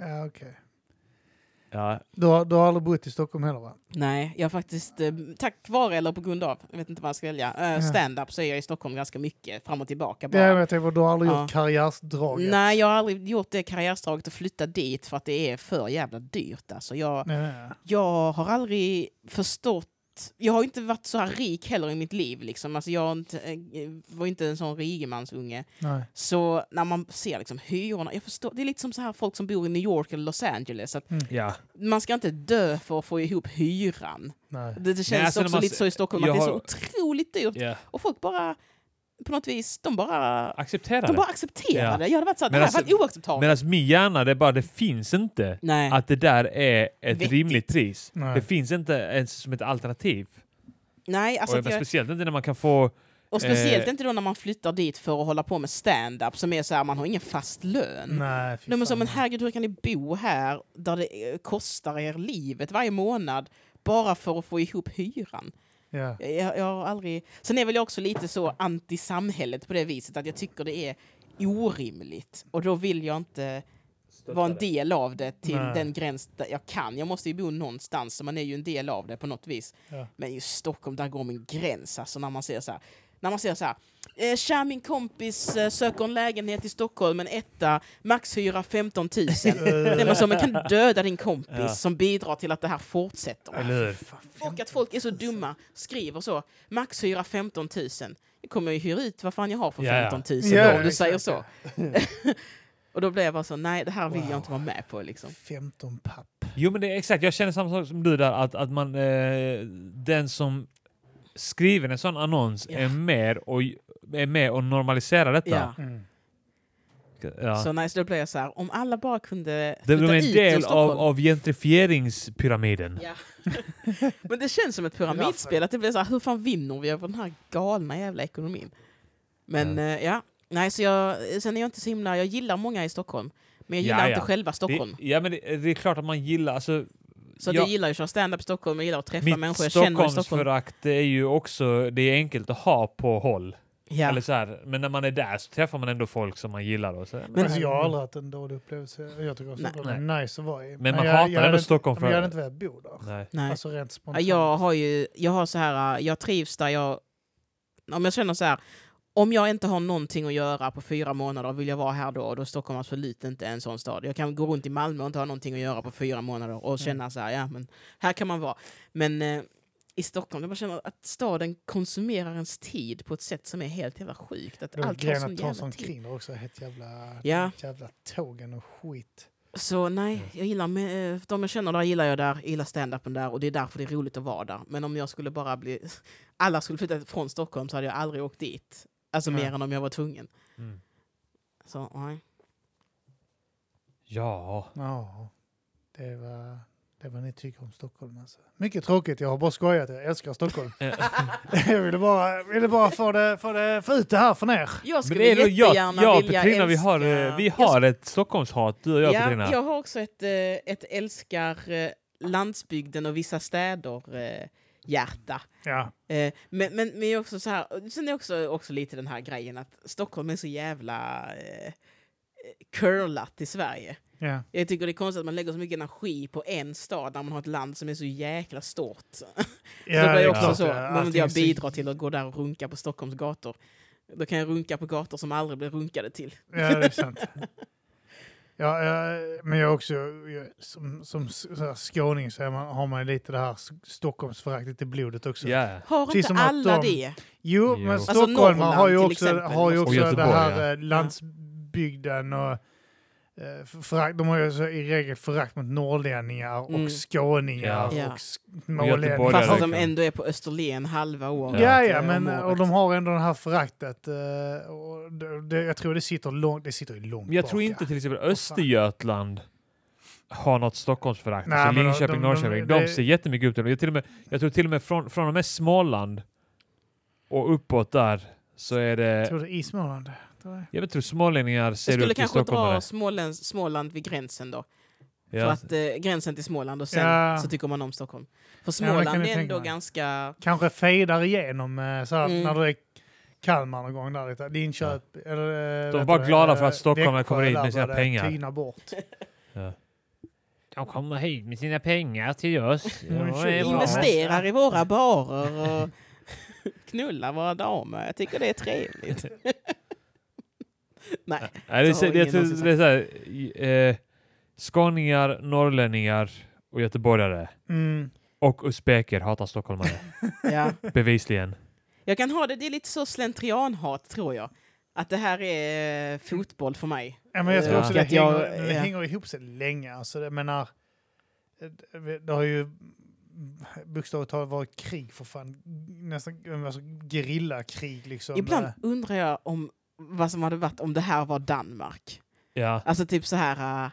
Speaker 3: Ja, okej.
Speaker 1: ja,
Speaker 3: Du har, du har aldrig bott i Stockholm heller va?
Speaker 2: Nej, jag har faktiskt, eh, tack vare eller på grund av, jag vet inte vad jag ska välja, eh, stand-up så är jag i Stockholm ganska mycket, fram och tillbaka
Speaker 3: Ja, men
Speaker 2: bara.
Speaker 3: jag tänker, du har aldrig
Speaker 2: Ja.
Speaker 3: gjort karriärsdraget?
Speaker 2: Nej, jag har aldrig gjort det karriärstraget att flytta dit för att det är för jävla dyrt. Alltså, jag,
Speaker 3: Nej, nej, nej.
Speaker 2: jag har aldrig förstått jag har inte varit så här rik heller i mitt liv. Liksom. Alltså jag har inte, eh, var inte en sån rikemansunge.
Speaker 3: nej.
Speaker 2: Så när man ser liksom hyrorna, jag förstår, det är lite som så här folk som bor i New York eller Los Angeles. Att
Speaker 1: ja.
Speaker 2: man ska inte dö för att få ihop hyran.
Speaker 3: nej.
Speaker 2: Det, det känns
Speaker 1: alltså när
Speaker 2: också
Speaker 1: man
Speaker 2: lite
Speaker 1: se-
Speaker 2: så i Stockholm,
Speaker 1: jag
Speaker 2: att det är så
Speaker 1: har-
Speaker 2: otroligt dyrt.
Speaker 1: ja.
Speaker 2: Och folk bara, på något vis, de bara,
Speaker 1: Acceptera
Speaker 2: de
Speaker 1: det.
Speaker 2: bara accepterar
Speaker 1: Ja.
Speaker 2: det. Jag hade varit så här,
Speaker 1: Men
Speaker 2: det här
Speaker 1: alltså-
Speaker 2: var oacceptabelt.
Speaker 1: Medan min hjärna, det är bara, det finns inte
Speaker 2: Nej.
Speaker 1: att det där är ett
Speaker 2: Vettigt.
Speaker 1: rimligt pris.
Speaker 3: Nej.
Speaker 1: Det finns inte ens som ett alternativ.
Speaker 2: Nej, alltså
Speaker 1: och
Speaker 2: att
Speaker 1: men
Speaker 2: jag,
Speaker 1: Speciellt inte när man kan få...
Speaker 2: Och speciellt
Speaker 1: Eh.
Speaker 2: inte då när man flyttar dit för att hålla på med stand-up som är så här, man har ingen fast lön.
Speaker 3: Nej, fy
Speaker 2: De är så,
Speaker 3: fan.
Speaker 2: men herregud, hur kan ni bo här där det eh, kostar er livet varje månad bara för att få ihop hyran?
Speaker 3: Ja.
Speaker 2: Jag, jag, jag har aldrig... Sen är väl jag också lite så anti-samhället på det viset att jag tycker det är orimligt. Och då vill jag inte vara en del av det till
Speaker 3: Nej.
Speaker 2: den gräns där jag kan. Jag måste ju bo någonstans, så man är ju en del av det på något vis.
Speaker 3: Ja.
Speaker 2: Men i Stockholm, där går min gräns. Alltså när man ser så här, när man ser så här eh, Tja, min kompis eh, söker en lägenhet i Stockholm, en etta, maxhyra 15 000. Det är man så, man kan döda din kompis
Speaker 1: Ja.
Speaker 2: som bidrar till att det här fortsätter.
Speaker 1: Eller hur?
Speaker 2: Och att folk är så dumma, skriver så, maxhyra 15 000. Jag kommer ju hyra ut vad fan jag har för
Speaker 1: Ja, ja.
Speaker 2: 15 000
Speaker 3: Ja,
Speaker 2: om du
Speaker 3: exakt,
Speaker 2: säger så. Och då blev jag bara så, nej det här vill
Speaker 3: Wow.
Speaker 2: jag inte vara med på liksom.
Speaker 3: 15 papp.
Speaker 1: Jo men det är exakt, jag känner samma sak som du där, att, att man, eh, den som skriver en sån annons
Speaker 2: Ja.
Speaker 1: är, med och, är med och normaliserar detta.
Speaker 2: Ja.
Speaker 3: Mm.
Speaker 1: Ja.
Speaker 2: Så nej, så då blev jag så här, om alla bara kunde
Speaker 1: det
Speaker 2: flytta
Speaker 1: är
Speaker 2: ut
Speaker 1: en
Speaker 2: ur
Speaker 1: del av,
Speaker 2: Stockholm.
Speaker 1: av gentrifieringspyramiden.
Speaker 2: Ja. Men det känns som ett pyramidspel, att det blir så här, hur fan vinner vi över den här galna jävla ekonomin? Men
Speaker 1: Ja.
Speaker 2: ja, ja. nej så jag, sen är jag inte så himla, jag gillar många i Stockholm, men jag gillar
Speaker 1: Ja,
Speaker 2: inte
Speaker 1: ja.
Speaker 2: själva Stockholm.
Speaker 1: Det, ja men det, det är klart att man gillar, alltså
Speaker 2: Så att
Speaker 1: Ja.
Speaker 2: jag gillar ju att köra stand-up i Stockholm, jag gillar att träffa
Speaker 1: mitt
Speaker 2: människor jag känner i Stockholm.
Speaker 1: Stockholmsförakt är ju också, det är enkelt att ha på håll.
Speaker 2: Ja.
Speaker 1: Eller så här, men när man är där så träffar man ändå folk som man gillar. Och så,
Speaker 3: Men
Speaker 1: men,
Speaker 3: alltså, jag har aldrig haft en dålig upplevelse. Jag tycker också
Speaker 2: Nej.
Speaker 3: att det är nice att vara i.
Speaker 1: men man
Speaker 3: jag,
Speaker 1: hatar
Speaker 3: jag hade
Speaker 1: ändå
Speaker 3: inte-
Speaker 1: Stockholm
Speaker 3: Men jag hade
Speaker 1: för...
Speaker 3: inte velat bo där.
Speaker 1: Nej.
Speaker 2: Nej.
Speaker 3: Alltså rent
Speaker 2: Ja,
Speaker 3: spontant.
Speaker 2: Jag har ju, jag har så här, äh, jag trivs där jag, om jag känner så här, om jag inte har någonting att göra på fyra månader vill jag vara här då och då är Stockholm absolut inte en sån stad. Jag kan gå runt i Malmö och inte ha någonting att göra på fyra månader och känna så här, ja men här kan man vara. Men eh, i Stockholm, jag bara känner att staden konsumerar ens tid på ett sätt som är helt jävla sjukt. Att
Speaker 3: Det var
Speaker 2: allt tar
Speaker 3: grejen
Speaker 2: sån
Speaker 3: att ta sig
Speaker 2: jävla tid.
Speaker 3: omkring där också. Ett jävla,
Speaker 2: Ja.
Speaker 3: jävla tågen och skit.
Speaker 2: Så nej,
Speaker 1: Mm.
Speaker 2: jag gillar med, eh, de jag känner där gillar jag där, jag gillar stand-upen där och det är därför det är roligt att vara där. Men om jag skulle bara bli, alla skulle flytta från Stockholm så hade jag aldrig åkt dit. Alltså
Speaker 3: Nej.
Speaker 2: mer än om jag var tvungen.
Speaker 1: Mm.
Speaker 2: Så nej.
Speaker 1: Ja.
Speaker 3: Ja, det var, det var ni tycker om Stockholm alltså. Mycket tråkigt, jag har bara skojat. Jag älskar Stockholm. jag ville bara, ville bara få, det, få, det, få ut det här från er.
Speaker 2: Jag
Speaker 1: Men
Speaker 2: skulle
Speaker 1: det är nog jag,
Speaker 2: jättegärna
Speaker 1: jag och
Speaker 2: vilja
Speaker 1: Petrina, vi
Speaker 2: älska...
Speaker 1: har, eh, vi har ett Stockholmshat, du och jag
Speaker 2: jag, ja,
Speaker 1: Petrina.
Speaker 2: jag har också ett, eh, ett älskar eh, landsbygden och vissa städer eh, hjärta.
Speaker 3: Ja.
Speaker 2: Eh, Men, men, men jag är också så här, sen är också, också lite den här grejen att Stockholm är så jävla eh, curlat i Sverige.
Speaker 3: ja.
Speaker 2: Jag tycker det är konstigt att man lägger så mycket energi på en stad när man har ett land som är så jäkla stort. så det var
Speaker 3: det
Speaker 2: ju
Speaker 3: är
Speaker 2: också
Speaker 3: klart,
Speaker 2: så,
Speaker 3: ja.
Speaker 2: när
Speaker 3: Allting
Speaker 2: inte jag
Speaker 3: är så-
Speaker 2: bidrar till att gå där och runka på Stockholms gator. Då kan jag runka på gator som aldrig blir runkade till.
Speaker 3: Ja, det är sant. Ja, jag- men jag är också, jag- som, som så här skåning så är man, har man lite det här s- Stockholmsföraktet i blodet också.
Speaker 1: Ja.
Speaker 2: Har
Speaker 3: Precis
Speaker 2: inte
Speaker 3: som att
Speaker 2: alla
Speaker 3: de-
Speaker 2: det?
Speaker 3: Jo,
Speaker 1: Jo.
Speaker 3: men
Speaker 1: Alltså
Speaker 3: Stockholm
Speaker 2: Norrland
Speaker 3: har ju
Speaker 2: till
Speaker 3: också,
Speaker 2: exempel,
Speaker 3: har ju
Speaker 2: måste-
Speaker 1: Och
Speaker 3: också det
Speaker 1: Göteborg,
Speaker 3: här
Speaker 1: ja.
Speaker 3: eh, landsbygden och eh, förakt. De har ju så i regel förakt mot norrlänningar och
Speaker 2: Mm.
Speaker 3: skåningar
Speaker 1: Ja.
Speaker 3: och
Speaker 2: Ja.
Speaker 3: smålänningar.
Speaker 1: göteborgare.
Speaker 3: Fast
Speaker 2: Fast att
Speaker 3: de-
Speaker 2: de ändå är på Österlen halva året.
Speaker 3: Ja, ja,
Speaker 2: eh,
Speaker 3: men
Speaker 2: om året.
Speaker 3: och de har ändå det här föraktet. eh, och det, det, jag tror det sitter långt, det sitter ju långt
Speaker 1: Men jag
Speaker 3: bak,
Speaker 1: tror
Speaker 3: ja.
Speaker 1: inte till exempel Östergötland har något Stockholmsförakt.
Speaker 3: Nej,
Speaker 1: Alltså
Speaker 3: men de-
Speaker 1: Linköping,
Speaker 3: de- de-
Speaker 1: Norrköping. De,
Speaker 3: det-
Speaker 1: ser jättemycket upp till det. Jag, till och med, jag tror till och med från, från och med Småland och uppåt där så är
Speaker 3: Jag
Speaker 1: det...
Speaker 3: tror det är i Småland. tror jag.
Speaker 1: Jag tror smålänningar
Speaker 2: Jag
Speaker 1: ser
Speaker 2: skulle
Speaker 1: upp till
Speaker 2: kanske dra
Speaker 1: stockholmare.
Speaker 2: Småland, Småland vid gränsen då. För
Speaker 1: Ja.
Speaker 2: att eh, gränsen till Småland och sen
Speaker 3: Ja.
Speaker 2: så tycker man om Stockholm. För
Speaker 3: men det kan
Speaker 2: Småland
Speaker 3: jag
Speaker 2: är
Speaker 3: tänka
Speaker 2: ändå
Speaker 3: mig.
Speaker 2: ganska...
Speaker 3: Kanske fejdar igenom eh, så här,
Speaker 2: Mm.
Speaker 3: när det är Kalmar någon gång där lite. Linköping. Ja. Eller,
Speaker 1: De
Speaker 3: vet
Speaker 1: var
Speaker 3: du,
Speaker 1: glada för
Speaker 3: eh,
Speaker 1: att stockholmare
Speaker 3: Växjö
Speaker 1: kommer hit
Speaker 3: där
Speaker 1: med sina
Speaker 3: började
Speaker 1: pengar.
Speaker 3: Tyna bort.
Speaker 1: De kommer hit med sina pengar till oss.
Speaker 3: Ja, det är bra.
Speaker 2: investerar i våra barer och knullar våra damer. Jag tycker det är trevligt. Nej,
Speaker 1: Nej, det, är
Speaker 2: Så
Speaker 1: så-
Speaker 2: har
Speaker 1: det,
Speaker 2: ingen någonsin
Speaker 1: är- det är så här, i- eh, skåningar, norrlänningar och göteborgare
Speaker 3: Mm.
Speaker 1: och usbeker hatar stockholmare.
Speaker 2: ja.
Speaker 1: Bevisligen.
Speaker 2: Jag kan ha det, det är lite så slentrianhat tror jag. Att det här är eh, fotboll för mig.
Speaker 3: Ja, men jag tror
Speaker 1: Ja.
Speaker 3: också det,
Speaker 2: Att jag-
Speaker 3: hänger, det
Speaker 2: ja.
Speaker 3: hänger ihop sig länge. Alltså, det, menar, eh, det- det har ju bokstavligt talat varit krig för fan. Nästan alltså, gerillakrig liksom.
Speaker 2: Ibland
Speaker 3: Eh,
Speaker 2: undrar jag om vad som hade varit om det här var Danmark.
Speaker 1: Ja.
Speaker 2: Alltså typ så här, eh,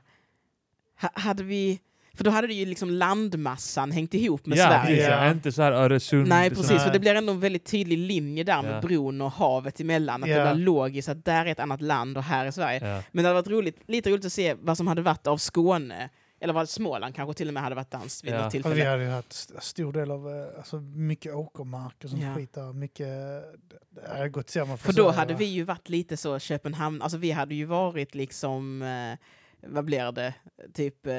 Speaker 2: ha, hade vi... För då hade det ju liksom landmassan hängt ihop med
Speaker 1: ja,
Speaker 2: Sverige.
Speaker 1: precis, ja.
Speaker 3: Ja.
Speaker 1: Inte så här Öresund.
Speaker 2: Nej, precis.
Speaker 3: Nej.
Speaker 2: För det blir ändå en väldigt tydlig linje där med
Speaker 1: Ja.
Speaker 2: bron och havet emellan. Att
Speaker 3: Ja.
Speaker 2: det blir logiskt att där är ett annat land och här är Sverige.
Speaker 1: Ja.
Speaker 2: Men det hade varit roligt, lite roligt att se vad som hade varit av Skåne. Eller vad Småland kanske till och med hade varit danskt vid
Speaker 1: Ja.
Speaker 2: något
Speaker 3: Alltså, vi
Speaker 2: tillfälle.
Speaker 3: hade ju haft st- stor del av, eh, alltså, mycket åkermark och sånt
Speaker 2: Ja.
Speaker 3: skit där. Mycket, det- det hade gått sämre
Speaker 2: För då
Speaker 3: Sverige,
Speaker 2: hade
Speaker 3: va?
Speaker 2: vi ju varit lite så Köpenhamn, alltså vi hade ju varit liksom, eh, vad blir det, typ eh,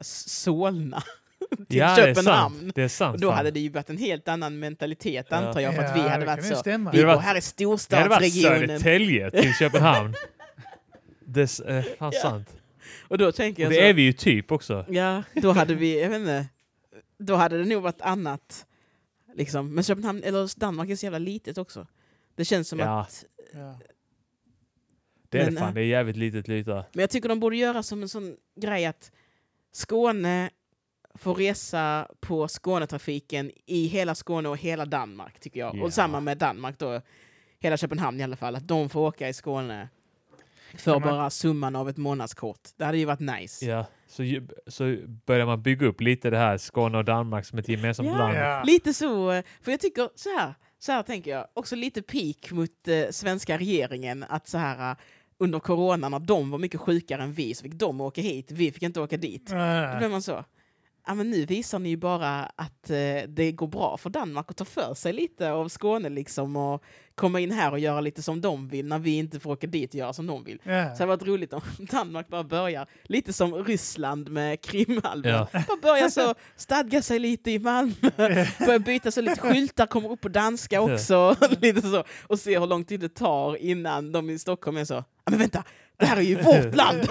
Speaker 2: S- Solna till
Speaker 1: ja, Det är
Speaker 2: Köpenhamn.
Speaker 1: sant. Det är sant
Speaker 2: Då
Speaker 1: fan.
Speaker 2: hade det ju varit en helt annan mentalitet
Speaker 1: Ja.
Speaker 2: antar jag, för att
Speaker 3: Ja,
Speaker 2: vi hade
Speaker 3: det
Speaker 2: varit
Speaker 3: kan ju
Speaker 2: så.
Speaker 3: stämma.
Speaker 2: Vi
Speaker 1: Det hade
Speaker 2: bor
Speaker 1: varit-
Speaker 2: här i
Speaker 1: det hade varit
Speaker 2: storstadsregionen.
Speaker 1: Södertälje till Köpenhamn. det är eh, fan
Speaker 2: Ja.
Speaker 1: sant.
Speaker 2: Och då tänker
Speaker 1: Och
Speaker 2: jag
Speaker 1: det
Speaker 2: så,
Speaker 1: är vi ju typ också.
Speaker 2: Ja, då hade vi, jag vet inte, då hade det nog varit annat. Liksom. Men Köpenhamn, eller Danmark är så jävla litet också. Det känns som
Speaker 1: Ja.
Speaker 2: att
Speaker 3: Ja.
Speaker 1: Det är det
Speaker 2: Men,
Speaker 1: fan,
Speaker 2: äh,
Speaker 1: det är jävligt litet yta.
Speaker 2: Men jag tycker de borde göra som en sån grej att Skåne får resa på Skånetrafiken i hela Skåne och hela Danmark, tycker jag.
Speaker 1: Ja.
Speaker 2: Och samma med Danmark då, hela Köpenhamn i alla fall, att de får åka i Skåne för
Speaker 3: Kan man-
Speaker 2: bara summan av ett månadskort. Det hade ju varit nice.
Speaker 1: Ja. Så, ju- så börjar man bygga upp lite det här Skåne och Danmark som ett gemensamt
Speaker 2: Ja.
Speaker 1: land.
Speaker 3: Ja.
Speaker 2: Lite så, eh, för jag tycker så här, så här tänker jag, också lite peak mot eh, svenska regeringen att så här eh, under corona när de var mycket sjukare än vi så fick de åka hit, vi fick inte åka dit. Då
Speaker 3: Nej,
Speaker 2: blir man så. Ja, men nu visar ni ju bara att eh, det går bra för Danmark att ta för sig lite av Skåne liksom och komma in här och göra lite som de vill när vi inte får åka dit och göra som de vill.
Speaker 3: nej.
Speaker 2: Så det hade varit roligt om Danmark bara börjar lite som Ryssland med Krimhalvön.
Speaker 1: Ja.
Speaker 2: Bara börjar så, stadga sig lite i Malmö, börjar byta så lite skyltar, kommer upp på danska också. lite så, och se hur lång tid det tar innan de i Stockholm är så, ja men vänta, det här är ju vårt land!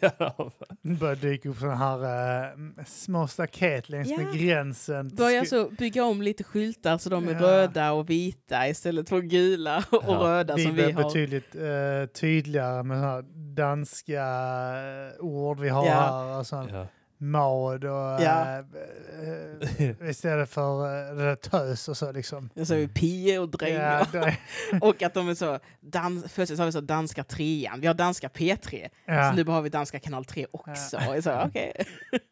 Speaker 1: ja.
Speaker 3: Nu börjar dyka upp sådana här eh, små staket längs
Speaker 2: Ja.
Speaker 3: med gränsen. till
Speaker 2: Börja
Speaker 3: Sk-
Speaker 2: så bygga om lite skyltar så de är
Speaker 3: Ja.
Speaker 2: röda och vita istället för gula och
Speaker 1: Ja.
Speaker 2: röda
Speaker 3: Vi
Speaker 2: som Alltså, vi
Speaker 3: blir
Speaker 2: har.
Speaker 3: betydligt eh, tydligare med sådana här danska eh, ord vi har
Speaker 2: Ja.
Speaker 3: här. Och sånt.
Speaker 1: Ja.
Speaker 3: Maud och
Speaker 2: Ja.
Speaker 3: eh, eh, istället för eh, det där tös och så liksom.
Speaker 2: Och så är vi pie och
Speaker 3: Ja,
Speaker 2: drängar.
Speaker 3: det-
Speaker 2: Och att de är så, dans, först så har vi så danska trean, vi har danska P3,
Speaker 3: ja.
Speaker 2: så nu har vi danska kanal 3 också. Och Så, okej.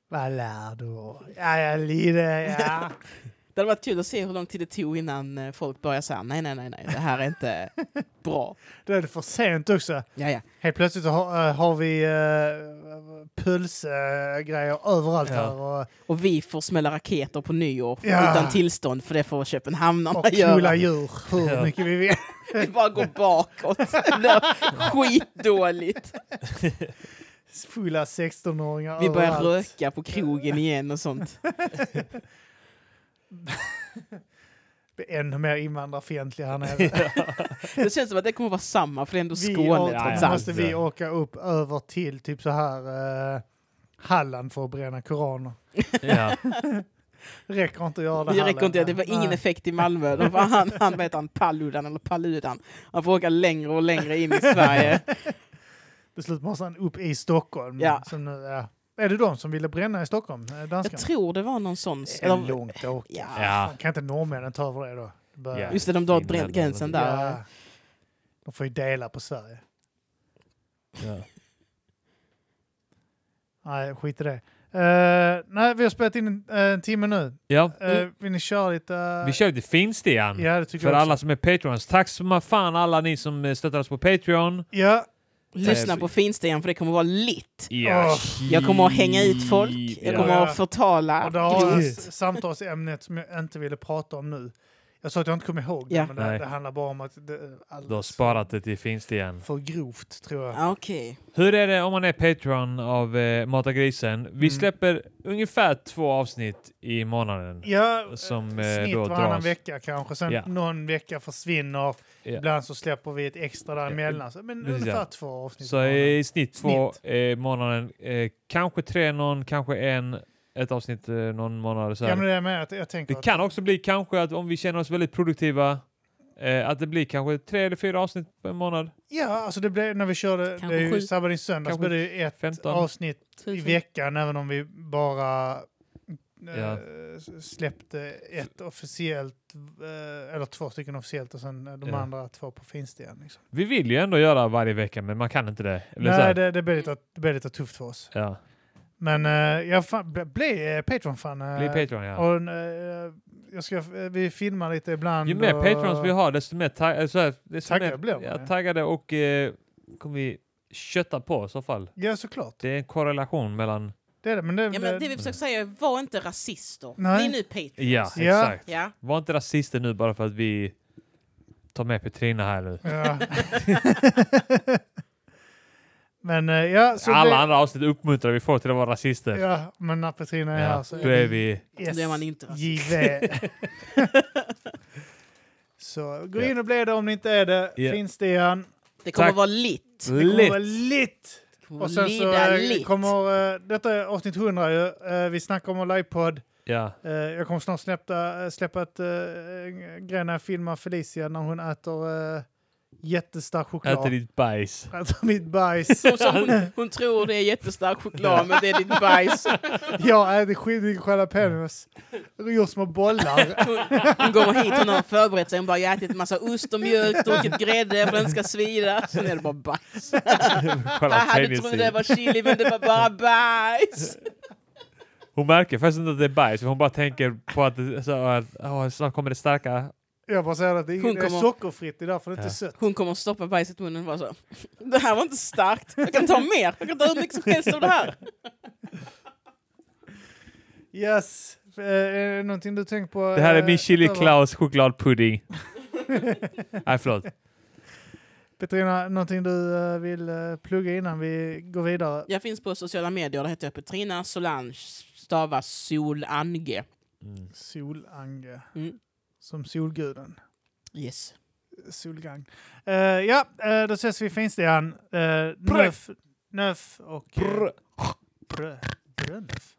Speaker 3: Vad lär du? Ja, ja, lite, ja.
Speaker 2: Det hade varit kul att se hur lång tid det tog innan eh, folk började säga nej, nej, nej, nej, det här är inte bra.
Speaker 3: Då är det för sent också.
Speaker 2: Ja, ja.
Speaker 3: Helt plötsligt har, eh, har vi uh, pulsgrejer överallt
Speaker 1: Ja.
Speaker 3: här och,
Speaker 2: Och vi får smälla raketer på nyår
Speaker 3: Ja.
Speaker 2: utan tillstånd, för det får Köpenhamnarna
Speaker 3: och
Speaker 2: göra.
Speaker 3: knulla djur hur
Speaker 1: Ja.
Speaker 3: mycket vi vill.
Speaker 2: Vi bara går bakåt. Det är skitdåligt.
Speaker 3: Fulla 16-åringar
Speaker 2: Vi börjar
Speaker 3: överallt.
Speaker 2: röka på krogen igen och sånt.
Speaker 3: Blir Ännu mer invandrarfientliga här nere.
Speaker 2: Det känns som att det kommer vara samma för det är ändå
Speaker 3: vi
Speaker 2: Skåne
Speaker 3: åker,
Speaker 2: trots
Speaker 1: ja.
Speaker 2: allt.
Speaker 3: måste vi åka upp över till typ så här eh, Halland för att bränna koraner.
Speaker 1: Ja.
Speaker 3: Räcker inte att göra det
Speaker 2: Det
Speaker 3: här
Speaker 2: räcker inte, det
Speaker 3: längre.
Speaker 2: var ingen
Speaker 3: Nej.
Speaker 2: effekt i Malmö. De var, han, han vet han, Palludan eller Paludan. Han får åka längre och längre in i Sverige.
Speaker 3: Till slut måste han upp i Stockholm.
Speaker 2: Ja.
Speaker 3: Som nu, ja. Är det de som ville bränna i Stockholm? eh,
Speaker 2: Jag
Speaker 3: Danskarna?
Speaker 2: tror det var någon sån...
Speaker 3: Det är
Speaker 2: Eller,
Speaker 3: långt att åka.
Speaker 2: ja,
Speaker 1: ja.
Speaker 3: Kan inte norrmännen ta över det då? Det börjar-
Speaker 1: Ja.
Speaker 2: just det, de drar åt bränd-
Speaker 1: Finland
Speaker 2: gränsen
Speaker 1: eller
Speaker 2: där.
Speaker 3: Ja. De får ju dela på Sverige.
Speaker 1: ja.
Speaker 3: Nej, skit i det. Eh, nej, vi har spelat in en, eh, en timme nu.
Speaker 1: ja.
Speaker 3: Eh,
Speaker 2: Mm.
Speaker 3: Vill ni köra lite? eh,
Speaker 1: Vi kör lite finstian.
Speaker 3: Ja, det tycker
Speaker 1: För
Speaker 3: jag också.
Speaker 1: alla som är Patreons. Tack så fan alla ni som eh, stöttar oss på Patreon.
Speaker 3: Ja,
Speaker 2: Lyssna
Speaker 1: Eh,
Speaker 2: på Finsten för det kommer vara lit.
Speaker 1: Ja.
Speaker 3: Åh.
Speaker 2: Jag kommer att hänga ut folk, jag
Speaker 1: Ja.
Speaker 2: kommer att
Speaker 3: och
Speaker 2: förtala.
Speaker 3: det har
Speaker 2: grovt.
Speaker 3: ett samtalsämnet som jag inte ville prata om nu. Jag sa att jag inte kom ihåg det,
Speaker 2: Ja.
Speaker 3: men det,
Speaker 1: Nej.
Speaker 3: det handlar bara om att det är
Speaker 1: Du har
Speaker 3: alldeles
Speaker 1: sparat det till finstian.
Speaker 3: för grovt, tror jag.
Speaker 2: Ja, Okej.
Speaker 1: Hur är det om man är Patreon av eh, Mata Grisen? Vi
Speaker 3: Mm.
Speaker 1: släpper ungefär två avsnitt i månaden.
Speaker 3: Ja,
Speaker 1: Som eh,
Speaker 3: snitt
Speaker 1: då
Speaker 3: varannan
Speaker 1: dras.
Speaker 3: vecka kanske. Sen
Speaker 1: Ja.
Speaker 3: någon vecka försvinner.
Speaker 1: Ja.
Speaker 3: Ibland så släpper vi ett extra däremellan. Så, men
Speaker 1: Precis,
Speaker 3: ungefär
Speaker 1: ja.
Speaker 3: två avsnitt.
Speaker 1: Så
Speaker 3: var det.
Speaker 1: i snitt två eh, månaden. Eh, kanske tre någon, kanske en. Ett avsnitt eh, någon månad. Så
Speaker 3: ja,
Speaker 1: här.
Speaker 3: men det är med att jag tänker
Speaker 1: Det kan också bli kanske att om vi känner oss väldigt produktiva, eh, att det blir kanske tre eller fyra avsnitt på en månad.
Speaker 3: att, Ja, alltså det blev när vi körde det
Speaker 2: Kanske
Speaker 3: är ju
Speaker 2: sju.
Speaker 3: Sabbar din söndag så
Speaker 1: Kanske
Speaker 3: blev det ju ett
Speaker 1: 15.
Speaker 3: avsnitt i veckan även om vi bara eh,
Speaker 1: Ja.
Speaker 3: släppte ett officiellt eh, eller två stycken officiellt och sen eh, de
Speaker 1: Ja.
Speaker 3: andra två på Finstigen. Liksom.
Speaker 1: Vi vill ju ändå göra varje vecka, men man kan inte det. Eller så
Speaker 3: Nej,
Speaker 1: här.
Speaker 3: det, det, blev lite, det blev lite tufft för oss.
Speaker 1: Ja.
Speaker 3: Men eh, jag fan, bli, bli eh, Patreon-fan. eh,
Speaker 1: Bli Patreon, ja.
Speaker 3: Och, eh, jag ska, vi filmar lite ibland.
Speaker 1: Ju mer
Speaker 3: och,
Speaker 1: Patreons vi har, desto mer, tag- eh, så här, desto
Speaker 3: Taggade
Speaker 1: mer
Speaker 3: blir man,
Speaker 1: ja,
Speaker 3: ja.
Speaker 1: taggade och eh, kommer vi kötta på i så fall.
Speaker 3: Ja, såklart.
Speaker 1: Det är en korrelation mellan...
Speaker 3: Det är det. Men det,
Speaker 2: Ja, men det vi försöker säga är, var inte rasister.
Speaker 3: Nej.
Speaker 2: Bli nu Patreons.
Speaker 1: Ja,
Speaker 3: Ja.
Speaker 1: exakt.
Speaker 2: Ja.
Speaker 1: Var inte rasister nu bara för att vi tar med Petrina här nu.
Speaker 3: Ja. men eh, ja, så
Speaker 1: Alla
Speaker 3: blir-
Speaker 1: andra avsnitt uppmuntrar vi folk till att vara rasister.
Speaker 3: Ja, men när Petrina är här
Speaker 1: Ja,
Speaker 3: så
Speaker 1: då är vi...
Speaker 3: Yes,
Speaker 2: Då Alltså, är man inte rasist.
Speaker 3: JV. så gå
Speaker 1: Ja.
Speaker 3: in och bli det om ni inte är det.
Speaker 1: Ja.
Speaker 3: Finns det igen.
Speaker 2: Det kommer
Speaker 1: Tack.
Speaker 2: vara lit.
Speaker 3: Det kommer vara
Speaker 1: Lit.
Speaker 3: lit.
Speaker 2: Det kommer
Speaker 3: Och sen så
Speaker 2: lida
Speaker 3: eh,
Speaker 2: lit.
Speaker 3: kommer... eh, Detta är avsnitt 100 ju. Eh, Vi snackar om en livepodd.
Speaker 1: Ja.
Speaker 3: Eh, Jag kommer snart eh, släppa, släppa ett uh, grej när jag filmar Felicia när hon äter uh, jättestark choklad.
Speaker 1: Äter ditt bajs.
Speaker 3: Äter mitt bajs.
Speaker 2: Hon, sa- hon, hon tror det är jättestark choklad, men det är ditt bajs.
Speaker 3: Jag äter skitmycket jalapenos. Gjort små bollar.
Speaker 2: Hon, hon kommer hit, hon har förberett sig, hon bara jag har ätit en massa ost och mjölk, druckit grädde för den ska svida. Sen är det bara bajs. Ah, du trodde det var chili men det var bara bajs.
Speaker 1: Hon märker faktiskt inte att det är bajs, för hon bara tänker på att, det- så att "Åh, snart kommer det starka.
Speaker 3: Jag bara säger att det är,
Speaker 2: Hon
Speaker 3: det är
Speaker 2: kommer-
Speaker 3: sockerfritt, det är därför det inte är
Speaker 1: Ja.
Speaker 3: sött.
Speaker 2: Hon kommer stoppa bajset i munnen och bara så. Det här var inte starkt, jag kan ta mer, jag kan ta hur mycket som helst av det här.
Speaker 3: Yes. Eh, är det någonting du tänkt på?
Speaker 1: Det här är
Speaker 3: eh,
Speaker 1: min Chili
Speaker 3: utöver-
Speaker 1: Klaus chokladpudding. Nej, förlåt.
Speaker 3: Petrina, någonting du eh, vill eh, plugga innan vi går vidare?
Speaker 2: Jag finns på sociala medier, där heter jag Petrina Solange, stavas Solange.
Speaker 1: Mm.
Speaker 3: Solange.
Speaker 2: Mm.
Speaker 3: Som solguden.
Speaker 2: Yes.
Speaker 3: Solgang. Eh, ja, eh, då ses vi i Finstian. Uh,
Speaker 1: Prr.
Speaker 3: nöf, nöf och... Uh,
Speaker 1: Prr.
Speaker 3: Brö. Brönöf?